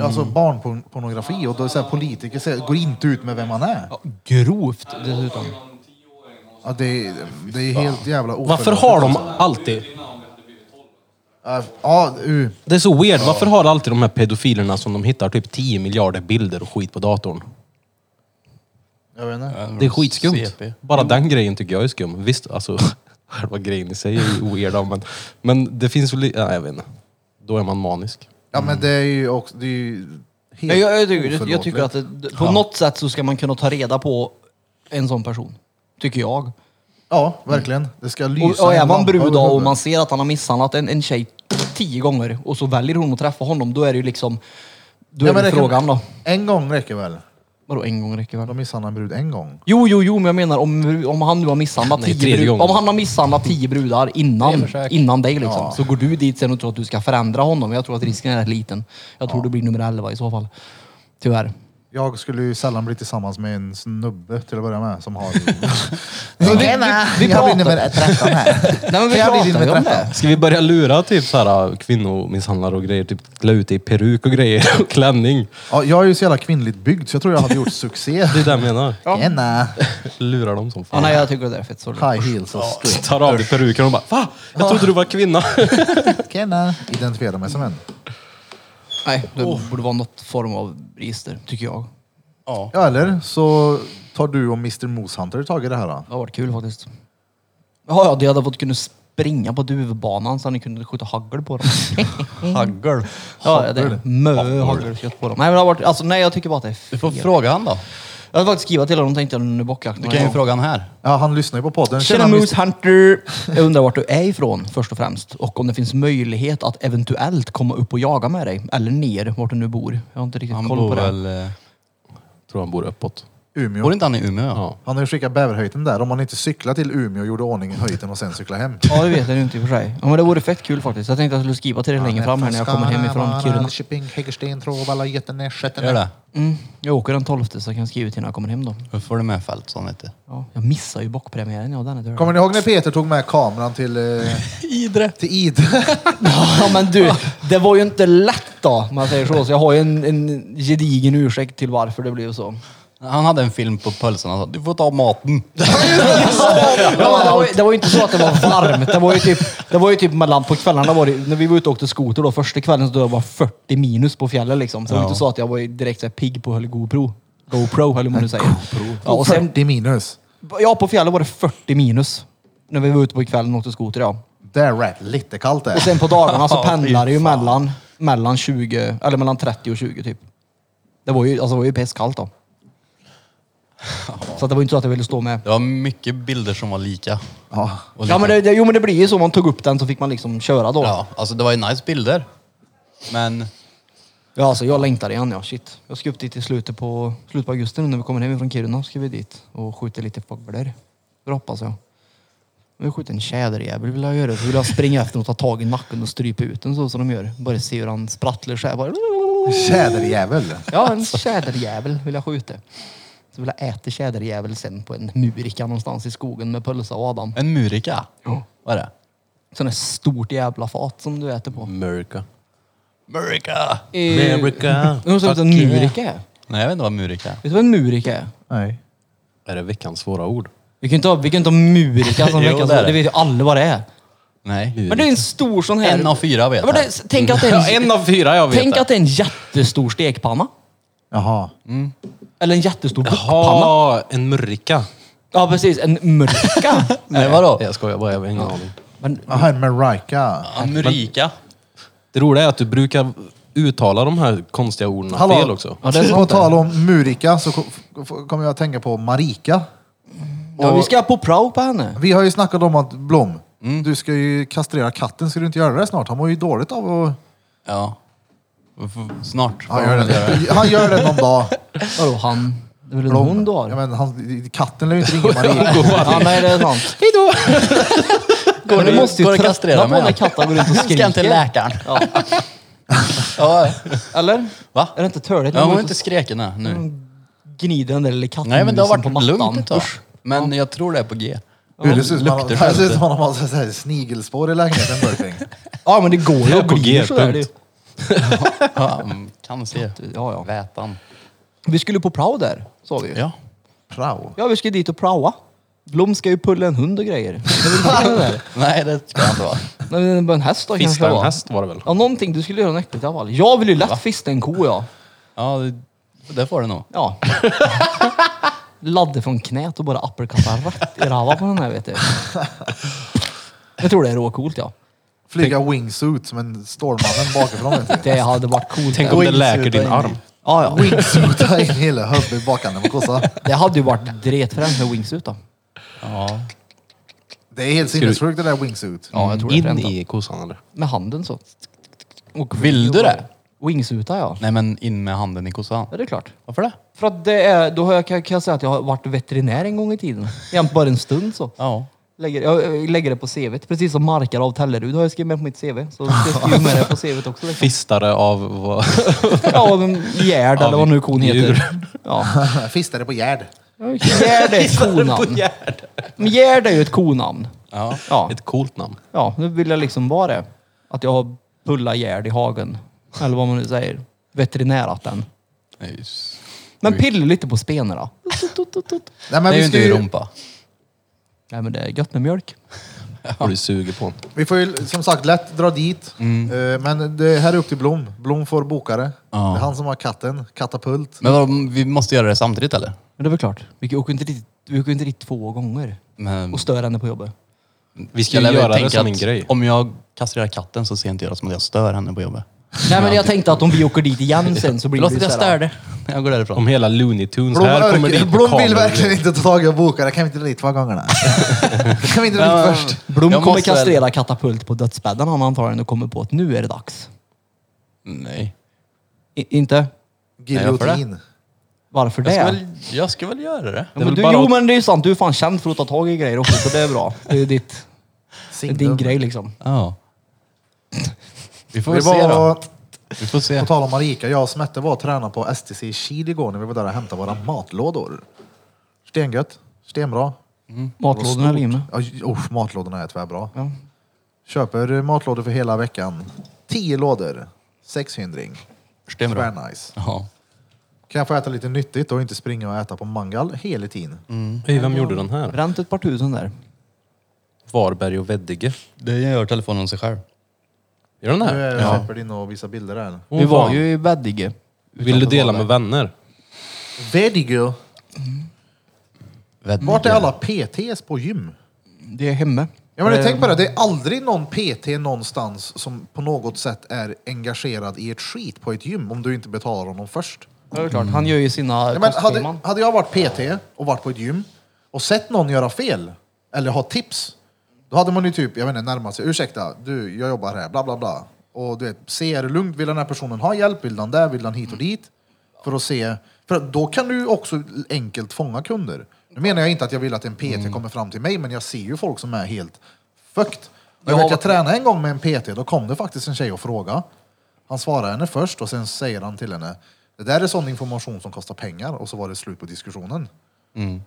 S1: Alltså
S4: Mm.
S1: barnpornografi. Och då är det så här, politiker säger, går inte ut med vem man är.
S2: Ja, grovt dessutom.
S1: Ja, det, är det är helt jävla
S4: Varför
S1: oförlåtligt.
S4: har de alltid...
S1: Ja, Ja, uh.
S4: Det är så weird. Varför har alltid de här pedofilerna som de hittar typ 10 miljarder bilder och skit på datorn?
S1: Jag vet inte.
S4: Det är skitskumt.
S5: CP.
S4: Bara den grejen tycker jag är skum. Visst, alltså själva grejen i sig är ju weird då, men, men det finns väl... li- Ja, jag vet inte. Då är man manisk.
S1: Ja, men det är ju också... Det är ju
S2: Mm. Ja,
S1: helt
S2: jag, jag, tycker, jag tycker
S1: oförlåtligt.
S2: att det, på något sätt så ska man kunna ta reda på en sån person. Tycker jag.
S1: Ja, verkligen. Det ska lysa.
S2: Och, och
S1: en
S2: är man
S1: lampa
S2: brud
S1: över
S2: då och
S1: huvudet.
S2: man ser att han har misshandlat en, en tjej tio gånger och så väljer hon att träffa honom, då är det ju liksom... Då är
S1: men
S2: det
S1: det kan-
S2: frågan då.
S1: En gång räcker väl?
S2: Vadå en gång räcker väl?
S1: De misshandlar en brud en gång.
S2: Jo, jo, jo, men jag menar om, om han nu har misshandlat
S4: Nej,
S2: tio
S4: tredje
S2: brudar.
S4: gången.
S2: Om han har misshandlat tio brudar innan, innan dig liksom. Så går du dit sen och tror att du ska förändra honom. Jag tror att risken är rätt liten. Jag tror du blir nummer 11 i så fall. Tyvärr.
S1: Jag skulle ju sällan bli tillsammans med en snubbe till att börja med som har...
S2: vi- vi- vi
S1: jag blir
S2: pratar-
S1: nummer 13 här.
S2: Nej men vi
S1: Jag blir
S2: pratar ju
S1: nummer
S2: om
S1: 13.
S2: det.
S4: Ska vi börja lura typ så här kvinnomisshandlare och grejer? Typ klä ut dig i peruk och grejer och klänning.
S1: Ja, jag är ju så jävla kvinnligt byggd så jag tror jag hade gjort succé.
S4: Det är det jag menar.
S1: Tjena!
S4: Lurar dem som
S2: Ja,
S4: fan.
S2: nej, jag tycker det är fett sorgligt.
S1: High heels och strut.
S4: tar av dig peruken och bara Va? Jag trodde du var kvinna.
S1: Tjena! Identifiera mig som en.
S2: Nej, det borde vara något form av register, tycker jag.
S5: Ja.
S1: Ja, eller så tar du och Mr Moosehunter tag i det här. Då.
S2: Det har varit kul faktiskt. Ja, ja, de hade fått kunna springa på duvbanan så ni kunde skjuta hagel på dem.
S5: Mm. Haggel.
S2: ja, det är mö hagelkött på dem. Nej, men det har varit, alltså, nej, jag tycker bara att det är fel.
S5: Du får fråga han då.
S2: Jag hade faktiskt skrivit till honom, tänkte jag, under bockjakten.
S5: Du kan ju
S2: Ja.
S5: fråga han här.
S1: Ja, han lyssnar ju på podden.
S2: Tjena
S1: Mr.
S2: Moose Hunter! Jag undrar vart du är ifrån först och främst och om det finns möjlighet att eventuellt komma upp och jaga med dig. Eller ner, vart du nu bor. Jag har inte riktigt
S5: Han
S2: koll
S5: bor
S2: på det.
S5: väl... eh,
S4: Tror han bor uppåt.
S1: Umeå.
S5: Bor inte han i Umeå? Ja.
S1: Han har ju skickat bäverhöjten där. Om han inte cyklar till Umeå och gjorde ordning i höjden och sen cyklar hem.
S2: Ja, det vet jag ju inte i och för sig. Ja, men det vore fett kul faktiskt. Jag tänkte att jag skulle skriva till dig längre fram här när jag kommer hemifrån Kiruna.
S1: Köping, Hägersten, Tråvalla, Götenes,
S5: Gör det?
S2: Mm. Jag åker den 12 så jag kan skriva till när jag kommer hem då.
S5: Då får du med Fältson lite.
S2: Ja, jag missar ju bockpremiären. Ja, den är dörd.
S1: Kommer ni ihåg när Peter tog med kameran till, eh,
S5: Idre.
S1: till Idre?
S2: Ja, men du, det var ju inte lätt då, om man säger så. Så jag har ju en, en gedigen ursäkt till varför det blev så.
S5: Han hade en film på pölsen. Han sa du får ta maten.
S2: Ja, men det, var ju, det var ju inte så att det var varmt. Det var ju typ, det var ju typ mellan, på kvällarna var det, när vi var ute och åkte skoter då, första kvällen så då var det 40 minus på fjället liksom. Så det var
S5: Ja.
S2: inte så att jag var ju direkt så här pigg på att höll GoPro. GoPro eller vad man nu säger. Ja, och sen,
S1: 40 minus.
S2: Ja, på fjället var det 40 minus. När vi var ute på kvällen och åkte skoter, ja.
S1: Det är rätt lite kallt det.
S2: Och sen på dagarna så
S5: Ja, fy
S2: pendlar det ju
S5: fan.
S2: mellan, mellan 20, eller mellan 30 och 20 typ. Det var ju, alltså det var ju pisskallt då. Så att det var ju inte så att jag ville stå med.
S5: Det var mycket bilder som var lika.
S1: Ja.
S5: Och
S2: Ja men
S5: lite-
S2: det, det, jo men det blir ju så, man tog upp den så fick man liksom köra då. Ja,
S5: ja, alltså det var ju nice bilder. Men
S2: alltså jag längtar igen ja, shit. Jag ska upp dit i slutet på, slutet på augusti nu när vi kommer hem från Kiruna. Ska vi dit och skjuta lite fåglar. Det hoppas jag. Jag vill skjuta en tjäderjävel vill jag göra. Så vill jag springa efter och ta tag i nacken och strypa ut den så som de gör. Bara se hur han sprattlar så här. Bara...
S1: Tjäderjävel.
S2: Ja, en tjäderjävel vill jag skjuta. Så vill jag äta tjäderjävel sen på en murika någonstans i skogen med pölsa och Adam.
S5: en murika, vad är det?
S2: Sån där stort jävla fat som du äter på.
S4: America.
S5: Murika!
S4: America.
S2: Nu måste jag veta vad en murika är. Vet
S5: Nej, jag vet inte vad murika är.
S2: du vad en murika är?
S1: Nej.
S4: Är det veckans svåra ord?
S2: Vi kan ju inte ha, vi kan inte ha murika som
S5: Jo,
S2: veckans
S5: det är
S2: ord. Det
S5: det.
S2: vet ju alla vad det är.
S5: Nej.
S2: Men det är en stor sån här...
S5: En av fyra vet
S2: Ja, men
S5: jag.
S2: det, tänk att det
S4: Ja,
S2: är en,
S4: en av fyra jag vet
S2: tänk
S4: det.
S2: att det är en jättestor stekpanna.
S1: Jaha.
S2: Eller en jättestor duckpanna.
S4: Jaha, en murrika.
S2: Ja, precis. En murika.
S5: Nej, vadå?
S4: Jag skojar bara, jag har ingen aning.
S2: Men
S1: Jaha, en Marika.
S5: Amurika.
S4: Det roliga är att du brukar uttala de här konstiga orden
S1: Hallå.
S4: fel också.
S2: Ja, det är
S1: på
S2: sant det.
S1: tal om Murika så kom- f- kommer jag att tänka på Marika.
S2: ja, vi ska på prao på henne.
S1: Vi har ju snackat om att Blom,
S2: Mm.
S1: du ska ju kastrera katten. Ska du inte göra det snart? Han mår ju dåligt av att...
S5: Ja. F- Snart.
S1: Han gör det, han gör det någon dag.
S2: Vadå han? Det är väl en
S1: Blom.
S2: hon du har?
S1: Ja, men han, katten lär ju inte ringa Maria.
S2: Ja, nej, det är sant. Hejdå! Går
S5: du- går det att kastrera
S2: på
S5: mig?
S2: när katter går runt och skriker.
S5: Ska inte läkaren.
S2: Ja.
S5: Ja.
S2: Eller?
S5: Va?
S2: Är det inte törligt?
S5: Ja,
S2: när
S5: hon
S2: man
S5: är inte skreken än,
S2: Mm.
S5: nu.
S2: Gnider den där lilla katten
S5: Nej, men det har
S2: på
S5: varit
S2: mattan.
S5: lugnt ett tag.
S2: Usch.
S5: Men jag tror det är på G.
S1: Hur det ser ut som han-
S5: Lukter
S1: det ser ut
S5: själv.
S1: som han har massa så här snigelspår i lägenheten. Burping.
S2: Ja, men det går ju
S4: Jag
S2: att
S4: på
S2: bli
S4: G,
S2: så där.
S4: punkt.
S2: Det-
S5: Ja, mm, kan se.
S2: Ja, ja.
S5: Vätan.
S2: Vi skulle på prao där, sa vi ju.
S5: Ja.
S1: Prao.
S2: ja, vi ska dit och praoa. Blom ska ju pulla en hund och grejer. Jag vill inte göra det där.
S5: Nej, det ska det inte vara.
S2: Nej, men en häst då kanske det
S4: Fista en
S2: var.
S4: häst var det väl?
S2: Ja, någonting. Du skulle göra något äckligt i alla fall. Jag vill ju lätt fista en ko, ja.
S5: Ja, det, det får det nog.
S2: Ja. Ladde från knät och bara uppercuttar rätt i rava på den här vet du. Jag tror det är råcoolt ja.
S1: Flyga wingsuit som en Stålmannen bakifrån. vet du.
S2: Det hade varit coolt.
S4: Tänk om det
S1: Wingsuit
S4: läker din
S1: in.
S4: arm.
S2: Ja, ja.
S1: Wingsuita in hela huvudet i bakhanden på kossan.
S2: Det hade ju varit dretfränt med wingsuit då.
S5: Ja.
S1: Det är helt sinnessjukt det där wingsuit.
S2: Ja, jag tror det är
S4: In
S2: fränt. då.
S4: i kossan eller?
S2: Med handen så. Och
S5: Vill du det?
S2: Wingsuita ja.
S5: Nej, men in med handen i kossan.
S2: Ja, det är klart.
S5: Varför det?
S2: För att det är, då har jag, kan jag säga att jag har varit veterinär en gång i tiden. Jämt bara en stund så.
S5: Ja.
S2: Lägger, jag jag lägger det på CVt. Precis som Markar av Tellerud har jag skrivit med på mitt CV. Så ska jag skriva med det på CVt också. liksom.
S4: Fistare av vad?
S2: Ja, och en gärd eller vad nu kon
S4: djur.
S2: heter. Ja.
S1: Fistade på Gerd.
S2: Gärd är ett konamn. Men Gärd är ju ett konamn.
S5: Ja.
S2: Ja.
S4: Ett coolt namn.
S2: ja, nu vill jag liksom vara det. Att jag har pullat Gärd i hagen. Eller vad man nu säger. Veterinärat den.
S5: Nej, just.
S2: Men pilla lite på spenen då.
S1: Nej, men
S5: Det är
S1: vi,
S5: ju
S1: ska
S5: inte i rumpa.
S2: Nej men det är gött med mjölk.
S4: Och du suger på den.
S1: vi får ju som sagt lätt dra dit. Eh, Men det här är upp till Blom. Blom får boka det.
S5: Ja.
S1: Det är han som har katten. Katapult.
S5: Men vadå, vi måste göra det samtidigt eller?
S2: Men det är väl klart. Vi åker inte dit, vi åker inte dit två gånger.
S5: Men,
S2: Och stör henne på jobbet.
S4: Vi ska
S5: Jag
S4: ju göra det
S5: tänker
S4: som en
S5: att
S4: grej.
S5: Om jag kastrerar katten så ser inte jag det som att jag stör henne på jobbet.
S2: Nej men jag tänkte att om vi åker dit igen sen så blir det
S5: Förlåt att jag
S2: så här-
S5: störde. Jag går därifrån.
S4: Om hela Looney Tunes
S1: Blom,
S4: här kommer
S1: örker-
S4: dit
S1: Blom vill verkligen inte ta tag i och boka det. Kan vi inte dra dit två gångerna? kan vi inte dra dit först?
S2: Blom
S5: Jag
S2: kommer
S5: måste väl-
S2: kastrera katapult på dödsbädden han antagligen och kommer på att nu är det dags.
S5: Nej.
S2: I, inte?
S5: varför det?
S1: Giljotin.
S2: Varför det?
S5: Jag ska, väl, jag ska väl göra det.
S2: Ja,
S4: Det är
S2: men
S4: väl
S2: du,
S4: bara
S2: jo
S4: att-
S2: men det är ju sant, du är fan känd för att ta tag i grejer också, så det är bra. Det är ju ditt, det är din
S1: Signum.
S2: grej liksom.
S5: Ja. Vi får
S1: Vi
S5: väl se då.
S1: var,
S5: Vi får se.
S1: på tal om Marika, jag och Smette var och tränade på STC i Kil igår när vi var där och hämtade våra matlådor. Stengött, stenbra.
S2: Matlådorna är med.
S1: Ja, j- usch, matlådorna är tvärbra. Köper eh, matlådor för hela veckan. Tio lådor, sexhundring.
S5: Stenbra.
S1: Tvärnice.
S5: Ja.
S1: Kan jag få äta lite nyttigt och inte springa och äta på mangal hela tiden?
S4: Hej, vem gjorde den här?
S2: Bränt ett par tusen där.
S4: Varberg och Veddige.
S5: Det gör telefonen sig själv.
S4: Gör den
S1: Nu
S4: här?
S1: är Shepard inne och visar bilder här.
S4: Åh,
S2: Vi var
S4: fan.
S2: ju i Veddige.
S4: Vill du dela med vänner?
S1: Vedigö.
S5: Veddige.
S1: Vart är alla PTs på gym?
S2: Det är hemme.
S1: Ja, men
S2: Det-
S1: tänk på det, det är aldrig någon PT någonstans som på något sätt är engagerad i ett skit på ett gym om du inte betalar honom först.
S2: Ja, det är klart. Han gör ju sina
S1: Ja, men hade,
S2: kostscheman.
S1: hade jag varit PT och varit på ett gym och sett någon göra fel eller ha tips, då hade man ju typ, jag vet inte, närmat sig. Ursäkta, du, jag jobbar här, bla bla bla. Och du vet, se, är det lugnt? Vill den här personen ha hjälp? Vill den där? Vill den hit och dit? För att se, för att då kan du ju också enkelt fånga kunder. Nu menar jag inte att jag vill att en PT kommer fram till mig, men jag ser ju folk som är helt fucked. Och Jag,
S2: Ja,
S1: vet, jag
S2: vad-
S1: tränade en gång med en PT, då kom det faktiskt en tjej och frågade. Han svarar henne först och sen säger han till henne, det där är sån information som kostar pengar och så var det slut på diskussionen.
S2: Mm.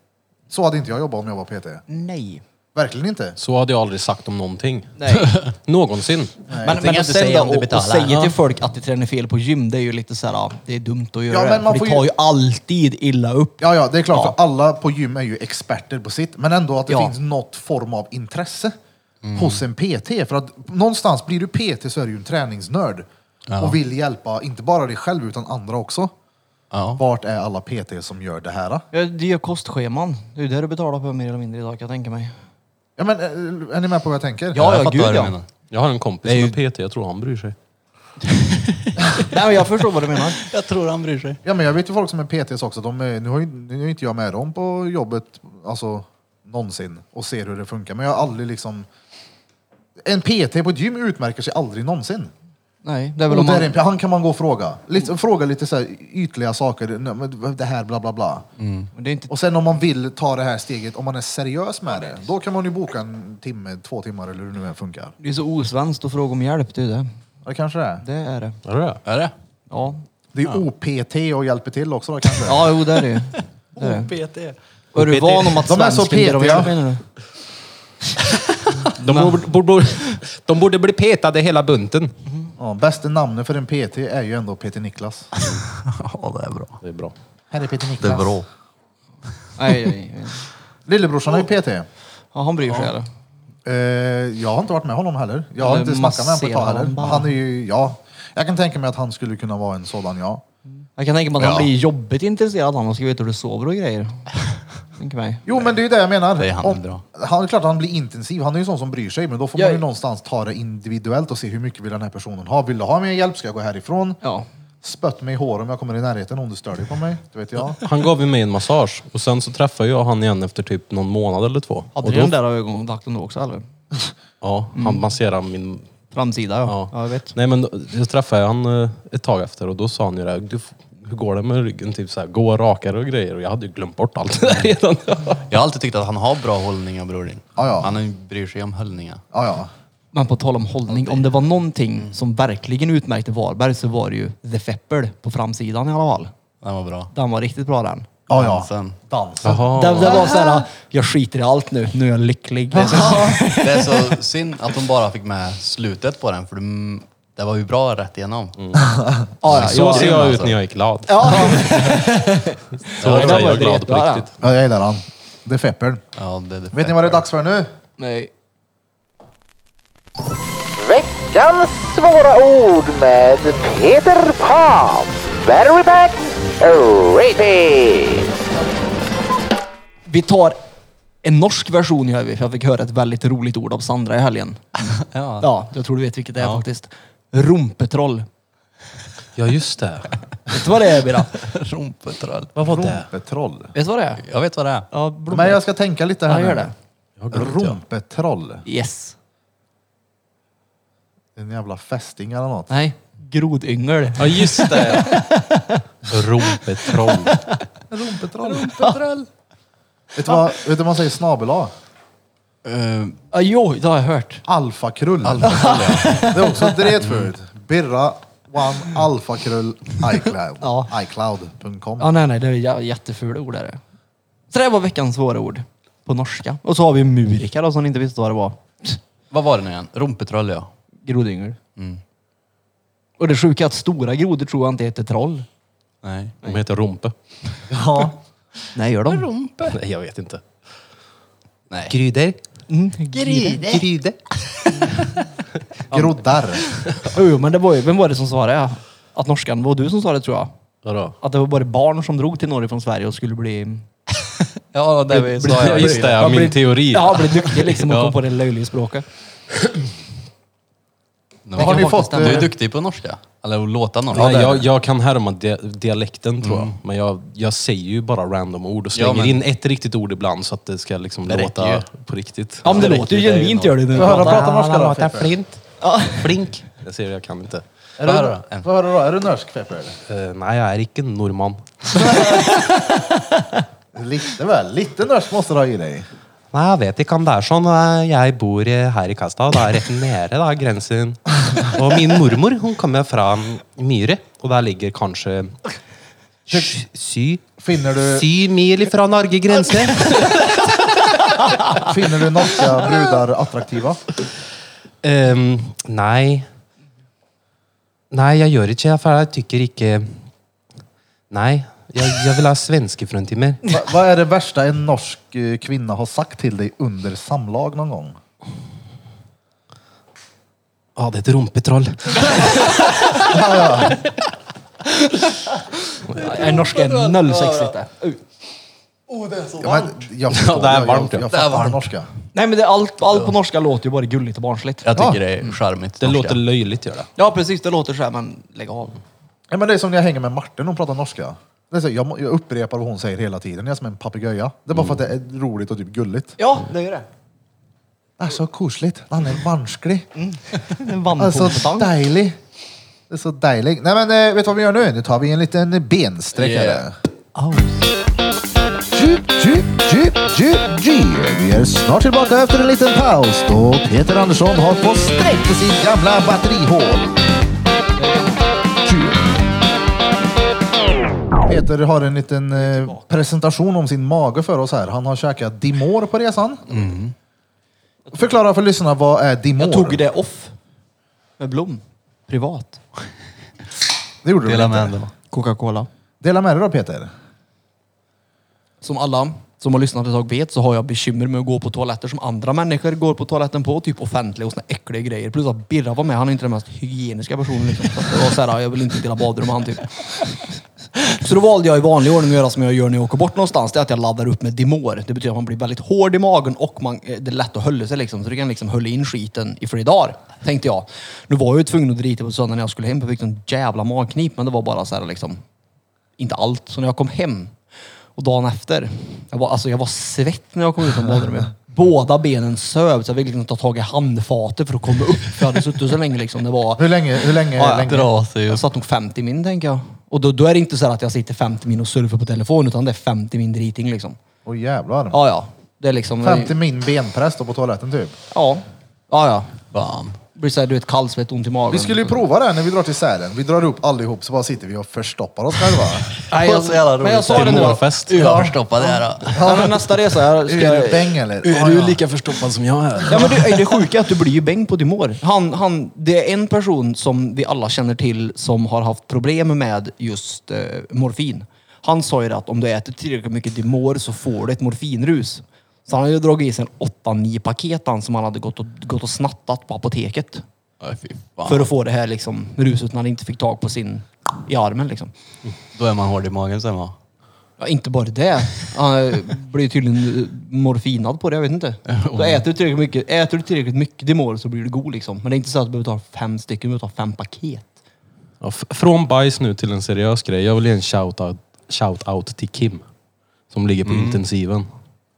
S1: Så hade inte jag jobbat om jag var PT.
S2: Nej.
S1: Verkligen inte.
S4: Så hade jag aldrig sagt om någonting.
S2: Nej.
S4: Någonsin.
S2: men
S5: tänker
S2: men
S5: inte
S2: att sen
S5: säga
S2: då
S5: om du
S2: och, och
S5: betalar.
S2: säga
S5: Ja.
S2: till folk att de tränar fel på gym, det är ju lite så här, det är dumt att göra
S1: Ja,
S2: det.
S1: men man
S2: för
S1: får
S2: det
S1: ju-
S2: tar ju alltid illa upp.
S1: Ja, ja, det är klart,
S2: Ja.
S1: för alla på gym är ju experter på sitt, men ändå att det
S2: Ja. Mm.
S1: finns något form av intresse hos en PT. För att någonstans blir du PT så är du ju en träningsnörd och vill hjälpa, inte bara dig själv utan andra också.
S5: Ja.
S1: Vart är alla PT som gör det här?
S2: Ja, det är ju kostscheman. Det är ju det du betalar för mer eller mindre idag kan jag tänka mig.
S1: Ja, men, eh, är ni med på vad jag tänker?
S2: Ja,
S5: jag
S2: ja,
S5: fattar
S2: gud
S5: vad du
S2: ja.
S5: menar.
S4: Jag har en kompis
S5: Det är
S4: som är PT, jag tror han bryr sig.
S2: Nej, men jag förstår vad du menar.
S5: Jag tror han bryr sig.
S1: Ja, men jag vet ju folk som är PTs också. De är, nu, har ju, nu är inte jag med dem på jobbet alltså, någonsin och ser hur det funkar. Men jag har aldrig liksom... En PT på ett gym utmärker sig aldrig någonsin.
S2: Nej, det är väl
S1: Och
S2: om
S1: där är
S2: man...
S1: en, han kan man gå och fråga. Lite, fråga lite så här ytliga saker. Nej, men Det här, bla bla bla.
S2: Det är inte...
S1: Och sen om man vill ta det här steget, om man är seriös med det, då kan man ju boka en timme, två timmar eller hur det nu än funkar.
S2: Det är så osvenskt att fråga om hjälp, det är ju det.
S1: Ja, Det kanske det är.
S2: Det är det.
S4: Är det det?
S5: Är det?
S2: Ja.
S1: Det är OPT och hjälper till också då kanske.
S2: Ja, jo det är det ju. Oh, Det är det.
S5: PT.
S2: Och är du van om att
S1: De är så
S2: svensken ber om
S1: petiga.
S2: hjälp menar du?
S4: De borde, borde, de borde bli petade hela bunten.
S1: Ja, bästa namnet för en PT är ju ändå PT Niklas.
S5: Ja, det är bra.
S4: Det är bra.
S1: Här är Peter Niklas.
S5: Det är bra.
S2: Nej, nej, nej.
S1: Lillebrorsan är ju PT.
S2: Ja, han bryr sig eller?
S1: Eh, jag har inte varit med honom heller. Jag har
S2: Eller
S1: inte snackat med honom på ett tag
S2: masserar
S1: heller.
S2: han bara?
S1: Han är ju, ja. Jag kan tänka mig att han skulle kunna vara en sådan, ja.
S2: Jag kan tänka mig att
S5: Ja.
S2: han blir jobbigt intresserad han och ska veta hur du sover och grejer. Tänker mig.
S1: Jo, men det är ju det jag menar.
S5: Det är han
S1: Om-
S5: bra.
S1: han är klart att han blir intensiv. Han är ju en sån som bryr sig. Men då får man
S2: Jag-
S1: ju någonstans ta det individuellt och se hur mycket vill den här personen ha. Vill du ha mer hjälp? Ska jag gå härifrån?
S2: Ja.
S1: Spött mig i håret om jag kommer i närheten om du stör dig på mig. Det vet jag.
S4: Han gav ju mig en massage och sen så träffade jag han igen efter typ någon månad eller två.
S2: Hade
S4: och
S2: du den där ögonkontakten då också eller?
S4: Ja, han masserade min...
S2: Framsida ja.
S4: Ja.
S2: Mm. ja. jag vet.
S4: Nej men då- jag träffade han eh, ett tag efter och då sa han ju det. här, Du, f- hur går det med ryggen? Typ så här, gå rakare och grejer. Och jag hade ju glömt bort allt det där redan.
S5: Jag har alltid tyckt att han har bra hållningar, bror din.
S1: Ja, ja.
S5: Han bryr sig om hållningar.
S1: Ja, ja.
S2: Men på tal om hållning, om det var
S4: Mm.
S2: någonting som verkligen utmärkte Varberg så var det ju The Feppel på framsidan i alla fall.
S5: Den var bra.
S2: Den var riktigt bra den.
S1: Ja, ja.
S5: Dansen.
S1: Dansen.
S4: Jaha.
S2: Den, den var såhär, jag skiter i allt nu, nu är jag lycklig. Det är så-
S5: Det är så synd att de bara fick med slutet på den, för det, det var ju bra rätt igenom.
S4: Mm.
S2: Ja, ja,
S4: Så ser
S5: grym
S4: jag ut
S5: alltså.
S4: när jag är glad.
S2: Ja.
S4: Så är
S2: den var
S4: jag glad på
S2: jättebra, den.
S4: riktigt.
S1: Ja, jag gillar han. Det är feppern.
S5: Ja, det, det
S1: Vet ni vad det är dags för nu?
S2: Nej.
S6: Veckans svåra ord med Peter Pan. Battery pack rating.
S2: Vi tar en norsk version gör vi, för jag fick höra ett väldigt roligt ord av Sandra i helgen.
S5: Ja.
S2: Ja, jag tror du vet vilket det är faktiskt. Rumpetroll.
S4: Ja just det.
S2: Vet du vad det är Bira?
S5: Rumpetroll.
S4: Vad var det?
S1: Rompetroll.
S2: Vet du vad det är?
S5: Jag vet vad det är.
S2: Ja,
S1: Men jag ska tänka lite här
S2: Ja, gör
S1: nu.
S2: det.
S1: Rompetroll.
S2: Yes.
S1: En jävla fästing eller något.
S2: Nej, grodyngel.
S4: Ja just det. Rompetroll.
S1: Rompetroll. vet, du vad, vet du vad man säger snabel A?
S5: Uh,
S2: Ja, jo, det har jag hört.
S1: Alfakrull. det är också ett dret förut. Birra one alfakrull iCloud.
S2: Ja.
S1: iCloud.com.
S2: Ja, nej, nej, Ah, det är jä- jättefula ord är det. Så det här var veckans svåra ord. På norska. Och så har vi murika då, som inte visste vad det var.
S5: vad var det nu igen? Rumpetroll, ja.
S2: Grodyngel. Och det sjuka är att stora grodor tror jag inte heter troll.
S5: Nej.
S4: De heter Rompe.
S1: Ja.
S2: Nej, gör de?
S4: Nej jag vet inte.
S5: Nej.
S4: Gryder.
S2: Mm. Gryde.
S4: Gryde.
S1: Groddar.
S2: Jo, men det var ju, vem var det som sa det? Att norskan, var du som sa det tror jag.
S4: Vadå?
S2: Att det var bara barn som drog till Norge från Sverige och skulle bli
S5: Ja, det vi sa.
S4: Ja,
S5: Ja,
S4: just det, ja,
S2: Jag
S4: min
S2: blir-
S4: teori.
S2: Ja, bli duktig liksom och
S4: Ja.
S2: kom på det löjliga språket.
S5: Vad
S1: Har ni
S2: faktiskt
S1: fått...
S2: stämma.
S5: Du är
S1: eh,
S5: duktig på norska. Eller att låta norska.
S4: Nej, jag, jag kan härma dia- dialekten tror jag. Men jag, jag säger ju bara random ord och slänger
S5: men-
S4: in ett riktigt ord ibland så att det ska liksom
S5: Det räcker
S4: låta
S5: ju.
S4: på riktigt.
S2: Ja, men det,
S5: det
S2: låter ju
S5: räcker, det är ju
S2: genuint gör det nu.
S1: Får jag höra prata norska då?
S7: låter
S1: Feffer?
S7: flint.
S4: Flink. Jag säger jag kan inte.
S1: Är
S5: Vad
S1: du-
S5: är det då?
S1: Vad är det då? Är du norsk Pepper eller?
S4: Eh, nej, jag är inte norrman.
S1: Lite väl. Lite norsk måste du ha i dig.
S4: Nej, jag vet inte om det är sånn. Jag bor eh, här i Kasta, det er rett nede da, grensen. Og min mormor hon kommer fra Myre, och där ligger kanske sj- sy,
S1: Finner du-
S4: sy mil ifra Norge grense.
S1: Finner du norska brudar attraktiva?
S4: Um, nei. Nei, jeg gjør ikke det, for jeg tykker ikke Nei, jeg, jeg vil ha svenske frontimer.
S1: Va, vad är det värsta en norsk eh, kvinna har sagt till dig under samlag någon gång?
S4: Å, det er et rumpetroll.
S2: Är norska nollsexigt det?
S1: Ja, men, jag förstår,
S4: Ja, det är varmt,
S1: Jag,
S4: ja.
S1: jag,
S5: Det
S1: jag
S5: är
S1: fattar
S5: varmt.
S1: norska.
S2: Nej men det, allt, allt på norska låter ju bara gulligt och barnsligt.
S5: Jag tycker Mm. det är charmigt.
S4: Det
S5: norska.
S4: låter løyelig, gjør det.
S2: Ja precis, det låter så här men lägg av.
S1: Ja, men det är som när jag hänger med Martin och pratar norska. Det är så, jag, må- jag upprepar vad hon säger hela tiden. Jag är som en papegoja. Det är bara för att det är roligt och typ gulligt.
S2: Ja, det är det.
S1: Det är så kusligt. Han är vansklig.
S2: En
S1: Alltså
S2: vandpåstång.
S1: dejlig. Det är så dejlig. Nej men eh, vet du vad vi gör nu? Nu tar vi en liten bensträckare.
S5: Yeah.
S1: Djup, djup, djup, djup, djup. Vi är snart tillbaka efter en liten paus då Peter Andersson har på sträck på sitt gamla batterihål. Djup. Peter har en liten eh, presentation om sin mage för oss här. Han har käkat Dimor på resan. Förklara för lyssnarna, vad är Dimor?
S2: Mm. Jag tog det off. Med Blom. Privat.
S1: Det gjorde
S5: Dela
S1: du
S5: med
S1: väl inte?
S5: händerna.
S2: Coca-Cola.
S1: Dela med dig då Peter.
S2: Som alla som har lyssnat ett tag vet så har jag bekymmer med att gå på toaletter som andra människor går på toaletten på. Typ offentliga och såna äckliga grejer. Plus att Birra var med. Han är inte den mest hygieniska personen. Liksom. Så att det var så här, jag vill inte dela badrum med han typ. Så då valde jag i vanlig ordning att göra som jag gör när jag åker bort någonstans. Det är att jag laddar upp med Dimor. Det betyder att man blir väldigt hård i magen och man, eh, det är lätt att hålla sig liksom. Så du kan liksom hålla in skiten i flera dagar, tänkte jag. Nu var jag ju tvungen att drita på söndagen när jag skulle hem. för Jag fick en jävla magknip, men det var bara så här liksom. Inte allt. Så när jag kom hem och dagen efter. Jag var, alltså jag var svett när jag kom ut från badrummet. Båda benen söv så jag fick liksom ta tag i handfatet för att komma upp. För jag hade suttit så länge liksom. Det var...
S1: Hur länge? Hur länge?
S2: Ja,
S1: länge?
S5: Dra sig
S2: Jag
S5: upp.
S2: satt nog 50 min tänker jag. Och då, då är det inte så här att jag sitter 50 min och surfar på telefon utan det är 50 min driting liksom.
S1: Åh jävlar.
S2: Ja, ja. Det är liksom...
S1: 50 min benpress då på toaletten typ.
S2: Ja. Ja, ja.
S5: Fan.
S2: Blir såhär, du vet, kallsvett, ont i magen.
S1: Vi skulle ju prova det här när vi drar till Sälen. Vi drar upp allihop så bara sitter vi och förstoppar oss själva.
S2: Nej, jag,
S5: Så jävla roligt.
S2: men jag sa
S5: Till
S2: det nu.
S4: Mårfest.
S5: Jag förstoppar det här. då.
S2: Ja, men nästa resa. Jag, ska
S1: Är du
S2: jag,
S1: bäng eller? Ja, ja.
S4: lika forstoppet som jag er?
S2: Ja men det, det sjuka är att du blir ju bäng på Dimor. Han, han, det är en person som vi alla känner till som har haft problem med just eh, morfin. Han sa ju det att om du äter tillräckligt mycket Dimor så får du ett morfinrus. Så han hade ju dragit i sig en 8-9 paket han, som han hade gått och, gått och snattat på apoteket.
S5: Nej, fy fan.
S2: För att få det här liksom, ruset när han inte fick tag på sin i armen liksom.
S5: Då är man hård i magen sen va?
S2: Ja, inte bara det. Han blir tydligen eh, morfinad på det, jag vet inte. Då äter du tillräckligt mycket, äter du tillräckligt mycket Dimor så blir du god liksom. Men det är inte så att du behöver ta fem stycken, du behöver ta fem paket.
S4: Ja, f- från bajs nu till en seriös grej. Jag vill ge en shout-out shout out till Kim. Som ligger på intensiven.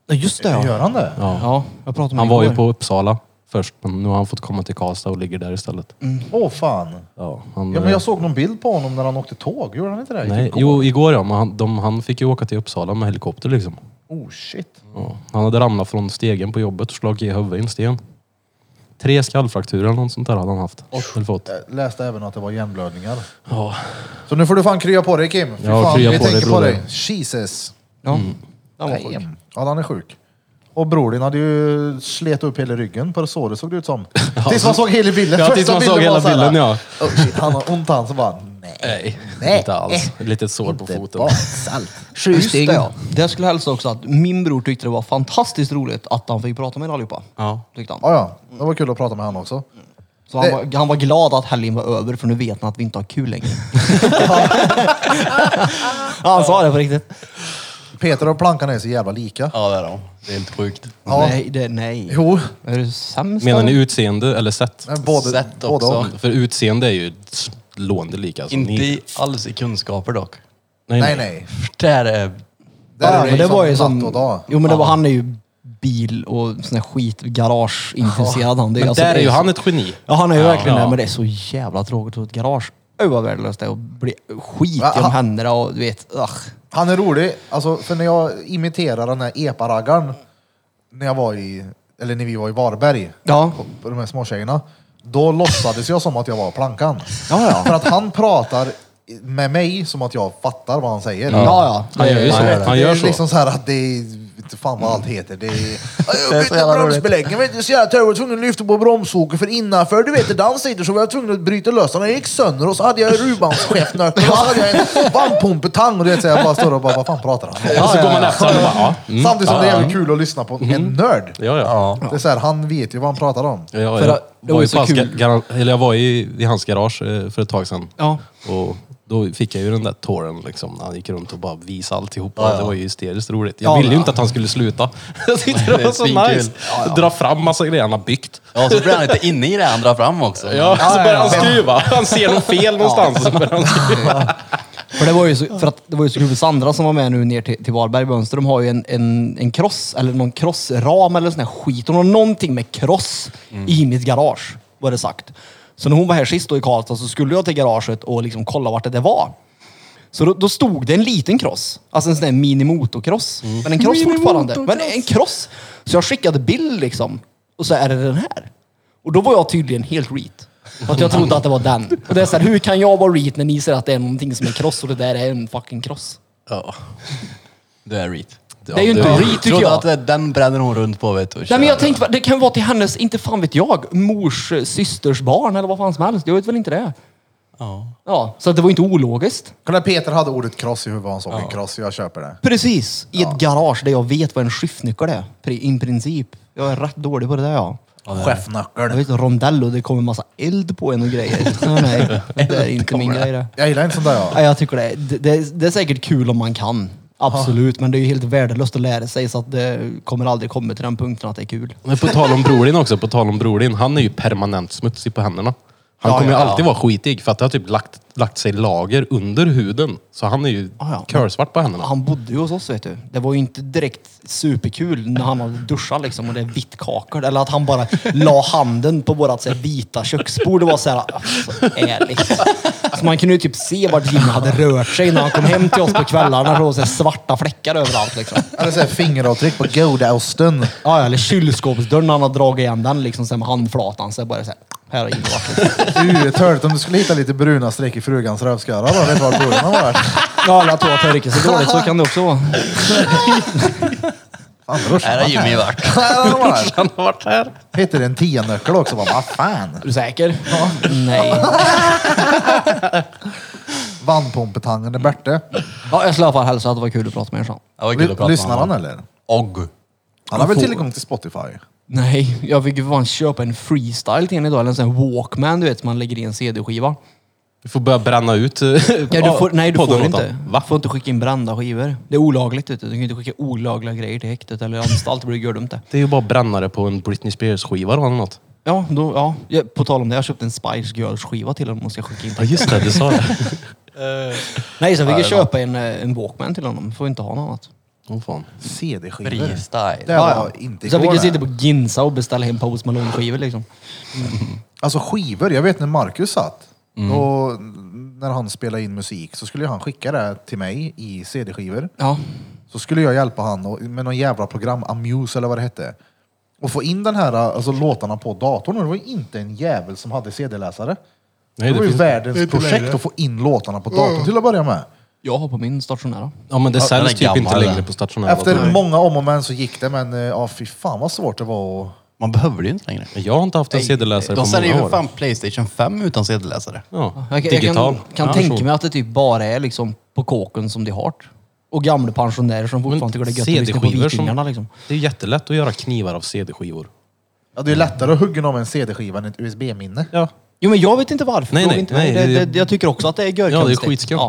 S2: Ja, just det
S1: Gör han det?
S2: Ja, jag pratade med
S4: Han
S2: honom
S4: var ju
S2: igår.
S4: på Uppsala först, men nu har han fått komma till Karlstad och ligger där istället.
S1: Åh fan.
S4: Ja, han,
S1: Ja, men
S4: eh,
S1: jag såg någon bild på honom när han åkte tåg. Gjorde han inte det?
S4: nej, jo, igår ja, men han, de, han fick ju åka till Uppsala med helikopter liksom.
S1: Oh shit.
S4: Ja, han hade ramlat från stegen på jobbet och slagit i huvudet i en sten. Tre skallfrakturer eller något sånt där hade han haft. Eller fått.
S1: Jag läste även att det var hjärnblödningar. Så nu får du fan krya på dig Kim. Fy
S4: Ja,
S1: fan,
S4: krya
S1: vi
S4: på dig,
S1: tänker på
S4: broder.
S1: dig. Jesus.
S2: Ja.
S4: Mm.
S2: Han var sjuk.
S1: Damn. Ja, han är sjuk. Och bror din hade ju slet upp hela ryggen på såret såg det ut som. Tills man såg hela bilden.
S4: Ja,
S1: Första
S4: tills man såg
S1: bilden var
S4: hela
S1: så här,
S4: bilden, ja.
S1: "Oh, shit, han har ont han, så bara nej.
S4: Nej,
S1: Nej.
S4: inte alls. Ett litet sår på
S1: Inte
S4: foten.
S1: baksalt.
S2: Just det, ja. det skulle jag hälsa också att min bror tyckte det var fantastiskt roligt att han fick prata med er allihopa.
S5: Ja.
S2: Tyckte han.
S1: Ja, ja. Det var kul att prata med han också.
S2: Så han,
S1: Det-
S2: var, han var glad att helgen var över för nu vet han att vi inte har kul längre. Ja, han sa det på riktigt.
S1: Peter och plankan är så jävla lika.
S5: Ja det är de. Det är helt sjukt.
S1: Ja.
S2: Nej, det, nej.
S1: Jo,
S2: Är du sämst?
S4: Menar ni
S2: eller?
S4: utseende eller sätt?
S1: men både,
S5: Sätt
S1: både
S5: också.
S1: och.
S4: För utseende är ju slående lika. Alltså.
S5: Inte
S4: Ni,
S5: i- alls i kunskaper dock.
S4: nej,
S1: Nej,
S4: nej.
S1: nej.
S5: Där är...
S1: Där
S2: Ja,
S1: är
S2: men det var ju
S1: liksom natt och
S2: som...
S1: dag.
S2: Jo men det var, han är ju bil och sån här skit garage-intresserad han. Det
S4: Men
S2: alltså-
S4: där är
S2: det
S4: ju
S2: så-
S4: han ett geni.
S2: Ja han är ju verkligen
S4: Ja.
S2: det, men det är så jävla tråkigt att ett garage. Öj vad värdelöst det är och bli skit
S1: Va,
S2: i
S1: han-
S2: om händerna och du vet, ugh.
S1: Han är rolig, alltså, för när jag imiterar den här epa-raggaren när jag var i, eller när vi var i Varberg,
S2: Ja.
S1: på de här småtjejerna, då låtsades jag som att jag var plankan.
S2: Ja, ja.
S1: För att han pratar med mig som att jag fattar vad han säger.
S2: Ja, ja.
S4: Han gör ju
S2: Det-
S4: så.
S2: det-
S4: Han
S1: det
S4: gör
S1: är
S4: så.
S1: liksom så här att det är, vet du fan vad allt heter. Det är...
S5: Det är
S1: Jag
S5: så jävla
S1: bytte
S5: roligt.
S1: bromsbeläggning, vet du, så jävla tur. jag var tvungen att lyfta på bromsåker för innanför, du vet, det dansade inte så var jag tvungen att bryta lös den. Den gick sönder och så hade jag rubandskäftnötter och så hade jag en vannpumpetang och du vet, så jag bara står och bara, vad fan pratar han om?
S4: och så går man efter och bara, ja. Mm.
S1: Samtidigt som det är jävligt kul att lyssna på en nörd.
S4: Ja, ja.
S5: Ja.
S1: Det är så här, han vet ju vad han pratar om.
S4: ja, ja.
S2: För
S4: Jag,
S2: det var
S4: var
S2: ju
S4: ju
S2: så
S4: på hans
S2: kul.
S4: ga- garan- eller jag var i, i hans garage eh, för ett tag sedan.
S2: Ja.
S4: Och då fick jag ju den där tåren liksom, när han gick runt och bara visade alltihopa.
S5: Ja, ja.
S4: Det var ju hysteriskt roligt.
S2: Ja,
S4: Jag ville
S2: ja.
S4: ju inte att han skulle sluta. Jag tyckte
S5: Det
S4: det
S5: är
S4: var så
S5: svinkul.
S4: nice. Dra fram massa grejer han har byggt.
S5: Ja, så blir han lite inne i det han drar fram också.
S4: Ja, så börjar han
S2: ja, ja.
S4: skruva. Han ser något fel någonstans. och Så börjar han skruva.
S2: För det var ju så, för att det var ju så kul, Sandra som var med nu ner till, till Varberg, Mönster, de har ju en, en, en cross, eller någon crossram eller sån här skit. De har någonting med cross i mitt garage, var det sagt. Så när hon var här sist då i Karlstad så skulle jag till garaget och liksom kolla vart det där var. Så då, då stod det en liten cross. Alltså en sån där mini motocross. Men en cross fortfarande. Men en cross. Så jag skickade bild liksom. Och så är det den här. Och då var jag tydligen helt reet. För att jag trodde att det var den. Och det är så här, hur kan jag vara reet när ni säger att det är någonting som är cross och det där är en fucking cross?
S5: Ja. Du är reet.
S4: Det
S2: är ju inte reet, tycker jag.
S5: att det- den bränner hon runt på vet du. och
S2: Nej men jag
S5: kör.
S2: tänkte, va- det kan vara till hennes, inte fan vet jag, mors eh, systers barn eller vad fan som helst. Jag vet väl inte det.
S5: Ja.
S2: Ja, så att det var inte ologiskt.
S1: Kolla Peter hade ordet cross i huvudet, han såg en cross, jag köper det.
S2: Precis, i ett garage där jag vet vad en skiftnyckel är. pri- In princip. Jag är rätt dålig på det där ja. Jag
S1: Chefnöckeln.
S2: vet rondell och det kommer massa eld på en och grejer. Nej, nej, det är inte min grej det.
S1: Jag gillar inte sånt där jag.
S2: Nej, jag tycker det, det, det, är- det är säkert kul om man kan. Absolut, men det är ju helt värdelöst att lära sig så att det kommer aldrig komma till den punkten att det är kul.
S4: Men på tal om Brolin också, på tal om Brolin. Han är ju permanent smutsig på händerna. Han
S2: Ja,
S4: kommer ju
S2: ja, ja.
S4: alltid vara skitig för att det har typ lagt, lagt sig lager under huden. Så han är ju
S2: Ja, ja.
S4: curlsvart på händerna.
S2: Han bodde ju hos oss vet du. Det var ju inte direkt superkul när han hade duschat liksom och det är vitt kakel. Eller att han bara la handen på vårat så här, vita köksbord. Det var så här, alltså, ärligt. Så man kunde ju typ se vart Jimmy hade rört sig när han kom hem till oss på kvällarna. Det var så här, svarta fläckar överallt liksom.
S1: Eller såhär fingeravtryck på godaosten.
S2: Ja, ja, eller kylskåpsdörren, han har dragit igen den liksom sen med handflatan. Så jag bara så här, här har Jimmy varit. Liksom.
S1: Du, tölt om du skulle hitta lite bruna streck i frugans rövsköra då, vet du var bruden har varit?
S2: Ja, alla tårta är riktigt så dåligt, så kan det också vara.
S1: Fan, brorsan.
S5: Här har Jimmy varit.
S1: Här har han varit.
S4: Han har varit här.
S1: Hittade en tionnöckel också, bara vad fan.
S2: Är du säker? Nej.
S1: Vannpumpetangen är Berte.
S2: Ja, jag skulle i alla fall hälsa att det var kul att prata med er så.
S5: Det var kul att prata
S1: L-
S5: med
S1: lyssnar han
S5: honom.
S1: eller?
S5: Og.
S1: Han har väl tillgång till Spotify?
S2: Nej, jag fick ju fan köpa en freestyle till henne idag, eller en sån här walkman du vet som man lägger i en CD-skiva.
S4: Du får börja bränna ut eh,
S2: Ja, du får, nej, du
S4: podden
S2: får
S4: åt
S2: inte.
S4: honom.
S2: Du
S4: Va?
S2: får inte skicka in brända skivor. Det är olagligt vet du. Du kan ju inte skicka olagliga grejer till häktet eller anstalt, det blir gördumt det.
S4: Det är ju bara brännare på en Britney Spears-skiva eller något.
S2: Ja, då, ja. Ja, på tal om det, jag köpte en Spice Girls-skiva till honom och ska skicka in till
S4: just det, du sa det.
S2: Nej, så jag fick ju köpa en, eh, en walkman till honom. Får inte ha något annat.
S4: Åh fan.
S1: CD-skivor. Det
S5: Freestyle.
S1: var inte
S2: Så jag fick
S1: igår.
S2: ju
S1: det.
S2: sitta på Ginza och beställa hem Post Malone-skivor liksom.
S1: Alltså skivor, jag vet när Marcus satt.
S5: Mm.
S1: Och när han spelade in musik så skulle han skicka det till mig i CD-skivor.
S2: Ja.
S1: Så skulle jag hjälpa han och, med någon jävla program, Amuse eller vad det hette. Och få in den här, alltså låtarna på datorn. Och det var ju inte en jävel som hade CD-läsare.
S4: Nej,
S1: det,
S4: det
S1: var ju
S4: finns-
S1: världens projekt att få in låtarna på datorn till att börja med.
S2: Jag har på min stationära.
S4: Ja men det
S5: Ja, den är
S4: säljs typ inte
S5: gammal,
S4: längre
S5: den.
S4: på stationära
S1: Efter
S4: datorer.
S1: många om och men så gick det, men eh, ja, fy fan vad svårt det var att...
S5: Man behöver det ju inte längre.
S4: Jag har inte haft en CD-läsare på
S5: De säljer ju
S4: många
S5: för
S4: år.
S5: fan Playstation 5 utan CD-läsare.
S4: Ja,
S2: Jag, kan-
S4: digital.
S2: jag kan, kan
S4: Ja,
S2: tänka
S4: så.
S2: mig att det typ bara är liksom på kåken som de har. Och gamla pensionärer som
S4: Men
S2: fortfarande tycker det är gött att lyssna på
S4: CD-skivor som-
S2: Vikingarna liksom.
S4: Det är ju jättelätt att göra knivar av CD-skivor.
S1: Ja, det är lättare att hugga någon med en CD-skiva än ett USB-minne.
S4: Ja.
S2: Jo men jag vet inte varför.
S4: Nej,
S2: Fråga
S4: nej,
S2: inte mig.
S4: nej,
S2: det,
S4: det-
S2: det, jag tycker också att det är görkonstigt.
S4: skitskumt.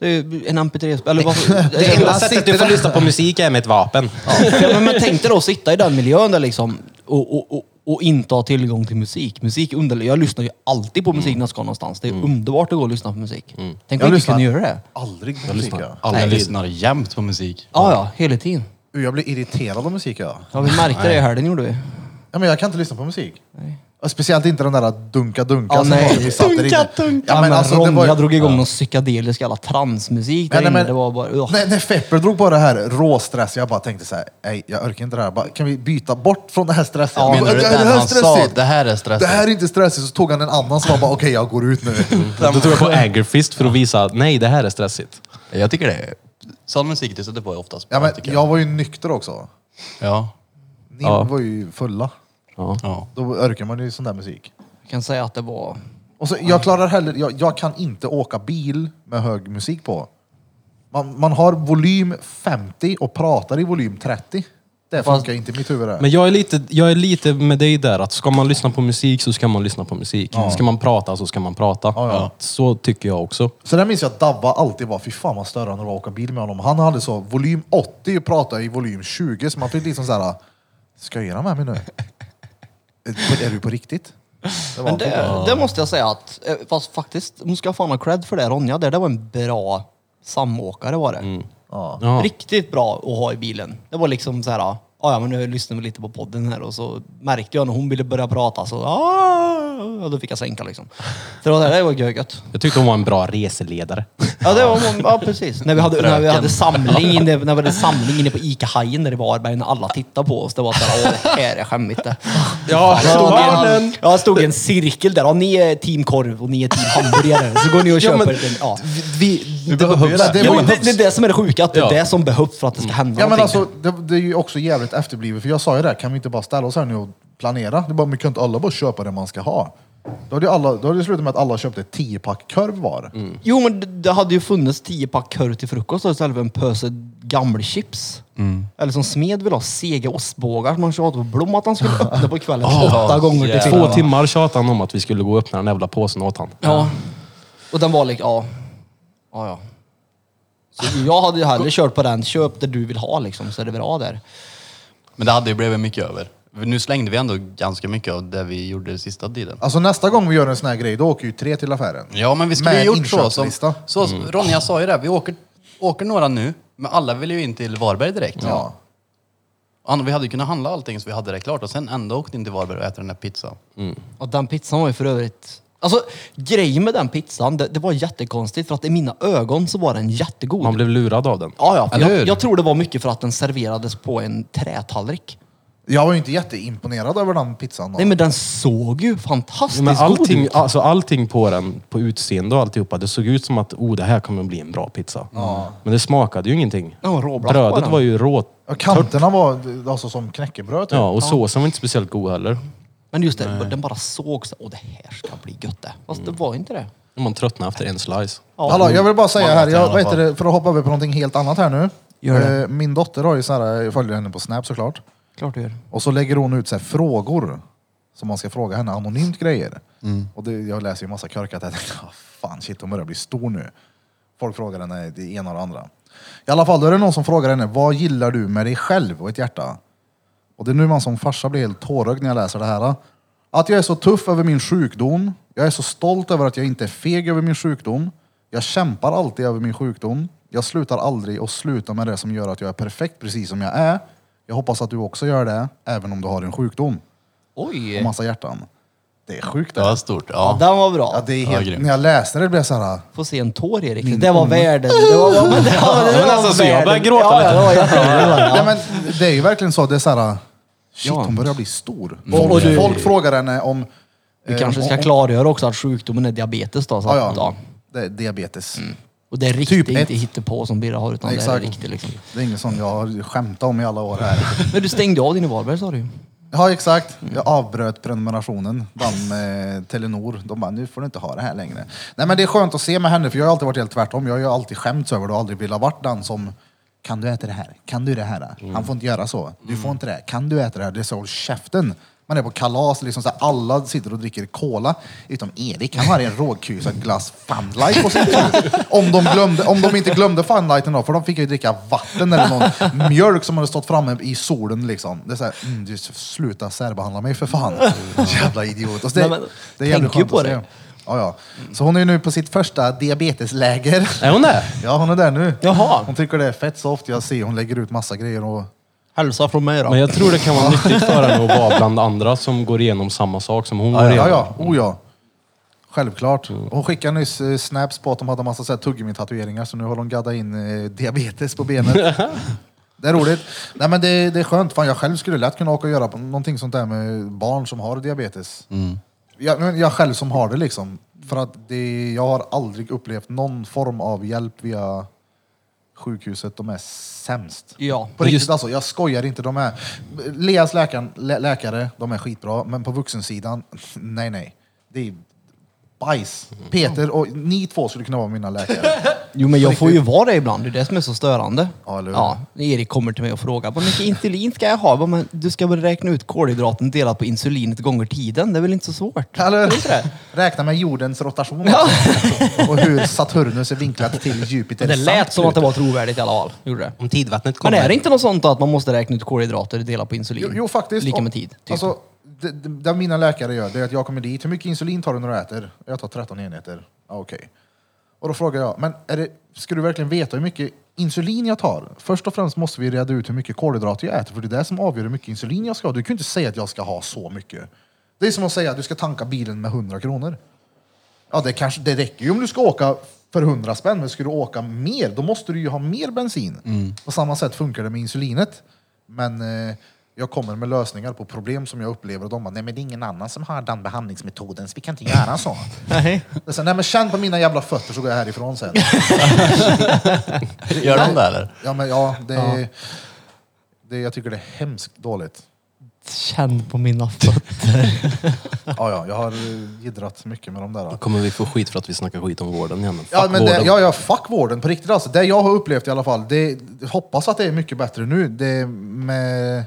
S2: Det är ju en mp3-spelare. Eller vad...
S4: Det enda sättet du får
S7: sitter-
S4: lyssna på musik är med ett vapen.
S2: ja, men, men tänk dig då att sitta i den miljön där liksom och, och, och, och inte ha tillgång till musik. Musik underlättar. Jag lyssnar ju alltid på musik när jag ska någonstans. Det är
S4: Mm.
S2: underbart att gå och lyssna på musik. Tänk om
S1: Jag
S2: vi inte kunde
S1: lyssnar.
S2: göra det.
S1: Aldrig på musik. Jag.
S7: Alla
S2: Nej.
S7: lyssnar jämt på musik.
S2: Ja, ja, hela tiden.
S1: Uh, jag blir irriterad av musik. Ja.
S2: Ja, vi märkte det i helgen gjorde vi.
S1: Ja, men jag kan inte lyssna på musik. Och Speciellt inte den där dunka-dunka
S2: Ja,
S1: som var
S2: nej.
S1: när Alltså, vi satt där inne.
S2: Ja, men
S1: alltså, det
S2: Ronja
S1: var ju-
S2: drog igång någon psykedelisk jävla transmusik där
S1: Nej, nej,
S2: inne.
S1: men,
S2: Det var bara... ugh.
S1: när, när Fepper drog på det här råstress, jag bara tänkte så här, nej jag orkar inte det här. Bara, kan vi byta bort från det här stressen?
S5: Ja,
S1: Bara,
S5: menar du
S1: det,
S5: den
S1: här är
S5: han sa,
S1: stressigt.
S5: "Det här är stressigt."
S1: Det här är inte stressigt. Så tog han en annan som var bara, okej jag går ut nu.
S4: Då tog jag på Angerfist för att visa att nej, det här är stressigt.
S5: Jag tycker det. är- Sån musik du sätter på är oftast bra,
S1: Ja, men,
S5: tycker jag.
S1: jag var ju nykter också.
S5: Ja.
S1: Ni
S4: Ja.
S1: var ju fulla.
S5: ja.
S1: Då orkar man ju sån där musik.
S2: Jag kan säga att det var...
S1: Och så, jag klarar heller, jag, jag kan inte åka bil med hög musik på. Man, man har volym 50 och pratar i volym 30. Det funkar inte i mitt huvud. det.
S4: Men jag är, lite, jag är lite med dig där, att ska man lyssna på musik så ska man lyssna på musik. Ska man prata så ska man prata.
S1: ja.
S4: Så tycker jag också.
S1: Så där minns jag att Dabba alltid var, fy fan vad störande det var att åka bil med honom. Han hade så volym 80 och pratade i volym 20, så man fick liksom såhär, skojar han med mig nu? Är- Är du på riktigt? Det var
S2: Men
S1: han på.
S2: det, det måste jag säga att, eh, fast faktiskt, hon ska fan ha cred för det. Ronja där, det var en bra samåkare var det.
S1: Mm. Ja.
S4: Ja.
S2: Riktigt bra att ha i bilen. Det var liksom så här, ja ja men nu lyssnar vi lite på podden här och så märkte jag när hon ville börja prata så, "Ah", och då fick jag sänka liksom. Så det var det, det var görgött.
S4: Jag tyckte hon var en bra reseledare.
S2: Ja, det var, ja precis. När vi hade, när vi hade samling inne, när vi hade samling inne på ICA-Hajen där i Varberg när alla tittade på oss. Det var såhär, åh det här är skämmigt det.
S4: Ja,
S2: en, ja, det stod en cirkel där. Ja, ni är team korv och ni är team hamburgare. Så går ni och
S4: Ja,
S2: köper
S4: men-
S2: den. Ja.
S4: Vi, det
S1: behöver
S4: behövs.
S1: ju det.
S4: Det,
S1: Det
S2: Ja,
S1: var-
S2: men det, det är det som är det sjuka, att det är
S4: Ja.
S2: det som behövs för att det ska hända
S1: Ja men
S2: någonting.
S1: alltså, det, det är ju också jävligt efterblivet, för jag sa ju det, här, kan vi inte bara ställa oss här nu och planera? Det är bara, men kan inte alla bara köpa det man ska ha? Då hade ju alla- då hade det slutat med att alla köpte 10-pack korv var.
S2: Jo, men det- det hade ju funnits tio pack korv till frukost istället för en pöse gammelchips.
S4: Mm.
S2: Eller som Smed vill ha, sega ostbågar som han tjatade på Blom att han skulle öppna på kvällen åtta gånger till
S4: Två
S2: timmarna.
S4: timmar tjatade han om att vi skulle gå och öppna den jävla påsen åt han.
S2: Ja. Och den var liksom, ja. Ja, ja. Så jag hade ju hellre kört på den, köp det du vill ha liksom, så är det bra där.
S5: Men det hade ju blivit mycket över. Nu slängde vi ändå ganska mycket av det vi gjorde sista tiden.
S1: Alltså nästa gång vi gör en sån här grej, då åker ju tre till affären.
S5: Ja, men vi skulle
S1: Med
S5: ju
S1: en
S5: gjort så. Som,
S1: inköpslista. Mm.
S5: så som Ronja sa ju det, vi åker, åker några nu, men alla vill ju in till Varberg direkt.
S1: Ja.
S5: Anna, vi hade ju kunnat handla allting så vi hade det klart och sen ändå åkt in till Varberg och ätit den där pizzan.
S2: Och den pizzan var ju för övrigt... Alltså grejen med den pizzan, det, det var jättekonstigt för att i mina ögon så var den jättegod.
S4: Man blev lurad av den.
S2: Ja, ja. för
S5: Eller
S2: Jag,
S5: hur?
S2: jag tror det var mycket för att den serverades på en trätallrik.
S1: Jag var ju inte jätteimponerad över den pizzan. Då.
S2: Nej men den såg ju fantastiskt
S4: Men
S2: god
S4: allting,
S2: ut.
S4: alltså allting på den, på utseende och alltihopa, det såg ut som att oh, det här kommer bli en bra pizza. Men det smakade ju ingenting.
S2: Den var råblask på
S4: Brödet
S2: den.
S4: var ju rått.
S1: Ja, Kanterna var alltså som knäckebröd. Typ.
S4: Ja, och såsen var inte speciellt god heller.
S2: Men just det, den bara såg så åh det här ska bli gött det. Fast det var inte det.
S4: Man tröttnade efter en slice.
S1: Hallå, jag vill bara säga här,
S5: i alla
S1: jag, vad heter
S5: fall.
S1: det, för att hoppa över på någonting helt annat här nu.
S2: Gör det.
S1: Eh, Min dotter har ju så här, jag följer henne på Snap såklart.
S2: Klart du gör.
S1: Och så lägger hon ut så här frågor som man ska fråga henne anonymt grejer. Och det, jag läser ju massa körkat. Jag tänkte, ah, fan shit, hon börjar bli stor nu. Folk frågar henne det ena och det andra. I alla fall, då är det någon som frågar henne, vad gillar du med dig själv och ett hjärta? Och det är nu man som farsa blir helt tårögd när jag läser det här. Att jag är så tuff över min sjukdom. Jag är så stolt över att jag inte är feg över min sjukdom. Jag kämpar alltid över min sjukdom. Jag slutar aldrig och slutar med det som gör att jag är perfekt precis som jag är. Jag hoppas att du också gör det, även om du har en sjukdom. Och
S2: Oj!
S1: massa hjärtan. Det är sjukt det.
S5: Det var stort.
S2: Ja,
S5: Ja.
S2: den var bra.
S1: Ja, det är
S5: Ja,
S1: helt,
S5: grymt.
S1: när jag läste det blev jag såhär,
S2: Få se en tår Erik. Det där var världen. Det var, det var, det var,
S4: Men alltså, så jag
S2: världen.
S4: började gråta
S2: ja,
S4: lite.
S2: Ja, det var
S1: nej,
S2: jättebra.
S1: men det är ju verkligen så, det är såhär, shit
S2: Ja.
S1: hon börjar bli stor.
S2: Och-
S1: Folk,
S2: och du-
S1: folk frågar henne om... eh,
S2: Du kanske ska
S1: om-
S2: klargöra också att sjukdomen är diabetes då. Så
S1: Ja,
S2: att,
S1: ja.
S2: ja.
S1: Det är diabetes.
S2: Och det är riktigt,
S1: Typ ett.
S2: inte hittepå som Birra har utan det är
S1: Exakt.
S2: riktigt liksom.
S1: Det är inget som jag har skämtat om i alla år här.
S2: Men du stängde av din i Varberg sa du ju.
S1: Ja, exakt. Jag avbröt prenumerationen. Den med Telenor. De bara, nu får du inte ha det här längre. Nej, men det är skönt att se med henne, för jag har alltid varit helt tvärtom. Jag har ju alltid skämts över det och aldrig velat varit den som kan du äta det här? Kan du det här? Han får inte göra så. Du får inte det. Kan du äta det här? Det är så, håll käften. Man är på kalas, liksom så här, alla sitter och dricker cola. Utom Erik, han har en råkusad glass Fun Light på sin tur. Om de, glömde, om de inte glömde Fun Lighten då, för de fick ju dricka vatten eller någon mjölk som hade stått framme i solen liksom. Det är såhär, mm, du, sluta särbehandla mig för fan. Jävla idiot. Och så det,
S2: Nej, men,
S1: det är jävligt
S2: tänker ju
S1: skönt
S2: på
S1: att
S2: det.
S1: se. Ja, ja. Så hon är ju nu på sitt första diabetesläger.
S4: Är hon det?
S1: Ja, hon är där nu.
S2: Jaha.
S1: Hon tycker det är fett soft. Jag ser hon lägger ut massa grejer och...
S2: Hälsa från mig då.
S4: Men jag tror det kan vara nyttigt för henne att vara bland andra som går igenom samma sak som hon går
S1: Ja,
S4: igenom.
S1: ja. Oh, ja. Självklart. Hon skickade nyss eh, snaps på att de hade massa så här tuggummi-tatueringar så nu har de gaddat in eh, diabetes på benet. Det är roligt. Nej men det, det är skönt. Fan, jag själv skulle lätt kunna åka och göra på- någonting sånt där med barn som har diabetes. Jag, men jag själv som har det liksom. För att det, jag har aldrig upplevt någon form av hjälp via sjukhuset. De är sämst.
S2: Ja.
S1: På riktigt alltså, jag skojar inte. De är, Leas läkaren, lä, läkare, de är skitbra, men på vuxensidan, nej nej. Det är bajs. Peter och ni två skulle kunna vara mina läkare.
S2: Jo men jag får ju vara det ibland, det är det som är så störande.
S1: Ja, eller hur?
S2: ja, Erik kommer till mig och frågar vad mycket insulin ska jag ha? Jag bara, Men du ska väl räkna ut kolhydraten delat på insulinet gånger tiden, det är väl inte så svårt?
S1: Eller,
S2: Inte det?
S1: räkna med jordens rotation också. och hur Saturnus är vinklad till Jupiter.
S2: Men det lät
S1: samt
S2: som att det var trovärdigt i alla fall. Gjorde det.
S4: Om tidvattnet kommer.
S2: Men är det inte något sånt då att man måste räkna ut kolhydrater delat på insulin?
S1: Jo, jo faktiskt.
S2: Lika
S1: Och-
S2: med tid. Typ.
S1: Alltså, det, det, det mina läkare gör det är att jag kommer dit, hur mycket insulin tar du när du äter? Jag tar 13 enheter. Ah, Okej. Och då frågar jag, men är det, ska du verkligen veta hur mycket insulin jag tar? Först och främst måste vi reda ut hur mycket kolhydrater jag äter, för det är det som avgör hur mycket insulin jag ska ha. Du kan ju inte säga att jag ska ha så mycket. Det är som att säga att du ska tanka bilen med 100 kronor. Ja, det, kanske, det räcker ju om du ska åka för 100 spänn, men ska du åka mer, då måste du ju ha mer bensin. På samma sätt funkar det med insulinet. Men eh, jag kommer med lösningar på problem som jag upplever och de bara, nej men det är ingen annan som har den behandlingsmetoden, så vi kan inte göra så.
S2: Nej.
S1: Det är så, nej men känn på mina jävla fötter så går jag härifrån sen.
S5: Gör de det eller?
S1: Ja, men ja, det, det jag tycker det är hemskt dåligt.
S2: Känn på mina fötter.
S1: Ja, ja, jag har eh, jiddrat mycket med de där.
S4: Då kommer vi få skit för att vi snackar skit om vården igen.
S1: Ja,
S4: Fuck
S1: men det,
S4: vården.
S1: ja, ja, fuck vården på riktigt alltså. Det jag har upplevt i alla fall, det, hoppas att det är mycket bättre nu. Det med,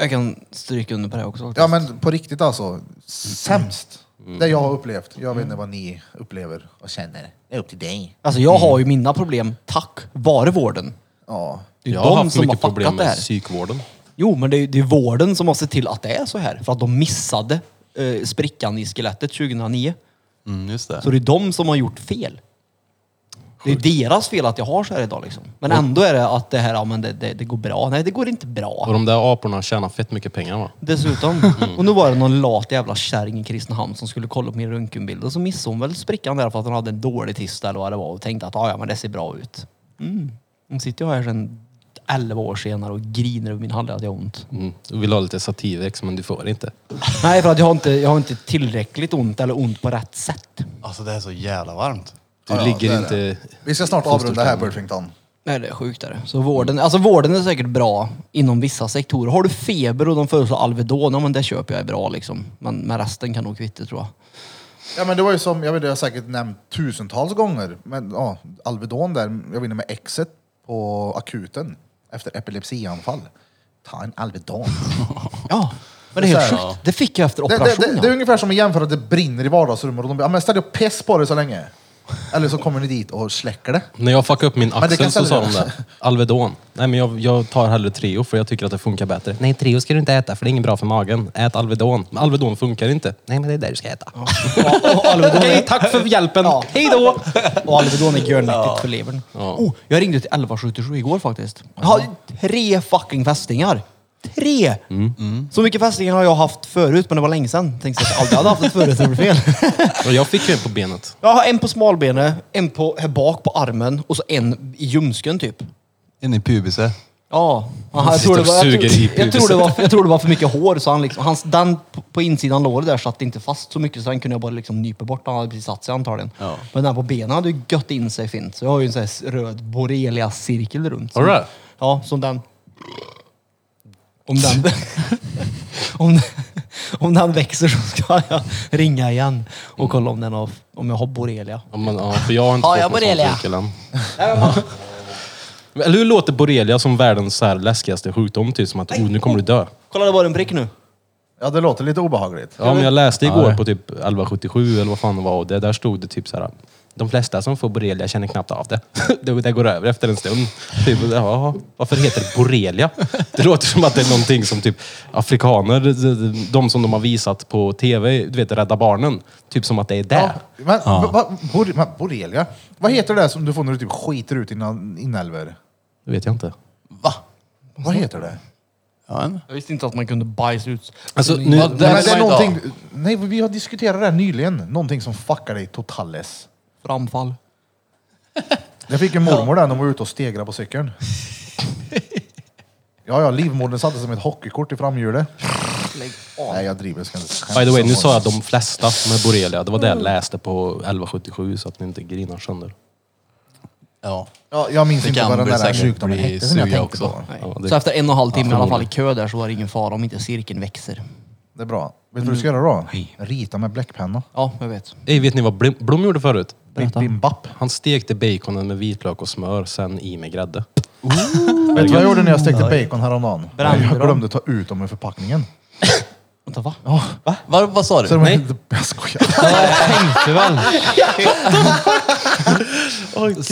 S2: jag kan stryka under på det också. faktiskt.
S1: ja men på riktigt alltså, sämst.
S4: Mm.
S1: Det jag har upplevt. Jag vet inte vad ni upplever och känner. Det är upp till dig.
S2: Alltså jag har ju mina problem tack vare vården.
S1: Ja.
S2: Det är
S4: jag
S2: de
S4: har haft
S2: som har
S4: mycket
S2: fuckat
S4: problem
S2: det
S4: med
S2: här.
S4: psykvården.
S2: Jo, men det är, det är vården som har sett till att det är så här. För att de missade eh, sprickan i skelettet 2009.
S5: Mm, just det.
S2: Så det är de som har gjort fel. Det är deras fel att jag har så här idag liksom. Men ändå är det att det här, ja men det, det, det går bra. Nej, det går inte
S4: Och
S2: bra.
S4: de där aporna tjänar fett mycket pengar va?
S2: Dessutom. Och nu var det någon lat jävla kärring i Kristinehamn som skulle kolla på min röntgenbild. Och så missade hon väl sprickan där för att hon hade en dålig tisdag eller vad det var. Och tänkte att, "Ah, ja ja men det ser bra ut. Mm. Hon sitter ju här sedan 11 år senare och griner över min handled att jag har ont.
S4: Mm. Du vill ha lite sativex men du får inte.
S2: Nej, för att jag har, inte, jag har inte tillräckligt ont eller ont på rätt sätt.
S5: Alltså det är så jävla varmt.
S4: Du
S1: Ja, ja,
S4: ligger
S1: det är
S4: inte...
S1: Vi ska snart avrunda här Burfington.
S2: Nej, det är sjukt är det. Så vården, alltså vården är säkert bra inom vissa sektorer. Har du feber och de föreslår Alvedon, ja men det köper jag är bra liksom. Men med resten kan nog kvitta tror jag.
S1: Ja men det var ju som, jag vet jag har säkert nämnt tusentals gånger, men ja, Alvedon där, jag var inne med exet på akuten efter epilepsianfall. Ta en Alvedon.
S2: Ja, men det är helt
S1: Så här,
S2: sjukt. Det fick jag efter
S1: Det, det, det,
S2: operationen.
S1: det är ungefär som att jämföra att det brinner i vardagsrummet och de bara, "Ja, men ställ dig och piss på det så länge. Eller så kommer ni dit och släcker det.
S4: När jag fuckade upp min
S1: det
S4: axel
S1: kan
S4: så sa
S1: sälja.
S4: de det. Alvedon. Nej men jag, jag tar hellre Trio för jag tycker att det funkar bättre. Nej Trio ska du inte äta för det är inget bra för magen. Ät Alvedon. Men Alvedon funkar inte. Nej men det är det du ska äta.
S2: Ja, och Alvedon
S4: Okej,
S2: är,
S4: tack för hjälpen.
S2: Ja.
S4: Hej då!
S2: och Alvedon är görnyttigt för levern. Oh, jag ringde till 1177 igår faktiskt. Jag har tre fucking fästingar. Tre! Så mycket fästingar har jag haft förut, men det var länge sedan. Tänkte att jag aldrig hade haft ett förut, det blev fel.
S4: Och jag fick ju en på benet.
S2: Jag har en på smalbenet, en på här bak på armen och så en i ljumsken typ.
S5: In i pubisen.
S2: Ja, Aha,
S4: Han
S2: jag, tror det
S4: sitter och
S2: var, jag,
S4: suger i
S2: tror, jag,
S4: pubisen.
S2: tror det var, jag tror det var för mycket hår så han liksom, hans, den på- på insidan låret där satt inte fast så mycket så den kunde jag bara liksom nypa bort. Han hade precis satt sig antagligen.
S5: Ja.
S2: Men den på benen hade ju gött in sig fint. Så jag har ju en sån här s- röd borrelia-cirkel runt.
S4: Har du det?
S2: Ja, som den. Om den, om, om den växer så ska jag ringa igen
S4: Mm.
S2: och kolla om, den har, om jag har borrelia.
S4: Ja, men, ja, för jag har inte
S2: Har
S4: fått
S2: jag
S4: någon sån
S2: borrelia?
S4: artikel än. Men, Eller hur låter borrelia som världens så här läskigaste sjukdom? Typ som att oh, nu kommer du dö.
S2: Kolla, det var en prick nu.
S1: Ja, det låter lite obehagligt.
S4: Ja, men jag läste igår
S5: Ja.
S4: på typ 1177 eller vad fan det var och det, där stod det typ så här. De flesta som får borrelia känner knappt av det. Det, det går över efter en stund. Typ, ja, varför heter det borrelia? Det låter som att det är någonting som typ afrikaner, de som de har visat på tv, du vet Rädda Barnen, typ som att det är det.
S1: Men, va- va- bor, men borrelia? Vad heter det som du får när du typ skiter ut dina inälvor?
S4: Det vet jag inte.
S5: Va?
S1: Vad heter det?
S5: Ja, men.
S2: Jag visste inte att man kunde bajsa ut.
S4: Alltså, nu,
S5: Vad-
S1: Nej,
S5: Den
S1: men
S5: ska
S1: det är
S5: man inte
S1: någonting, nej, vi har diskuterat det här nyligen. Någonting som fuckar dig totales.
S2: Framfall.
S1: Jag fick en mormor där när hon var ute och stegrade på cykeln. Ja, ja, livmodern satte som ett hockeykort i framhjulet. Nej, jag driver. Ska inte skämta
S4: by the way, nu
S1: om
S4: sa jag
S1: det.
S4: de flesta med borrelia. Det var det jag läste på 1177 så att ni inte grinar sönder.
S5: Ja.
S1: Ja, jag minns
S5: Det
S1: inte
S5: kan
S1: vad den
S5: bli
S1: där
S5: säkert
S1: sjukdomen
S5: bli
S1: hette som jag
S5: suga
S1: tänkte
S5: också.
S1: på.
S4: Ja, det-
S2: Så efter en och en halv timme i alla fall i kö där så var det ingen fara om inte cirkeln växer.
S1: Det är bra. Vet du vad du ska göra då? Rita med bläckpenna.
S2: Ja, jag vet.
S4: Ey, vet ni vad Blom, Blom gjorde förut?
S1: Bim, bim, bapp.
S4: Han stekte baconen med vitlök och smör, sen i med grädde.
S1: Vet du vad jag gjorde när jag stekte bacon häromdagen?
S2: Brände
S1: Jag
S2: dem.
S1: glömde ta ut dem ur förpackningen.
S2: Vänta, va?
S5: Vad, vad sa du?
S1: Så de inte... Jag skojar.
S4: Tänkte väl?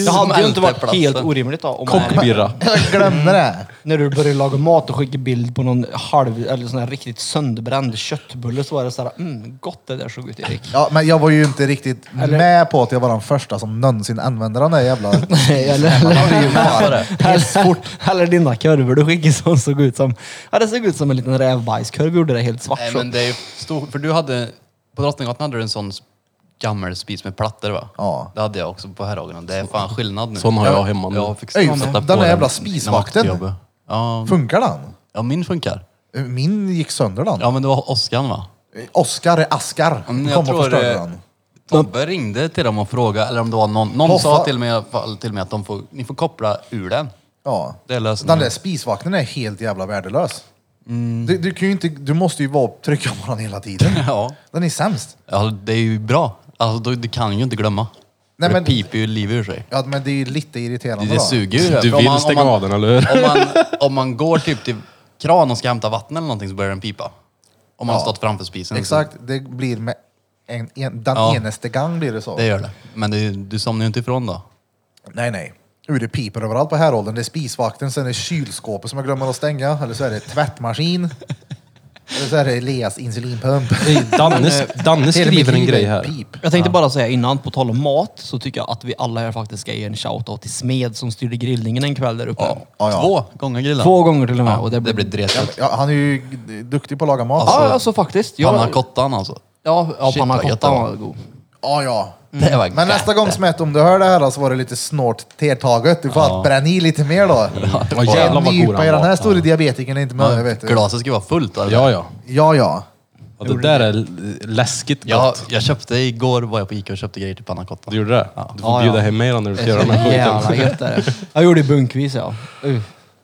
S2: Det hade ju inte varit
S5: Smältplatsen.
S2: helt orimligt då. Om man-
S4: Kockbirra.
S1: Jag glömde det.
S2: När du började laga mat och skickade bild på någon halv, eller sån här riktigt sönderbränd köttbulle så var det såhär, mm, gott det där såg ut Erik.
S1: Ja, men jag var ju inte riktigt med på att jag var den första som någonsin använde den där jävla...
S2: Nej, eller, eller,
S5: Bara.
S2: eller, eller dina kurvor du skickade som såg ut som, ja det såg ut som en liten rävbajskurv, gjorde det helt svart.
S5: Nej
S2: så.
S5: men det är ju stor, för du hade, på Drottninggatan hade du en sån gammal spis med plattor va?
S1: Ja.
S5: Det hade jag också på Herrhagen. Det är fan skillnad nu.
S4: Sån har jag hemma nu.
S5: Jag fick
S1: Öj,
S5: sätta
S1: fan,
S5: på
S1: den där jävla spisvakten.
S5: innan vaktjobbet. Ja,
S1: Funkar den?
S5: ja, min funkar.
S1: Min gick sönder den.
S5: Ja men det var Oskan va?
S1: Oskar är askar.
S5: men jag
S1: kom och
S5: tror eh,
S1: förstörde
S5: det-
S1: den.
S5: Tobbe ringde till dem och frågade, eller om det var någon, någon
S1: Hoffa.
S5: sa till mig, i alla fall till mig att de får, ni får koppla ur den.
S1: Ja.
S5: Det är lösningen.
S1: Den där spisvakten är helt jävla värdelös. Du, du, kan ju inte, du måste ju vara trycka på den hela tiden.
S5: Ja.
S1: Den är sämst.
S5: ja, det är ju bra. Alltså du, du kan ju inte glömma.
S1: Nej,
S5: det
S1: men-
S5: piper ju livet ur sig.
S1: Ja, men det är ju lite irriterande
S5: Det, det
S1: då.
S5: suger ju.
S4: Du
S5: För om
S4: vill
S5: man- om
S4: stänga
S5: man-
S4: av den, eller hur?
S5: Om man, om man går typ till kran och ska hämta vatten eller någonting så börjar den pipa. Om man har stått framför spisen.
S1: Exakt, det blir med en, en, den
S5: Ja.
S1: enaste gång blir det så.
S5: Det gör det. Men det, du somnar ju inte ifrån då.
S1: Nej, nej. Ur det piper överallt på häråldern. Det är spisvakten, sen är det kylskåpet som jag glömmer att stänga. Eller så är det tvättmaskin. Eller så är det Elias insulinpump.
S4: Ey, Danne, Danne
S1: Hela
S4: skriver
S1: mitt
S4: en
S1: liv är
S4: grej
S1: ett
S4: här.
S1: Pip.
S2: Jag tänkte bara säga innan, på tal om mat, så tycker jag att vi alla här faktiskt ska ge en shoutout till Smed som styrde grillningen en kväll där uppe.
S1: Ja, ja.
S5: Två gånger grillen.
S2: Två gånger till och med.
S5: Ja,
S2: och
S5: det, blir dretigt.
S1: Ja, han är ju d- duktig på att laga mat.
S2: Ja, alltså faktiskt. Jag-
S5: Pannacottan alltså.
S2: Ja, ja
S5: Shit,
S2: panna
S5: vad gött
S2: cotta
S5: det var.
S2: var god.
S1: Ja, ja.
S5: Det var
S1: Men
S5: gött.
S1: nästa gång Smett, om du hör det här så var det lite snålt tertaget. Du får att bränna i lite mer då.
S4: Ja, jävlar vad god
S1: Nypa i
S4: han
S1: den här
S4: var.
S1: stora diabetikern är inte med, jag vet du.
S5: Glaset ska ju vara fullt. Eller?
S4: Ja, ja.
S1: Ja, ja.
S4: ja det där är läskigt
S5: Jag,
S4: gott.
S5: jag köpte igår, var jag på Ica och köpte grejer till pannacottan.
S4: Du gjorde det? Du får
S2: Ja,
S4: bjuda
S2: ja.
S4: hem mig då när du ska göra den här skiten.
S2: Jävla gött är det. Jag gjorde bunkvis ja. Uh.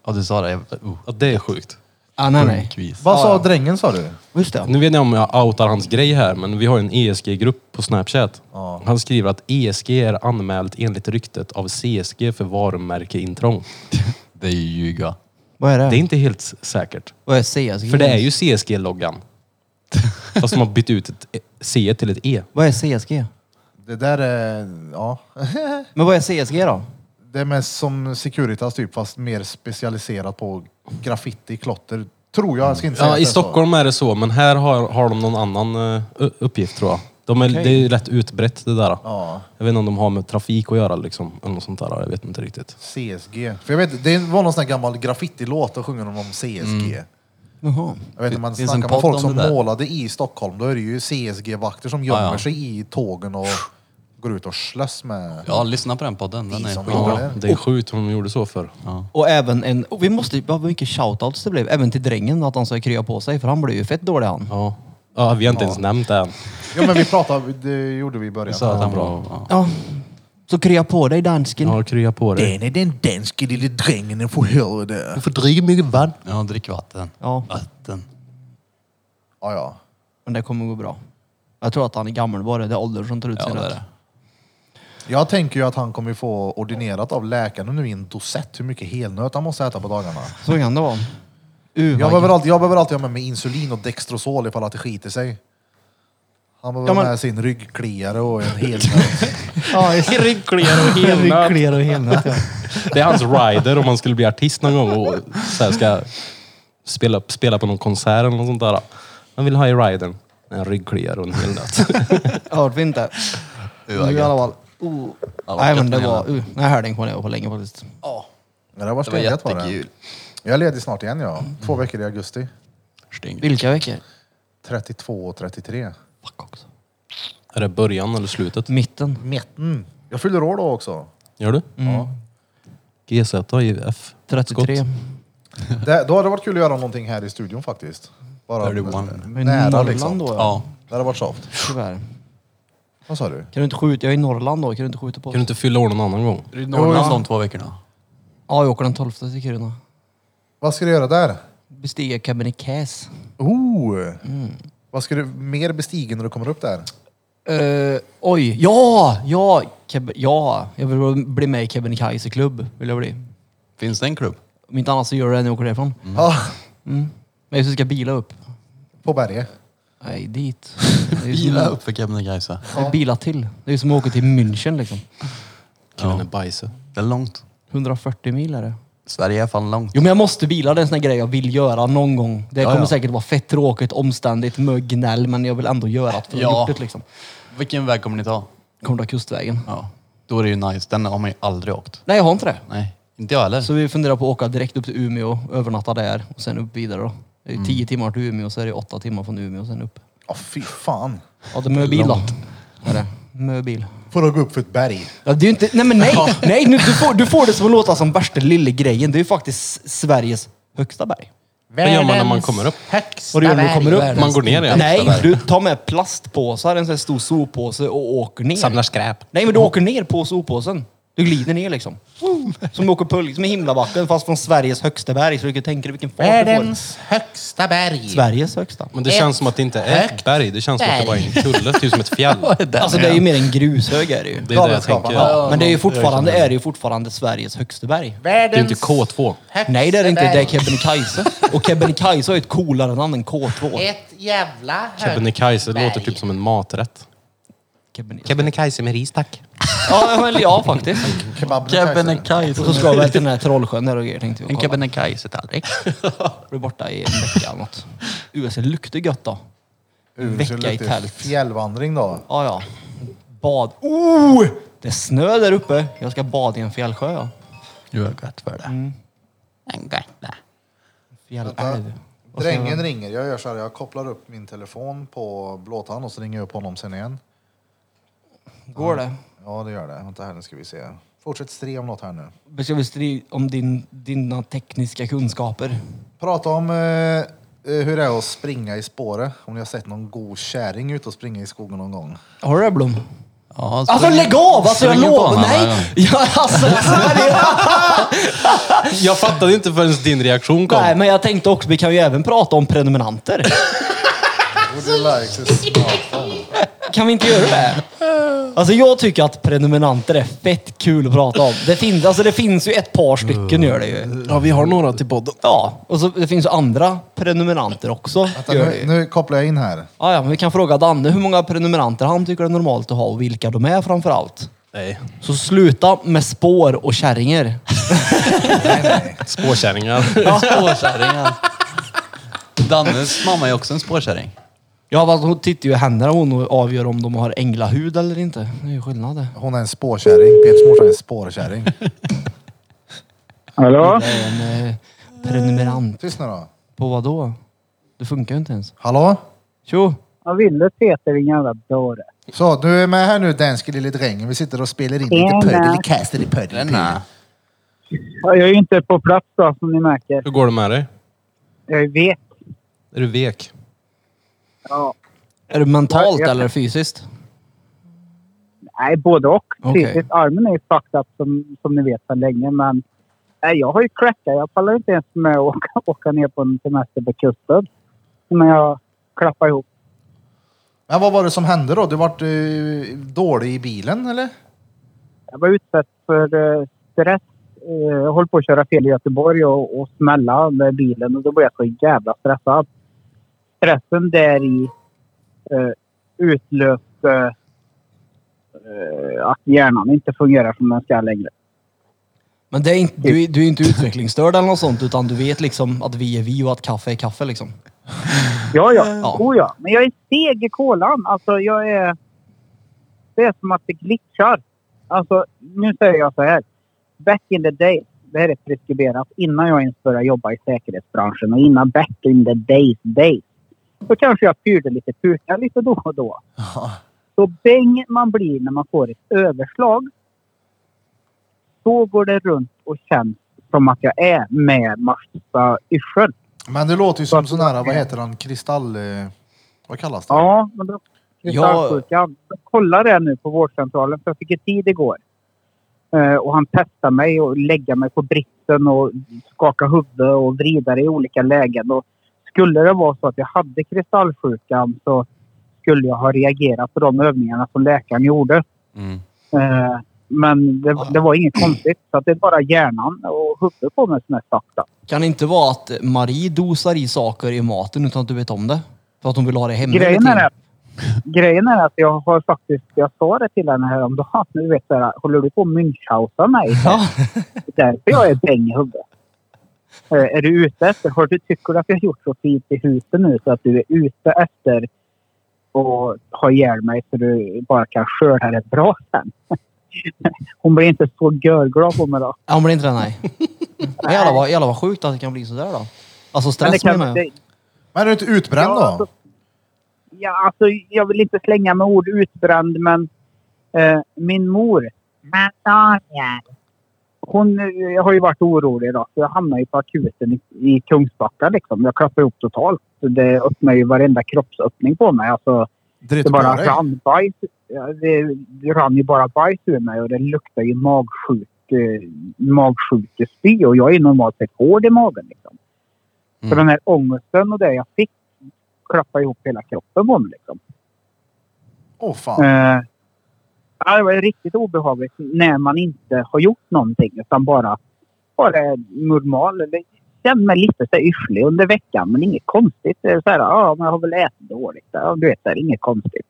S5: Ja, du sa det. Jag, oh,
S4: Ja, det är sjukt.
S2: Ah, nej, nej.
S5: kvis.
S1: Vad sa drängen sa du?
S2: Just det.
S4: Nu vet jag om jag outar hans grej här, men vi har ju en ESG-grupp på Snapchat. Han skriver att ESG är anmält enligt ryktet av CSG för varumärkeintrång.
S5: Det är ju ljuga.
S2: Vad är det?
S4: Det är inte helt s- säkert.
S2: Vad är CSG?
S4: För det är ju CSG-loggan. Fast de har bytt ut ett e- C till ett E.
S2: Vad är CSG?
S1: Det där är... Ja.
S2: Men vad är CSG då?
S1: Det är mest som Securitas typ, fast mer specialiserat på graffiti, klotter. Tror jag. jag Ska inte säga
S4: Ja,
S1: att
S4: i
S1: det är så.
S4: Stockholm är det så, men här har, har de någon annan eh, u- uppgift tror jag. De är, Det är ju rätt utbrett det där.
S1: Ja.
S4: Jag vet inte om de har med trafik att göra liksom, eller något sånt där. Jag vet inte riktigt.
S1: CSG. För jag vet, det var någon sån här gammal graffitilåt, då sjunger de om CSG.
S2: Jaha.
S1: Jag vet när man
S5: Finns en
S1: snackar med
S5: podd
S1: folk
S5: om
S1: som
S5: Mm. det där?
S1: målade i Stockholm, då är det ju CSG-vakter som gömmer
S5: ja.
S1: sig i tågen och går ut och slåss med...
S5: Ja, lyssna på den podden. Den är
S1: Som
S5: skitbra.
S1: det.
S4: Det är sjukt om de gjorde så för.
S2: Och även en... Och vi måste... Vad mycket shoutouts det blev. Även till drängen att han ska krya på sig för han blev ju fett dålig han.
S4: Ja. ja, vi har inte ens nämnt det än.
S1: Ja men vi pratade, det gjorde vi i början.
S5: Så att den var bra.
S2: Ja. Så krya på dig dansken.
S4: Ja, krya på dig.
S1: Den är den danske lille drängen får höra det.
S4: får dricka mycket vatten.
S5: Ja, drick vatten.
S2: Ja.
S5: Vatten.
S1: Ja, ja.
S2: Men det kommer gå bra. Jag tror att han är gammal bara. Det är åldern som tar ut
S5: Ja,
S2: sin
S5: det är
S2: rätt.
S5: det.
S1: Jag tänker ju att han kommer få ordinerat av läkaren nu i en dosett hur mycket helnöt han måste äta på dagarna.
S2: Så kan det vara. Uh,
S1: Jag
S2: vad
S1: behöver, alltid, jag behöver alltid ha med mig insulin och Dextrosol ifall att det skiter sig. Han behöver
S2: Ja, men-
S1: med sin ryggkliare och en hel...
S2: Ja, just det.
S4: Ryggkliar och
S2: Henrik
S4: helnöt.
S2: Kler och Helnöt, ja.
S4: Det är hans rider om han skulle bli artist någon gång och så här ska spela, spela på någon konsert eller något sånt där. Han vill ha i ridern. En ryggkliare och en helnöt.
S2: Hörde vi inte.
S5: vad
S2: Nu i alla fall. Uh. Nej men det var... Uh, nej, hörde inte på det på länge faktiskt.
S1: Men det var
S5: Det var
S1: stengött var det.
S5: jättekul.
S1: Jag är ledig snart igen
S2: Mm.
S1: jag. Två veckor i augusti.
S2: Vilka veckor?
S1: 32 och 33.
S2: Fuck också.
S4: Är det början eller slutet?
S2: Mitten.
S1: Mm. Jag fyller år då också.
S4: Gör du?
S1: Ja.
S4: GZ i F.
S2: 33.
S4: Skott.
S1: Det, då hade det varit kul att göra någonting här i studion faktiskt. Bara
S5: 31.
S2: Men
S1: nära
S2: Norrland
S1: liksom.
S2: då ja.
S5: Ja.
S1: Det hade varit soft.
S2: Tyvärr.
S1: Vad sa du?
S2: Kan du inte skjuta? Jag är i Norrland då. Kan du inte skjuta på
S4: Kan du
S2: oss?
S4: inte fylla år någon annan gång?
S5: Är det Norrland de två veckorna?
S2: Ja, jag åker den 12 till Kiruna.
S1: Vad ska du göra där?
S2: Bestiga Kebnekaise.
S1: Oh!
S2: Mm.
S1: Vad ska du mer bestiga när du kommer upp där?
S2: Eh, oj, ja! Ja! Keb- ja! Jag vill bli med i Kebnekaise klubb. Vill jag bli.
S5: Finns det en klubb?
S2: Om inte annat så gör jag det när jag åker därifrån.
S1: Ja,
S2: Men jag ska bila upp.
S1: på berget.
S2: Nej, dit. Det är ju som-
S5: Bila upp för Kebnekaise.
S2: Det är Bila till. Det är ju som att åka till München liksom.
S4: Killen är bajse.
S5: Det är långt.
S2: 140 mil är det.
S5: Sverige är fan långt.
S2: Jo men jag måste bila, det är en sån här grej jag vill göra någon gång. Det kommer
S5: ja.
S2: säkert vara fett tråkigt, omständigt, mög, gnäll, men jag vill ändå göra det för att
S5: Ja.
S2: ja. gjort det liksom.
S5: Vilken väg kommer ni ta?
S2: Kommer du kustvägen?
S5: Ja. Då är det ju nice. Den har man ju aldrig åkt.
S2: Nej jag har inte det.
S5: Nej, inte jag heller.
S2: Så vi funderar på att åka direkt upp till Umeå, övernatta där och sen upp vidare då. Det är ju 10 timmar till Umeå, så är det 8 timmar från Umeå och sen upp.
S1: Ja, fy fan.
S2: Ja det är möbil då. Är det? Möbil.
S1: Får du gå upp för ett berg?
S2: Ja, det är ju inte, nej men nej! nej nu, du, får, du får det som att låta som värsta lille grejen. Det är ju faktiskt S- Sveriges högsta berg.
S4: Vad gör man när man kommer upp?
S2: Vad du gör när du kommer upp?
S4: Världens Man går ner igen.
S2: Nej, du tar med plastpåsar, en sån här stor soppåse och åker ner.
S4: Samlar skräp.
S2: Nej men du åker ner på soppåsen. Du glider ner liksom. Som åker pulk, som i himlabacken fast från Sveriges högsta berg. Så du kan tänka dig vilken fart du
S7: högsta berg.
S2: får. Sveriges högsta.
S4: Men det känns som att det inte är ett berg. Det känns som att det bara är en kulle, typ som ett fjäll.
S2: Alltså det är ju mer en grushög är det ju.
S4: Det är det jag
S1: Galenskaparna.
S4: tänker.
S2: Ja, men det är ju fortfarande, är det ju fortfarande Sveriges högsta berg.
S4: Det är ju inte K2.
S2: Nej det är det inte, det är Kebnekaise. Och Kebnekaise har ju ett coolare namn än K2.
S7: Ett jävla högt
S4: Kebnekaise det
S7: berg.
S4: låter typ som en maträtt.
S2: Kebnekaise.
S4: Kebnekaise med ris tack.
S2: Ja, men, ja faktiskt.
S1: Kebnekaise.
S2: Och så ska vi väl till den här Trollsjön där och grejer tänkte jag.
S5: En
S2: kolla.
S5: Kebnekaise-tallrik.
S2: Blir borta i en vecka eller något. USA luktar gött då. Vecka i tält.
S1: Fjällvandring då.
S2: Ja, ja. Bad. Oh! Det är snö där uppe. Jag ska bada i en fjällsjö. Ja.
S5: Du har gött för det. Mm. Gött.
S2: Fjällälv. Vad ska jag-
S1: Drängen ringer. Jag gör så här, jag kopplar upp min telefon på blåtand och så ringer jag upp honom sen igen.
S2: Går det?
S1: Ja, det gör det. Vänta här nu ska vi se. Fortsätt stri om något här nu.
S2: Vi ska väl stri om din, dina tekniska kunskaper.
S1: Prata om eh, eh, hur det är att springa i spåret. Om ni har sett någon god kärring ute och springa i skogen någon gång.
S2: Har du det Blom?
S5: Ja,
S2: Alltså lägg av! Alltså jag
S5: Spring på
S2: lovar!
S5: honom,
S2: Nej! Ja, alltså,
S4: Jag fattade inte förrän din reaktion kom.
S2: nej, men jag tänkte också, vi kan ju även prata om prenumeranter.
S1: Would you like to smartphone?
S2: Kan vi inte göra det? Alltså jag tycker att prenumeranter är fett kul att prata om. Det finns, alltså, det finns ju ett par stycken gör det ju.
S4: Ja, vi har några till podden.
S2: Ja, och så, det finns ju andra prenumeranter också.
S1: Vänta,
S2: Gör det.
S1: nu,
S2: ju.
S1: nu kopplar jag in här.
S2: Ja, ja, men vi kan fråga Danne hur många prenumeranter han tycker det är normalt att ha och vilka de är framför allt.
S4: Nej.
S2: Så sluta med spår och kärringar.
S4: Spåkärringar.
S5: Spårkärringar. Dannes mamma är också en spårkärring.
S2: Ja, fast hon tittar ju i händerna hon och avgör om de har änglahud eller inte. Det är ju skillnad det.
S1: Hon är en spårkärring. Peters morsa är en spårkärring.
S3: Hallå?
S2: Det är en eh, prenumerant.
S1: Tyst nu då.
S2: På vad då? Det funkar ju inte ens.
S1: Hallå?
S2: Tjo!
S3: Vad ville Peter din jävla dåre?
S1: Så, du är med här nu Danske lille drängen. Vi sitter och spelar in
S3: Tjena.
S1: lite pödelikaster i pödelikaster.
S3: Ja, Jag är ju inte på plats då, som ni märker.
S4: Hur går det med dig?
S3: Jag är vek.
S4: Är du vek?
S3: Ja.
S2: Är det mentalt
S3: Ja, jag-
S2: eller fysiskt?
S3: Nej, både och.
S2: Okej.
S3: Fysiskt. Armen är ju fucked up som, som ni vet sedan länge. Men nej, jag har ju kläckar. Jag pallar inte ens med att åka, åka ner på en semester på kusten. Men jag klappar ihop.
S1: Men vad var det som hände då? Du vart eh, dålig i bilen eller?
S3: Jag var utsatt för eh, stress eh, höll på att köra fel i Göteborg och, och smälla med bilen och då blev jag så jävla stressad. Stressen där i eh, utlöste eh, att hjärnan inte fungerar som den ska längre.
S2: Men det är inte, du,
S1: Typ.
S2: är- du är inte utvecklingsstörd eller något sånt, utan du vet liksom att vi är vi och att kaffe är kaffe liksom.
S3: Ja, ja.
S2: Ja.
S3: Oh, ja. Men jag är seg i kolan. Alltså, jag är... Det är som att det glitchar. Alltså, nu säger jag så här. Back in the day. Det här är preskriberat innan jag ens började jobba i säkerhetsbranschen och innan back in the days days. Då kanske jag fyrde lite puka lite då och då. Så bäng man blir när man får ett överslag. Så går det runt och känns som att jag är med massa yrsel.
S1: Men det låter ju som sån här, vad heter den, kristall... eh, Vad kallas det?
S3: Ja, men då... Kristallsjukan. Jag kollade det nu på vårdcentralen för jag fick ju tid igår. Eh, och han testade mig och lägga mig på britsen och skaka huvudet och vrida det i olika lägen. Och skulle det vara så att jag hade kristallsjukan så skulle jag ha reagerat på de övningarna som läkaren gjorde.
S5: Mm.
S3: Eh, men det, det var inget konstigt. Så att det är bara hjärnan och huvudet på mig som är sakta.
S2: Kan det inte vara att eh, Marie dosar i saker i maten utan att du vet om det? För att hon vill ha Mm. det hemma hela
S3: Grejen
S2: tiden.
S3: är, att, grejen är att jag har faktiskt, jag sa det till henne häromdagen, du vet såhär, håller du på att Münchhausa mig?
S2: Ja.
S3: Det är därför jag är däng i huvudet. Eh, Är du ute efter, har du, tycker du att jag har gjort så fint i huset nu så att du är ute efter och ha ihjäl mig så du bara kan skörda det bra sen? Hon blir inte så görglad på mig då.
S2: Ja, hon blir inte det, nej. Men jävlar vad, jävlar vad sjukt att det kan bli sådär då. Alltså
S3: Men det
S2: stress
S3: kan-
S2: menar jag.
S3: det-
S1: Men är du inte utbränd
S3: Ja,
S1: då?
S3: alltså, ja, alltså, jag vill inte slänga med ord utbränd, men eh, min mor. Hon eh, har ju varit orolig idag, så jag hamnade ju på akuten i, i Kungsbacka. Liksom. Jag klappade ihop totalt. Så Det öppnade ju varenda kroppsöppning på mig. Alltså,
S1: Dritt
S3: det
S1: på
S3: bara
S1: dig.
S3: rann bajs. ja, Det, det rann ju bara bajs ur mig och det luktade ju magsjuk, eh, magsjukespy. Och jag är normalt sett hård i magen. Liksom. Så den här ångesten och det jag fick klappade ihop hela kroppen på mig. Liksom.
S1: Åh fan.
S3: Eh, ja, det var ju riktigt obehagligt när man inte har gjort någonting utan bara, bara är normal. Eller, känner mig lite så här yrslig under veckan men inget konstigt. Det är så här, ja, men jag har väl ätit dåligt. Ja, du vet, det är inget konstigt.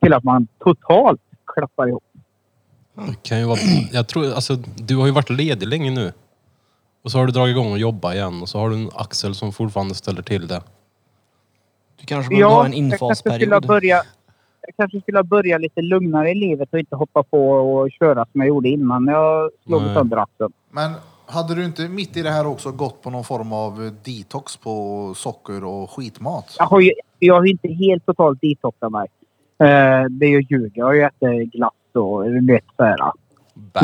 S3: Till att man totalt klappar ihop.
S4: Det kan ju vara, jag tror, alltså, du har ju varit ledig länge nu. Och så har du dragit igång och jobbat igen och så har du en axel som fortfarande ställer till det.
S2: Du kanske behöver ha en
S3: jag kanske skulle
S2: infasperiod.
S3: börja jag kanske skulle börja lite lugnare i livet och inte hoppa på och köra som jag gjorde innan jag slog
S4: Nej.
S3: sönder axeln.
S1: Men hade du inte mitt i det här också gått på någon form av eh, detox på socker och skitmat?
S3: Jag har ju jag har ju inte helt totalt detoxat mig. Eh, det är ju ljug. Jag har ju ätit glass och du vet så här.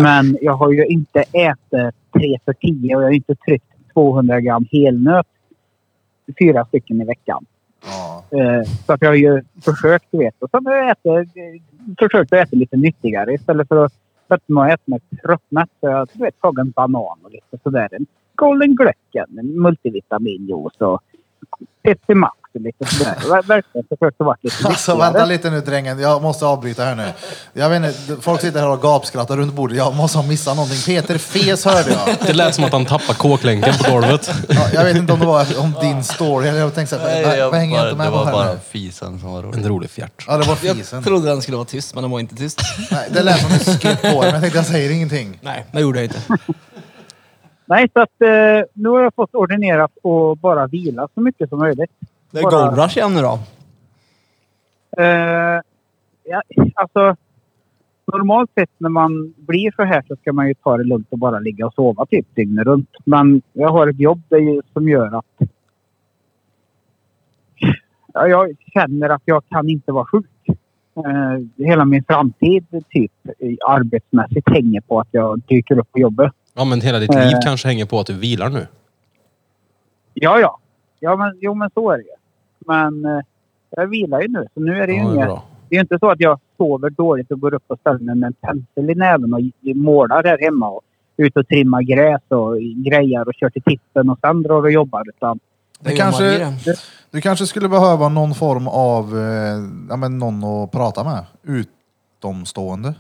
S3: Men jag har ju inte ätit tre för tio och jag har inte tryckt 200 gram helnöt fyra stycken i veckan.
S1: Ja.
S3: Eh, så att jag har ju försökt, du vet. Och sen har jag ätit, eh, försökt att äta lite nyttigare istället för att sätta mig och äta mig tröttmätt. Så jag har du vet, tagit en banan och lite sådär. En Golden Glöcken, en multivitaminjuice och Pepsi Max och lite sådär. Jag har verkligen försökt att vara lite
S1: Alltså
S3: nyttigare.
S1: vänta lite nu drängen, jag måste avbryta här nu. Jag vet inte, folk sitter här och gapskrattar runt bordet. Jag måste ha missat någonting. Peter Fes hörde jag.
S4: Det lät som att han tappade kåklänken på golvet.
S1: Ja, jag vet inte om det var om din story. eller Jag tänkte såhär, vad- vad hänger jag inte
S5: det
S1: med på
S5: var
S1: här
S5: bara
S1: nu?
S5: fisen som var rolig.
S4: En rolig fjärt.
S1: Ja, det var
S2: Jag
S1: fisen.
S2: trodde den skulle vara tyst, men den var inte tyst.
S1: Nej, det lät som du skrev på det, men jag tänkte jag säger ingenting.
S2: Nej, det gjorde jag inte.
S3: Nej, så att eh, nu har jag fått ordinerat att bara vila så mycket som möjligt.
S2: Det är Gold Rush igen nu då.
S3: Eh, ja, alltså, normalt sett när man blir så här så ska man ju ta det lugnt och bara ligga och sova typ dygnet runt. Men jag har ett jobb där ju- som gör att ja, jag känner att jag kan inte vara sjuk. Eh, hela min framtid typ eh, arbetsmässigt hänger på att jag dyker upp på jobbet.
S4: Ja men hela ditt liv kanske hänger på att du vilar nu.
S3: Ja, ja. ja men, jo, men så är det ju. Men eh, jag vilar ju nu, så nu är det ju
S4: Ja, det är
S3: inget...
S4: bra.
S3: Det är ju inte så att jag sover dåligt och går upp och ställer mig med en pensel i näven och målar där hemma och ut och trimmar gräs och grejar och kör till tippen och sen drar och jobbar. Utan
S2: Det
S1: Det
S2: gör Marie
S1: kanske,
S2: det.
S1: du kanske skulle behöva någon form av, eh, ja men någon att prata med. Utomstående.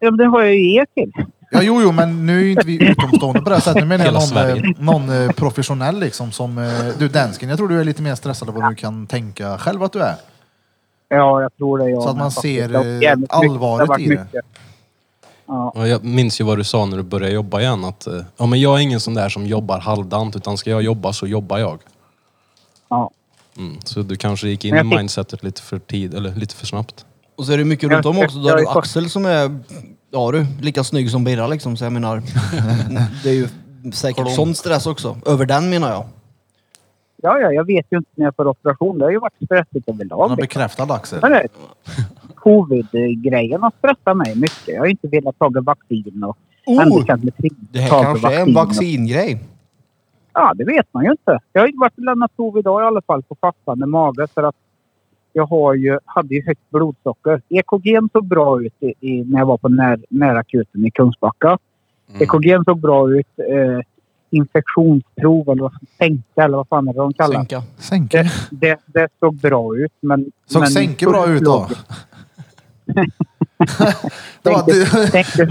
S3: ja, men det har jag ju er till.
S1: Ja, jo, jo, men nu är ju inte vi utomstående på det här sättet. Nu menar jag
S4: Hela
S1: någon, eh,
S4: Sverige.
S1: någon eh, professionell liksom som... eh, Du, dansken, jag tror du är lite mer stressad än vad du kan tänka själv att du är.
S3: Ja, jag tror det. Jag
S1: Så att man
S3: med, faktiskt.
S1: ser,
S3: Det har
S1: eh,
S3: jävligt mycket-
S1: allvaret
S3: har varit
S1: i det.
S3: mycket. Ja.
S4: Ja, Jag minns ju vad du sa när du började jobba igen. Att, eh, ja, men jag är ingen sån där som jobbar halvdant, utan ska jag jobba så jobbar jag.
S3: Ja.
S4: Mm, så du kanske gick in
S3: Men
S4: i
S3: jag fick-
S4: mindsetet lite för tid, eller lite för snabbt.
S2: Och så är det mycket runt om också. Då
S3: Jag
S2: har
S3: är
S2: du
S3: för-
S2: Axel som är, ja du, lika snygg som Birra liksom. Så jag menar, det är ju säkert sån stress också. Över den menar jag.
S3: ja, ja, jag vet ju inte när jag får operation. Det har ju varit stressigt överlag.
S1: Han har
S3: liksom.
S1: bekräftat Axel.
S3: Men det- Covid-grejen har stressat mig mycket. Jag har ju inte velat ta vaccin och ändå känt mig trygg.
S2: Det här
S3: Ta
S2: kanske är en
S3: vaccin och-
S2: vaccingrej.
S3: Ja, det vet man ju inte. Jag har ju varit och lämnat prov idag i alla fall på fastande mage för att jag har ju, hade ju högt blodsocker. EKG såg bra ut i, i, när jag var på när, närakuten i Kungsbacka.
S1: Mm.
S3: EKG såg bra ut. Eh, infektionsprov eller vad sänka eller vad fan är det de kallar det.
S2: Sänka.
S1: Sänke.
S3: Det, det. det såg bra ut men...
S1: Såg
S3: Eh, men
S1: Sänke bra ut då? Det var,
S3: Sänke-
S1: du,
S3: Sänke-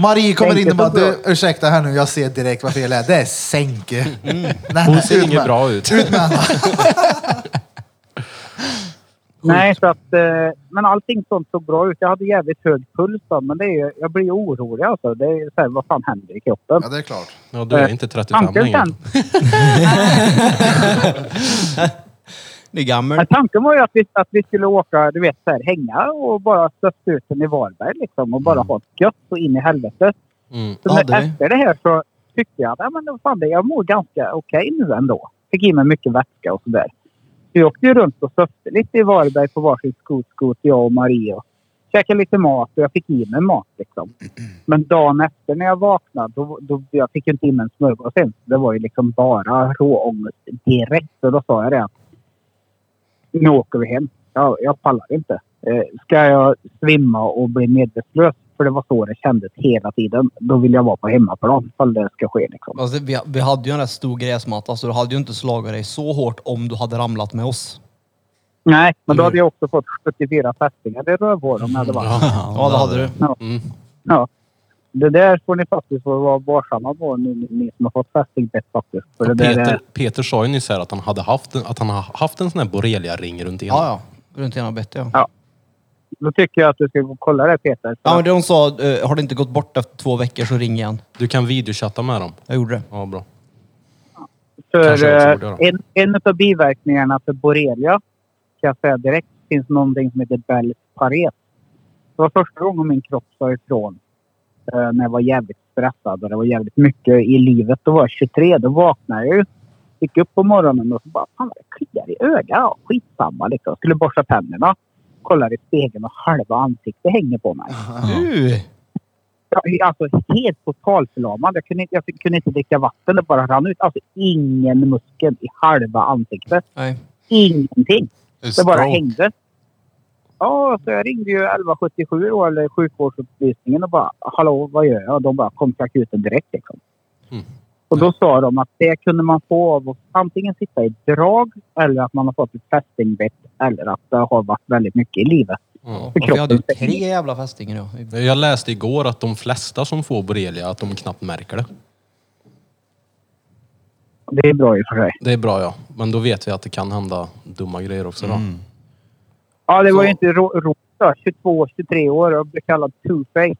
S1: Marie kommer in
S3: Sänke
S1: och bara,
S3: såg bra
S1: du, ursäkta här nu, jag ser direkt vad fel det är. Det är Sänke. Nej,
S4: Mm. Hon
S1: nej, ut
S4: ser inget
S1: med-
S4: bra ut.
S1: Ut med henne.
S3: Nej, så att, eh, men allting sånt såg bra ut. Jag hade jävligt hög puls då, men det är, ju- jag blir orolig alltså. Det är så här, vad fan händer i kroppen?
S1: Ja, det är klart.
S4: Ja, du är
S3: Eh,
S4: inte 35
S3: Tanken,
S4: längre.
S3: sen,
S2: Det är gammal.
S3: men tanken var ju att vi, att vi skulle åka, du vet, så här, hänga och bara stötta ut den i Varberg liksom och bara ha ett gött så in i helvete.
S4: Mm.
S3: Så
S2: Ja,
S3: när-
S2: det är-
S3: Efter det här så tyckte jag att men fan, det- jag mår ganska okej nu ändå. Fick i mig mycket vätska och sådär. Så jag åkte ju runt och söfte lite i Varberg på varsin skotskot, jag och Marie. Och käkade lite mat och jag fick i mig mat liksom. Men dagen efter när jag vaknade, då, då, jag fick ju inte i mig en smörgås ens. Det var ju liksom bara råångest direkt. Och då sa jag det att nu åker vi hem. Jag, jag pallar inte. Eh, ska jag svimma och bli medvetslös? För det var så det kändes hela tiden. Då vill jag vara på hemmaplan ifall det ska ske. Liksom.
S2: Alltså, vi, vi hade ju en rätt stor gräsmatta så du hade ju inte slagit dig så hårt om du hade ramlat med oss.
S3: Nej, men då hade jag också fått 74 fästingar i rövhålen. om det hade varit.
S2: Ja, det hade du.
S4: mm.
S3: Ja. Det där får ni faktiskt få vara varsamma på, ni, ni som har fått fästingbett faktiskt. För det där
S4: Peter,
S3: är,
S4: Peter sa ju nyss här att han hade haft en, att han har haft en sån här borrelia-ring runt ena.
S2: Ja, ja. Runt ena bett ja.
S3: då tycker jag att du ska gå och kolla det Peter.
S2: Ja, men det de sa, eh, har det inte gått bort efter två veckor så ring igen.
S4: Du kan videochatta med dem.
S2: Jag gjorde det.
S4: Ja, bra.
S3: För
S4: Kanske jag
S3: eh,
S4: också borde
S3: en, en av biverkningarna för borrelia kan jag säga direkt finns någonting som heter Bell's paret. Det var första gången min kropp sa ifrån eh, när jag var jävligt stressad och det var jävligt mycket i livet. Då var jag 23. Då vaknade jag ju. Gick upp på morgonen och så bara fan vad det kliar i ögat. Ja, Skitsamma liksom. Jag skulle borsta tänderna. Kollar i spegeln och halva ansiktet hänger på mig.
S2: Du!
S3: Jag- Alltså helt totalförlamad. Jag kunde, inte- jag kunde inte dricka vatten. Det bara rann ut. Alltså ingen muskel i halva ansiktet.
S2: Nej.
S3: Ingenting.
S5: Det
S3: Det bara hängde. Ja, så jag ringde ju 1177 då, eller sjukvårdsupplysningen och bara hallå, vad gör jag? De bara kom till akuten direkt liksom.
S4: Mm.
S3: Och då sa de att det kunde man få av att antingen sitta i drag eller att man har fått ett fästingbett eller att det har varit väldigt mycket i livet.
S4: Ja.
S2: Och vi hade ju tre jävla fästingar ja.
S4: Jag läste igår att de flesta som får borrelia, att de knappt märker det.
S3: Det är bra i och för sig.
S4: Det är bra ja. Men då vet vi att det kan hända dumma grejer också då.
S3: Mm. Ja, det var ju inte ro- roligt då. 22, 23 år och blev kallad two-face.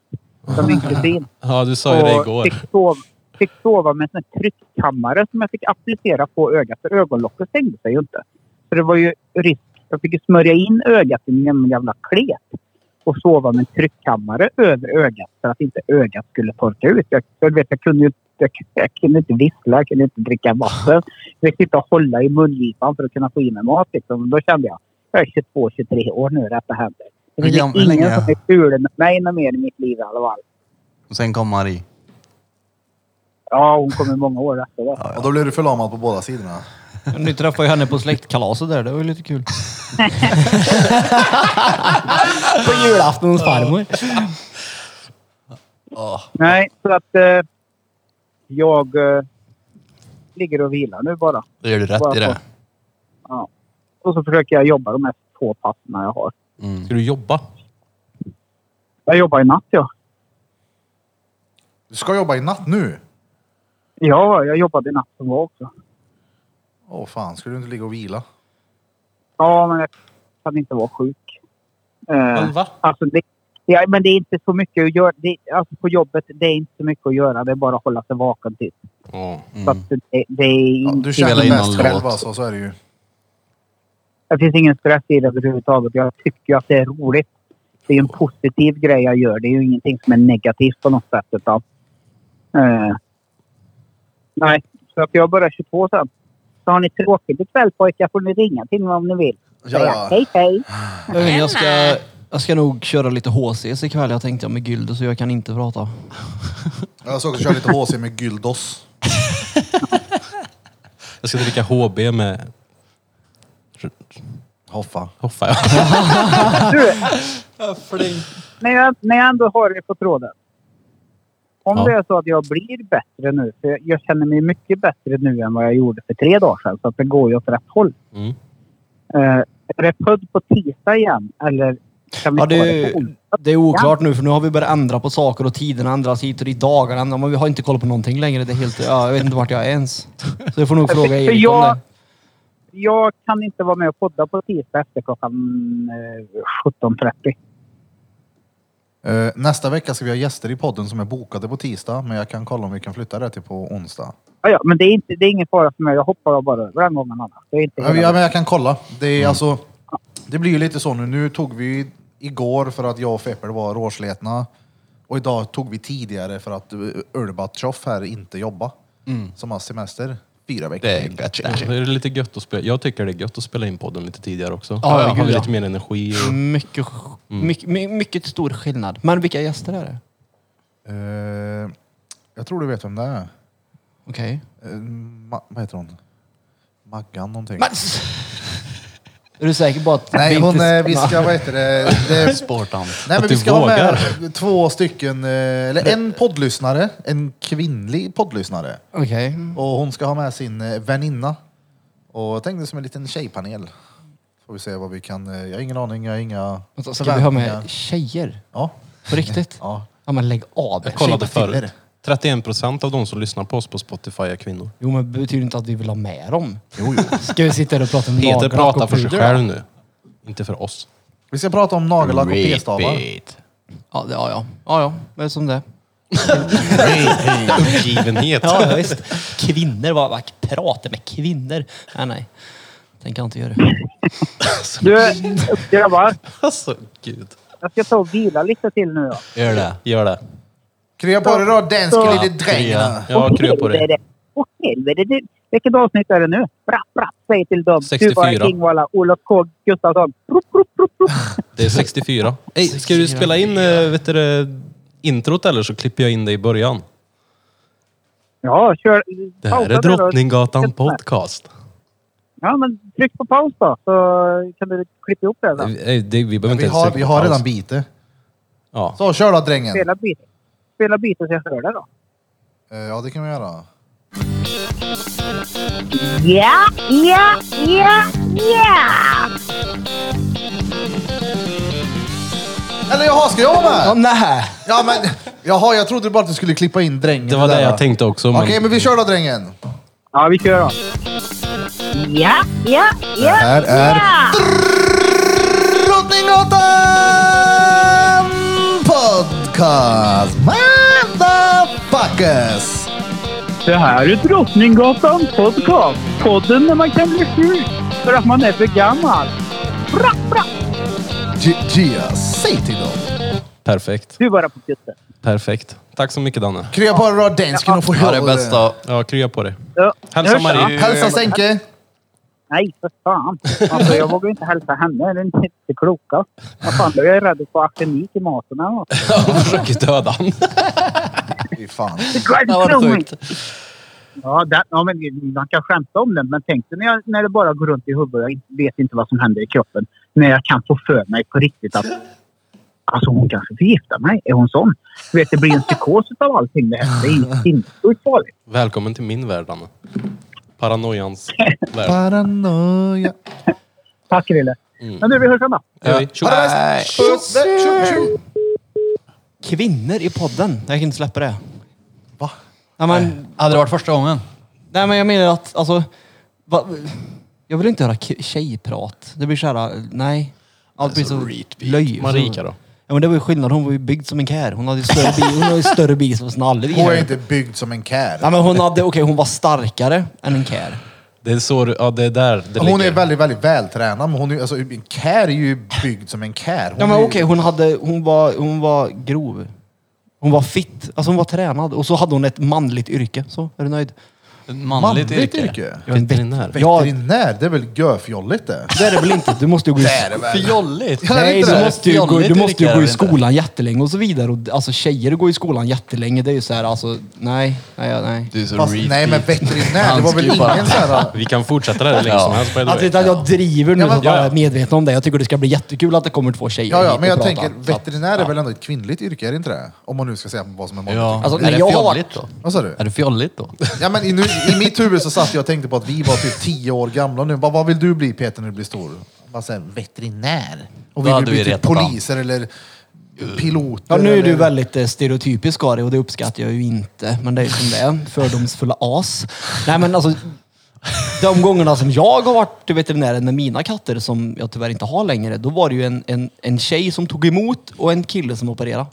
S3: Som min kusin.
S4: Ja, du sa ju det igår.
S3: Fick sova, fick sova med en sån här tryckkammare som jag fick applicera på ögat. För ögonlocket stängde sig ju inte. Så det var ju risk. Jag fick ju smörja in ögat i min gamla klet. Och sova med en tryckkammare över ögat för att inte ögat skulle torka ut. Jag, jag, vet, jag, kunde, ju- jag, jag kunde inte vissla, jag kunde inte dricka vatten. Jag fick sitta och hålla i mungipan för att kunna få i mig mat. Liksom. Då kände jag, jag är 22, 23 år nu detta händer. Det
S5: Hur
S3: finns
S5: gam- hur
S3: ingen
S5: länge-
S3: som är ful med mig något mer i mitt liv i alla fall.
S5: Och sen kom Marie.
S3: Ja, hon kommer många år efter det.
S1: Och då blir du förlamad på båda sidorna.
S2: Ni träffade ju henne på släktkalaset där, det var ju lite kul. på julafton hos farmor.
S3: Nej, så att eh, jag eh, ligger och vilar nu bara.
S5: Då gör du rätt
S3: Bara
S5: i det.
S3: Och så försöker jag jobba de här två passen jag har.
S4: Ska du jobba?
S3: Jag jobbar i natt, ja.
S1: Du ska jobba i natt nu?
S3: Ja, jag jobbade natt som var också.
S1: Åh fan, ska du inte ligga och vila?
S3: Ja, men jag kan inte vara sjuk. Eh,
S4: va?
S3: Alltså det, ja, men det är inte så mycket att göra. Det, alltså på jobbet, det är inte så mycket att göra. Det är bara att hålla sig vaken till.
S4: Ja.
S3: Så att det, det, är
S1: Ja,
S4: Mm.
S3: inte,
S1: du känner
S5: Mm. spela in
S1: bäst
S5: någon
S1: själv
S5: låt.
S1: alltså, så är det ju.
S3: det finns ingen stress i det överhuvudtaget. Jag tycker ju att det är roligt. Det är ju en positiv grej jag gör. Det är ju ingenting som är negativt på något sätt. Utan, eh, nej, så att jag börjar 22 sen. Så har ni tråkigt ikväll pojkar får ni ringa till mig om ni vill.
S1: Ja,
S3: Säga
S1: ja.
S3: Hej hej!
S2: Jag, vet, inte, jag, ska, jag ska nog köra lite HCs ikväll. Jag tänkte med Gylde så jag kan inte prata.
S1: Jag ska också köra lite HC med Gyldos.
S4: Jag ska dricka HB med
S1: Hoffa.
S4: Hoffa. ja.
S3: när jag, när jag ändå har det på tråden. Om
S4: Ja.
S3: det är så att jag blir bättre nu, för jag, jag känner mig mycket bättre nu än vad jag gjorde för tre dagar sedan, så att det går ju åt rätt håll.
S4: Mm.
S3: Eh, är det pudd på tisdag igen, eller kan vi
S2: Ja,
S3: ta det
S2: det,
S3: på onsdag?
S2: det är oklart nu för nu har vi börjat ändra på saker och tiderna ändras hit och dit, dagarna ändras. Men vi har inte koll på någonting längre. Det är helt, ja, jag vet inte vart jag är ens. Så jag får nog fråga
S3: För
S2: Erik
S3: jag-
S2: om det.
S3: Jag kan inte vara med och podda på tisdag efter klockan eh, 17.30.
S1: Eh, nästa vecka ska vi ha gäster i podden som är bokade på tisdag, men jag kan kolla om vi kan flytta det till på onsdag.
S3: Ja, ja, men det är, inte, det är ingen fara för mig. Jag hoppar av bara över den gången annars. Det är inte
S1: Ja, men-
S3: hela-
S1: ja, men jag kan kolla. Det,
S5: Mm.
S1: är alltså, det blir ju lite så nu. Nu tog vi ju igår för att jag och Fepper var råsletna. Och idag tog vi tidigare för att eh, Ölbatroff här inte jobba. Som har semester. Fyra veckor.
S5: Mm. Det är gött det.
S4: Det är lite gött att spela. Jag tycker det är gött att spela in podden lite tidigare också.
S2: Ja, ja,
S4: Då har
S2: gud,
S4: vi
S2: ja. Mm.
S4: lite mer energi. Och...
S2: Mycket, mycket, my- mycket stor skillnad. Men vilka gäster är det?
S1: Eh, jag tror du vet vem det är.
S2: Okej.
S1: Eh, Ma- vad heter hon? Maggan någonting.
S2: Är du säker på att...
S1: Nej,
S2: vi
S1: hon,
S2: inte-
S1: eh, vi ska, vad heter det? det
S5: Sportant.
S1: Nej, men
S4: Att
S1: vi
S4: du
S1: ska ha med två stycken, eh, eller en poddlyssnare, en kvinnlig poddlyssnare.
S2: Okej.
S1: Och hon ska ha med sin eh, väninna. Och jag tänkte som en liten tjejpanel. Får vi se vad vi kan, eh, jag har ingen aning, jag har inga
S2: Vänta, Ska vi ha
S1: förväntningar.
S2: med tjejer?
S1: Ja.
S2: På riktigt?
S1: ja.
S2: Ja men lägg av.
S4: Jag kollade
S1: Tjejprofiler.
S4: förut. 31 procent av de som lyssnar på oss på Spotify är kvinnor.
S2: Jo men betyder inte att vi vill ha med dem?
S1: Jo, jo.
S2: Ska vi sitta här och prata om
S4: Peter
S2: nagellack och
S4: pratar för sig
S2: puder?
S4: själv nu. Inte för oss.
S1: Vi ska prata om nagellack och p-stavar.
S2: Ja, det, ja, ja. Ja, ja. Det är som det
S4: Uppgivenhet.
S2: Ja, ja, visst. Kvinnor, vad vad pratar med kvinnor? Nej, nej. Tänker jag inte göra.
S3: Du, grabbar.
S4: Alltså, gud.
S3: Jag ska ta och vila lite till nu då.
S5: Gör det.
S4: Gör det.
S1: Krya på dig då, danske
S3: Ja,
S1: lille drängen.
S3: Åh,
S4: Jag kryper på dig.
S3: helvete. Åh helvete. Du, Vilket avsnitt är det nu? Brapp, brapp, säg till dem.
S4: 64.
S3: Tuva Kingvalla, Olof K Gustafsson. Rup, rup, rup, rup.
S4: Det är 64. Ey, ska du spela in eh, vet du, det, introt eller så klipper jag in det i början?
S3: Ja, kör.
S4: Det här
S3: Pausa
S4: är
S3: nu då.
S4: Drottninggatan podcast.
S3: Ja, men tryck på paus då så kan du klippa ihop det. Då.
S4: Ey, det, vi behöver inte
S1: Vi
S4: ens
S1: har,
S4: trycka
S1: vi
S4: på
S1: har
S4: paus.
S1: redan bitet.
S4: Ja.
S1: Så, kör då drängen.
S3: Spela biten. Spela biten så jag hör det då.
S1: Eh, Ja, det kan vi göra.
S8: Yeah, yeah, yeah, yeah.
S1: Eller jaha, ska jag vara med?
S2: nej!
S1: Ja, men, jaha, jag trodde bara att du skulle klippa in drängen.
S4: Det var
S1: där,
S4: det
S1: va?
S4: jag tänkte också. Men...
S1: Okej, men vi kör då drängen.
S3: Ja, vi kör då.
S8: Yeah, yeah, yeah.
S1: här är-
S8: yeah.
S1: Drottninggatan podcast. Motherfuckers!
S3: Det här är Drottninggatan podcast. Podden när man kan bli sjuk för att man är för gammal.
S1: G- Gia, säg till dem.
S4: Perfekt.
S3: Du bara på kutten.
S4: Perfekt. Tack så mycket Danne.
S1: Krya på dig då, dansken och få
S5: Ha det bästa.
S4: Ja, krya på dig.
S3: Ja,
S4: Hälsa
S3: hörs,
S4: Marie.
S3: va?
S1: Hälsa Sänke.
S3: Nej, för fan. Alltså, jag vågar ju inte hälsa henne. Det är inte det kloka. Vad fan, då är jag rädd att få arsenik i maten eller något.
S4: Jag försöker döda han.
S1: Fy fan.
S5: Det var sjukt.
S3: Ja, där, ja, men man kan skämta om det. Men tänk dig när, jag, när det bara går runt i huvudet. Jag inte- vet inte vad som händer i kroppen. När jag kan få för mig på riktigt att alltså, hon kanske förgiftar mig. Är hon sån? Du vet, det blir en psykos av allting det här. Det är sinnessjukt farligt.
S4: Välkommen till min värld Danne. Paranoians värld.
S1: Paranoia.
S3: Tack, Rille. Men du, vi hörs sen då.
S4: Hej. Tjo.
S1: Tjup, tjup, tjup.
S2: Kvinnor i podden. Jag kan inte släppa det.
S1: Va?
S2: Nej, men,
S5: Hade det varit första gången?
S2: nej, men jag menar att alltså, va, jag vill inte höra k- tjejprat. Det blir så här, nej. Allt
S1: Alltså,
S2: blir så löjligt.
S4: Marika då?
S2: Ja, men det var ju skillnad. Hon var ju byggd som en kär. Hon hade ju större bil, hon hade ju större bil som snarare vi
S1: Hon är
S2: hade.
S1: inte byggd som en
S2: Nej,
S1: kär.
S2: men hon, hade, okay, hon var starkare än en kär.
S4: Det är så, du- ja det är där det
S1: Hon är
S4: ligger.
S1: väldigt, väldigt vältränad, men hon är, ju- alltså, en kär är ju byggd som en kär. Hon
S2: Ja, men
S1: är
S2: okej,
S1: ju-
S2: hon, hade, hon, var, hon var grov. Hon var fit. Alltså hon var tränad. Och så hade hon ett manligt yrke. Så, är du nöjd?
S5: Ett manligt,
S1: Manligt
S5: yrke?
S1: yrke?
S2: Jag är en
S4: Veterinär.
S2: Ja,
S1: Veterinär, det är väl görfjolligt det?
S2: det är det väl inte. Du måste ju gå i,
S1: Det är det väl?
S5: Fjolligt!
S1: Ja, det är
S2: nej,
S1: inte
S2: du
S1: det.
S2: måste ju gå, du
S5: Fjolligt
S2: måste ju
S5: yrke
S2: gå
S5: är
S2: i
S5: det inte.
S2: skolan jättelänge och så vidare. Och, alltså tjejer går i skolan jättelänge. Det är ju så här, alltså nej, nej, nej.
S5: Du är så
S1: Fast,
S5: repeat.
S1: nej men veterinär, det var väl
S5: Han skulle
S1: ingen såhär...
S4: Vi kan fortsätta det här hur länge
S5: Ja.
S4: som helst. by the way.
S2: Att, utan jag driver nu
S1: Ja, men-
S2: så att alla
S4: Ja,
S2: är
S4: ja.
S2: medvetna om det. Jag tycker det ska bli jättekul att det kommer två tjejer
S1: Ja, ja,
S2: hit
S1: men
S2: och
S1: jag
S2: pratar.
S1: tänker
S2: Så att-
S1: veterinär är väl ändå ett kvinnligt yrke, är det inte det? Om man nu ska säga vad som är manligt.
S5: Ja.
S2: Alltså,
S5: är
S2: när
S5: det
S2: jag har
S5: fjolligt då?
S1: Vad sa du?
S5: Är det fjolligt då?
S1: Ja, men i, nu, I mitt huvud så satt jag och tänkte på att vi var typ tio år gamla nu. Bara, vad vill du bli Peter när du blir stor? Bara så här, veterinär. Och vi
S5: Då
S1: vill
S5: hade vi
S1: bli typ
S5: retat han.
S1: poliser eller piloter.
S2: Ja, nu är
S1: eller...
S2: du väldigt eh, stereotypisk Ari och det uppskattar jag ju inte. Men det är ju som det är. Fördomsfulla as. Nej men alltså, de gångerna som jag har varit till veterinären med mina katter som jag tyvärr inte har längre. Då var det ju en, en, en tjej som tog emot och en kille som opererade.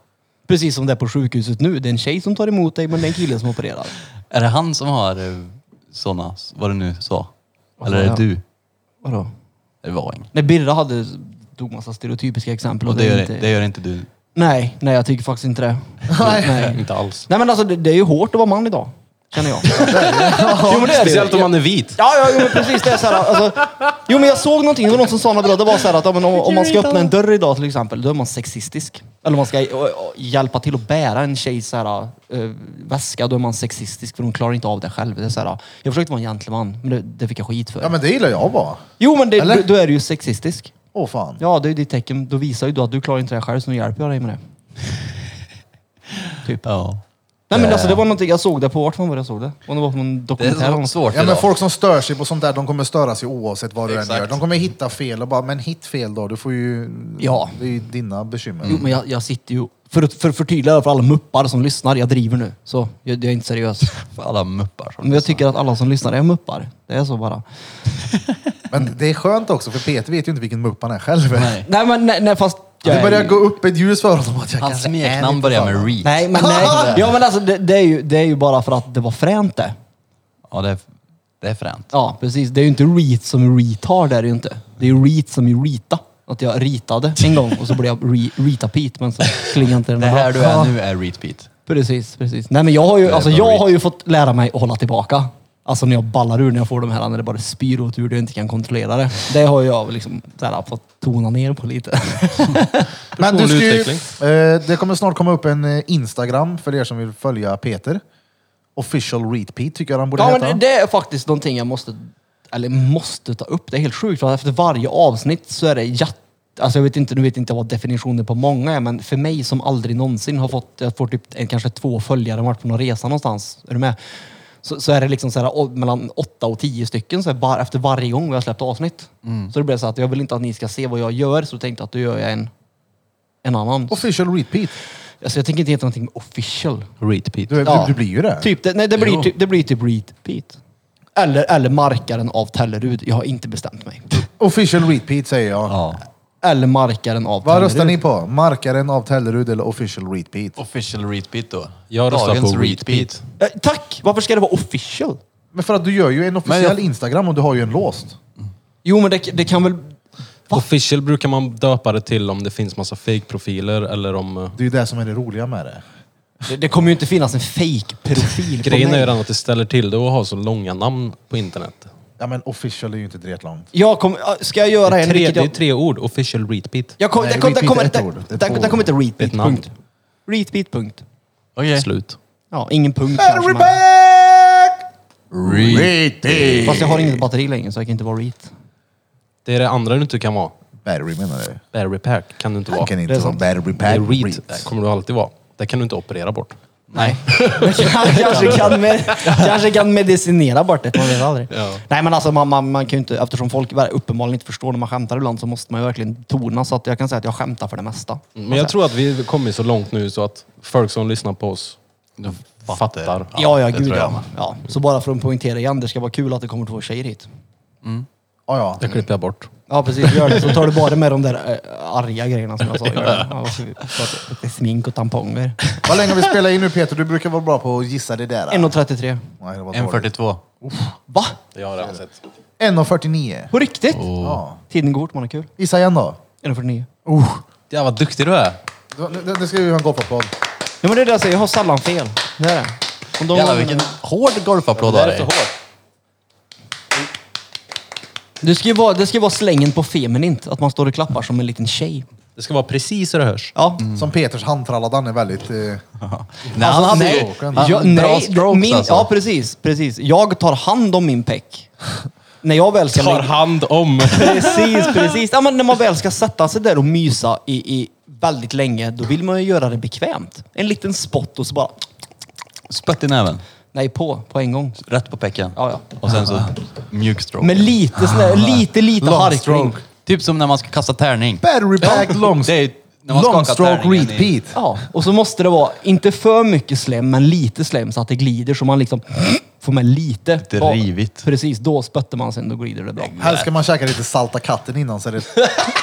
S2: Precis som det är på sjukhuset nu. Det är en tjej som tar emot dig men det är en kille som opererar.
S5: Är det han som har eh, såna, vad du nu sa? Eller
S2: sa
S5: är det
S2: jag?
S5: du?
S2: Vadå?
S5: Det var inget.
S2: Nej, Birra hade tog massa stereotypiska exempel.
S5: Och
S2: Och
S5: det
S2: är
S5: gör,
S2: inte,
S5: det gör inte du.
S2: Nej, nej jag tycker faktiskt inte det.
S4: Nej,
S2: nej.
S4: inte alls.
S2: nej men alltså det, det är ju hårt att vara man idag. Känner jag. jo, men det är det.
S4: Speciellt om man är vit.
S2: Ja, ja, jo, men precis. Det är så här, alltså, jo, men jag såg någonting. Det var någon som sa något bra. Det var så här att ja, men om, om man ska öppna en dörr idag till exempel, då är man sexistisk. Eller om man ska eh, eh, hjälpa till att bära en tjejs så här, eh, väska, då är man sexistisk för hon klarar inte av det själv. Det är så här, jag försökte vara en gentleman, men det, det fick jag skit för.
S1: Ja, men det gillar jag bara.
S2: jo, men det,
S1: Eller?
S2: då- då är du ju sexistisk.
S1: Åh fan.
S2: Ja, det är ju ditt tecken. Då visar ju du att du klarar inte det här själv, så nu hjälper jag dig med det.
S5: Typ. Ja.
S2: Nej men alltså det var någonting, jag såg det på, vart fan var det jag såg det? Om det var på en
S5: Det är
S2: dokumentär eller
S5: så
S2: något.
S5: svårt
S1: Ja, men
S5: idag.
S1: folk som stör sig på sånt där, de kommer störa sig oavsett vad du än
S5: Exakt.
S1: gör. De kommer hitta fel och bara, men hit fel då. Du får ju...
S2: Ja.
S1: Det är ju dina bekymmer.
S2: Jo men jag, jag sitter ju, för att för att förtydliga det för alla muppar som lyssnar, jag driver nu. Så jag, jag är inte seriös.
S5: För alla muppar som
S2: Men jag tycker att alla som lyssnar är muppar. Det är så bara.
S1: Men det är skönt också, för Peter vet ju inte vilken mupp han är själv.
S5: Nej.
S2: Nej men nej, nej fast... jag
S1: Det
S2: är
S1: börjar
S2: ju-
S1: gå upp ett ljus för honom att jag
S5: Hans
S1: kanske är lite
S5: smeknamn börjar
S1: förbannad.
S5: med Reed.
S2: Nej men nej. Ja men alltså det, det, är ju, det är ju bara för att det var fränt det.
S5: Ja, det är, det är fränt.
S2: Ja precis, det är ju inte reet som retard det är det ju inte. Det är ju reet som är rita. Att jag ritade en gång och så blev jag re, rita Pete men så klingade inte den
S5: Det
S2: bra.
S5: här du är
S2: Ja.
S5: nu är repeat.
S2: Precis, precis. Nej men jag har ju,
S5: är
S2: alltså,
S5: bara
S2: jag
S5: reet.
S2: har ju fått lära mig att hålla tillbaka. Alltså när jag ballar ur, när jag får de här, när det bara spyr åt ur, det jag inte kan kontrollera det. Det har jag liksom så här, fått tona ner på lite.
S1: Men du ska
S4: Personlig
S1: ju, eh, det kommer snart komma upp en eh, Instagram för er som vill följa Peter. Official Repeat tycker jag han borde
S2: Ja
S1: heta.
S2: men det är faktiskt någonting jag måste, eller måste ta upp. Det är helt sjukt för att efter varje avsnitt så är det jätte Alltså jag vet inte, nu vet inte jag vad definitionen på många är, men för mig som aldrig någonsin har fått, jag får typ en, kanske två följare, och varit på någon resa någonstans, är du med? Så, så är det liksom så här, å- mellan åtta och tio stycken så här, var, efter varje gång jag har släppt avsnitt. Så det blev så att jag vill inte att ni ska se vad jag gör, så tänkte jag att då gör jag en, en annan.
S1: Official Repeat.
S2: Alltså jag tänker inte heta någonting med official.
S4: Repeat.
S1: Du,
S2: Ja.
S1: du, du blir ju det.
S2: Typ det, nej, det, blir typ, det blir typ repeat. Eller, eller markaren av Tellerud. Jag har inte bestämt mig.
S1: Official Repeat säger jag.
S5: Ja.
S2: Eller markaren av
S1: Vad
S2: Tellerud.
S1: röstar ni på? Markaren av Tellerud eller Official Repeat?
S5: Official repeat då.
S4: Jag röstar
S5: Dagens
S4: på
S5: repeat.
S4: repeat.
S2: Eh, tack! Varför ska det vara official?
S1: Men för att du gör ju en officiell
S5: jag-
S1: Instagram och du har ju en låst.
S2: Jo, men det, det kan väl...
S4: Official brukar man döpa det till om det finns massa fake-profiler eller om... eh,
S1: Det är ju det som är det roliga med det.
S2: Det, det kommer ju inte finnas en fake profil på
S4: Grejen är
S2: mig.
S4: ju den att det ställer till det att ha så långa namn på internet.
S1: Ja men official är ju inte dretlångt.
S2: Jag kommer... ja, Ska jag göra en...
S4: Tre,
S2: vilket
S4: det är
S2: jag,
S4: tre ord. Official repeat.
S2: jag kom,
S1: Nej,
S2: det kom, det
S1: repeat
S2: kommer
S1: är ett
S2: det-
S1: ord. Det är
S2: det-
S1: två
S2: det kommer inte
S4: Det är
S2: repeat.
S4: ett namn.
S2: Punkt. Repeat. Punkt.
S5: Okej.
S4: Slut.
S2: Ja, ingen punkt kanske. Men,
S5: Repeat.
S2: fast jag har inget batteri längre så jag kan inte vara reet.
S4: Det är det andra du inte kan vara.
S1: Battery menar du?
S4: Barry Pack kan du inte
S1: Han
S4: vara.
S1: kan
S4: Det
S1: inte vara battery pack.
S4: är read.
S1: repeat.
S4: Det kommer du alltid vara. Det kan du inte operera bort.
S5: Nej.
S2: kanske, kan med, kanske kan medicinera bort det, man vet aldrig. Nej men alltså man, man, man kan ju inte, eftersom folk ver- uppenbarligen inte förstår när man skämtar ibland så måste man ju verkligen tona så att jag kan säga att jag
S5: Mm,
S2: skämtar för det mesta.
S4: Men jag tror att vi har kommit så långt nu så att folk som lyssnar på oss Fattar.
S2: Ja, ja,
S5: det
S2: gud
S5: tror jag
S2: ja. ja. Så bara för att poängtera igen, det ska vara kul att det kommer två tjejer hit.
S1: Ja, ja.
S4: Det klipper jag bort.
S2: Ja precis, gör det. Så tar du bara med de där äh, arga grejerna som jag sa. Gör det. Ja, så vi pratar lite smink och tamponger.
S1: Vad länge har vi spelat in nu Peter? Du brukar vara bra på att gissa det där.
S2: 1.33.
S1: Nej, det var dåligt.
S5: 1.42.
S2: Va?
S4: Det har jag redan sett.
S1: 1.49.
S2: På riktigt?
S1: Ja.
S2: Tiden går fort, man har kul.
S1: Gissa igen då.
S2: 1.49.
S1: Oh.
S5: Ja, vad duktig du är.
S1: Nu, nu- nu ska vi ha en golfapplåd.
S2: Ja men det är det jag säger, jag har sällan fel. Det är det. Om de-
S5: Jävlar vilken hård golfapplåd du har. i.
S2: Det ska ju vara, det ska ju vara slängen på feminint, att man står och klappar som en liten tjej.
S4: Det ska vara precis så det hörs.
S2: Ja.
S1: Som Peters handtralla, den är väldigt... Eh,
S5: Alltså, Nej, han hade
S2: Alltså, nej,
S5: ju...
S2: jag,
S5: Han, bra
S2: nej
S5: strokes
S2: min,
S5: alltså.
S2: Ja precis, precis. Jag tar hand om min peck. När jag väl ska
S4: Tar
S2: lägga-
S4: hand om.
S2: Precis, precis. Ja, men när man väl ska sätta sig där och mysa i, i väldigt länge, då vill man ju göra det bekvämt. En liten spott och så bara,
S5: Spött i näven.
S2: nej på, på en gång.
S5: Rätt på pecken.
S2: Ja, ja.
S5: Och sen så mjuk stroke.
S2: Men lite sån där, lite, lite
S5: Long
S2: harkling.
S5: stroke. Typ som när man ska kasta tärning.
S1: battery pack, long,
S5: Det är ju när man
S1: long
S5: skakar
S1: stroke
S5: tärningen i-
S1: repeat.
S2: Ja, och så måste det vara, inte för mycket slem, men lite slem så att det glider så man liksom får med lite. bak.
S5: rivigt.
S2: Precis, då spötter man sen, då glider det bra.
S1: Här ska man käka lite salta katten innan så det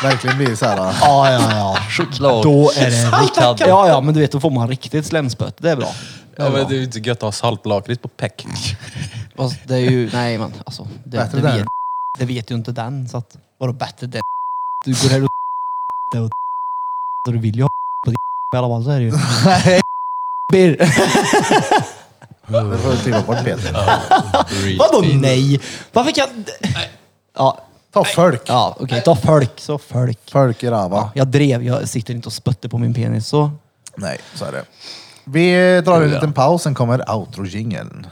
S1: verkligen blir så här. eh,
S2: Ja, ja, ja.
S5: Choklad.
S2: Då är det
S5: Saltad.
S2: riktigt... Ja, ja, men du vet, då får man riktigt slemspött. Det är bra.
S4: Ja, men det är ju inte gött att ha saltlakrits på peck.
S2: Fast Alltså, det är ju, nej men alltså. Det,
S1: Bättre
S2: det,
S1: där.
S2: vet, det vet ju inte den. Så att, vadå bättre där? Du går här och där och så du vill ju ha på din i alla fall så är det ju. Bir.
S1: Det får du kliva bort Peter.
S2: Vadå nej? Varför kan... Ja,
S1: Ta folk.
S2: ja okej. Ta folk. Så folk.
S1: Folk i rava.
S2: Jag drev, jag sitter inte och spötter på min penis så.
S1: Nej, så är det. Vi drar en liten paus, sen kommer outro-jingeln.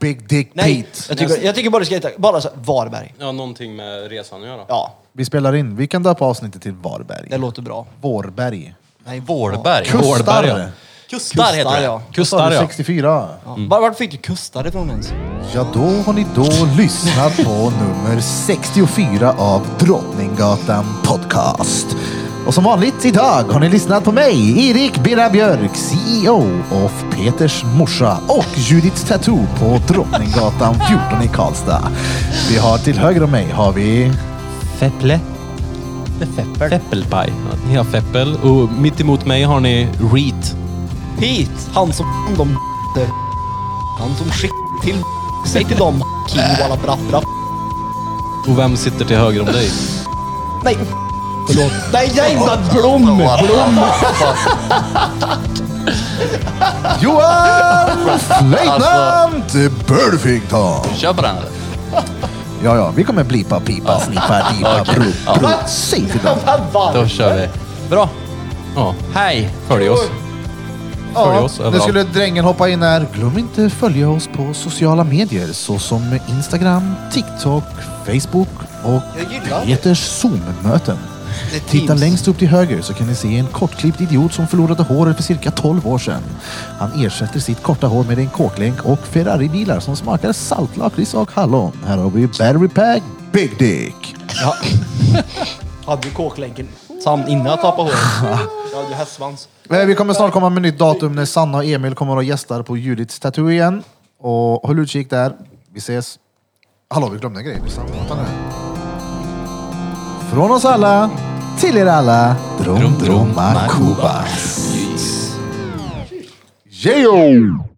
S1: Big Dick
S2: Mm. Nej,
S1: Pete.
S2: jag tycker, jag tycker bara du ska heta, bara så, Varberg.
S4: Ja, någonting med resan att göra.
S2: Ja,
S1: Vi spelar in. Vi kan döpa avsnittet till Varberg.
S2: det låter bra.
S1: Vårberg.
S2: Nej,
S5: Vårdberg.
S1: Kustar.
S4: ja.
S5: Kustar
S2: Kustar,
S5: heter
S2: Mm.
S5: det.
S2: ja.
S4: Kustar ja.
S1: 64.
S2: Ja. Var, vart fick du kustare ifrån ens?
S1: Ja, då har ni då lyssnat på nummer 64 av Drottninggatan Podcast. Och som vanligt idag har ni lyssnat på mig, Erik Birra Björk, CEO of Peters morsa och Judith Tattoo på Drottninggatan 14 i Karlstad. Vi har till höger om mig har vi...
S4: Fepple. Feppel. Feppelpaj. Ja, Ni har feppel. Och mitt emot mig har ni reet.
S2: Pete, han som de Han som skick till Säg till dem King och alla bra bra
S4: Och vem sitter till höger om dig?
S2: Nej! Förlåt. Nej, nej, men Blom! Blom!
S1: Johan Flöjtnant Burfington!
S5: Kör på den eller?
S1: Ja, ja, vi kommer blipa, pipa, snippa, dipa,
S5: Okej.
S1: bro, bro. Säg till dem.
S5: Då kör vi. Bra.
S4: Ja,
S5: Hej!
S4: följ oss. Följ oss
S1: nu
S4: överallt.
S1: skulle drängen hoppa in här. Glöm inte följa oss på sociala medier såsom Instagram, TikTok, Facebook och Peters Zoom-möten. Titta längst upp till höger så kan ni se en kortklippt idiot som förlorade håret för cirka 12 år sedan. Han ersätter sitt korta hår med en kåklänk och Ferrari-bilar som smakar saltlakrits och hallon. Här har vi Battery Pack Big Dick.
S2: Ja. Hade ju kåklänken samt innan jag tappade håret. Jag hade ju hästsvans.
S1: Eh, Vi kommer snart komma med nytt datum när Sanna och Emil kommer att gästar på Judiths Tattoo igen. Och håll utkik där. Vi ses. Hallå, vi glömde en grej. Vi sa- vänta nu. Från oss alla, till er alla. Drom, drom, Kubas. Yeah!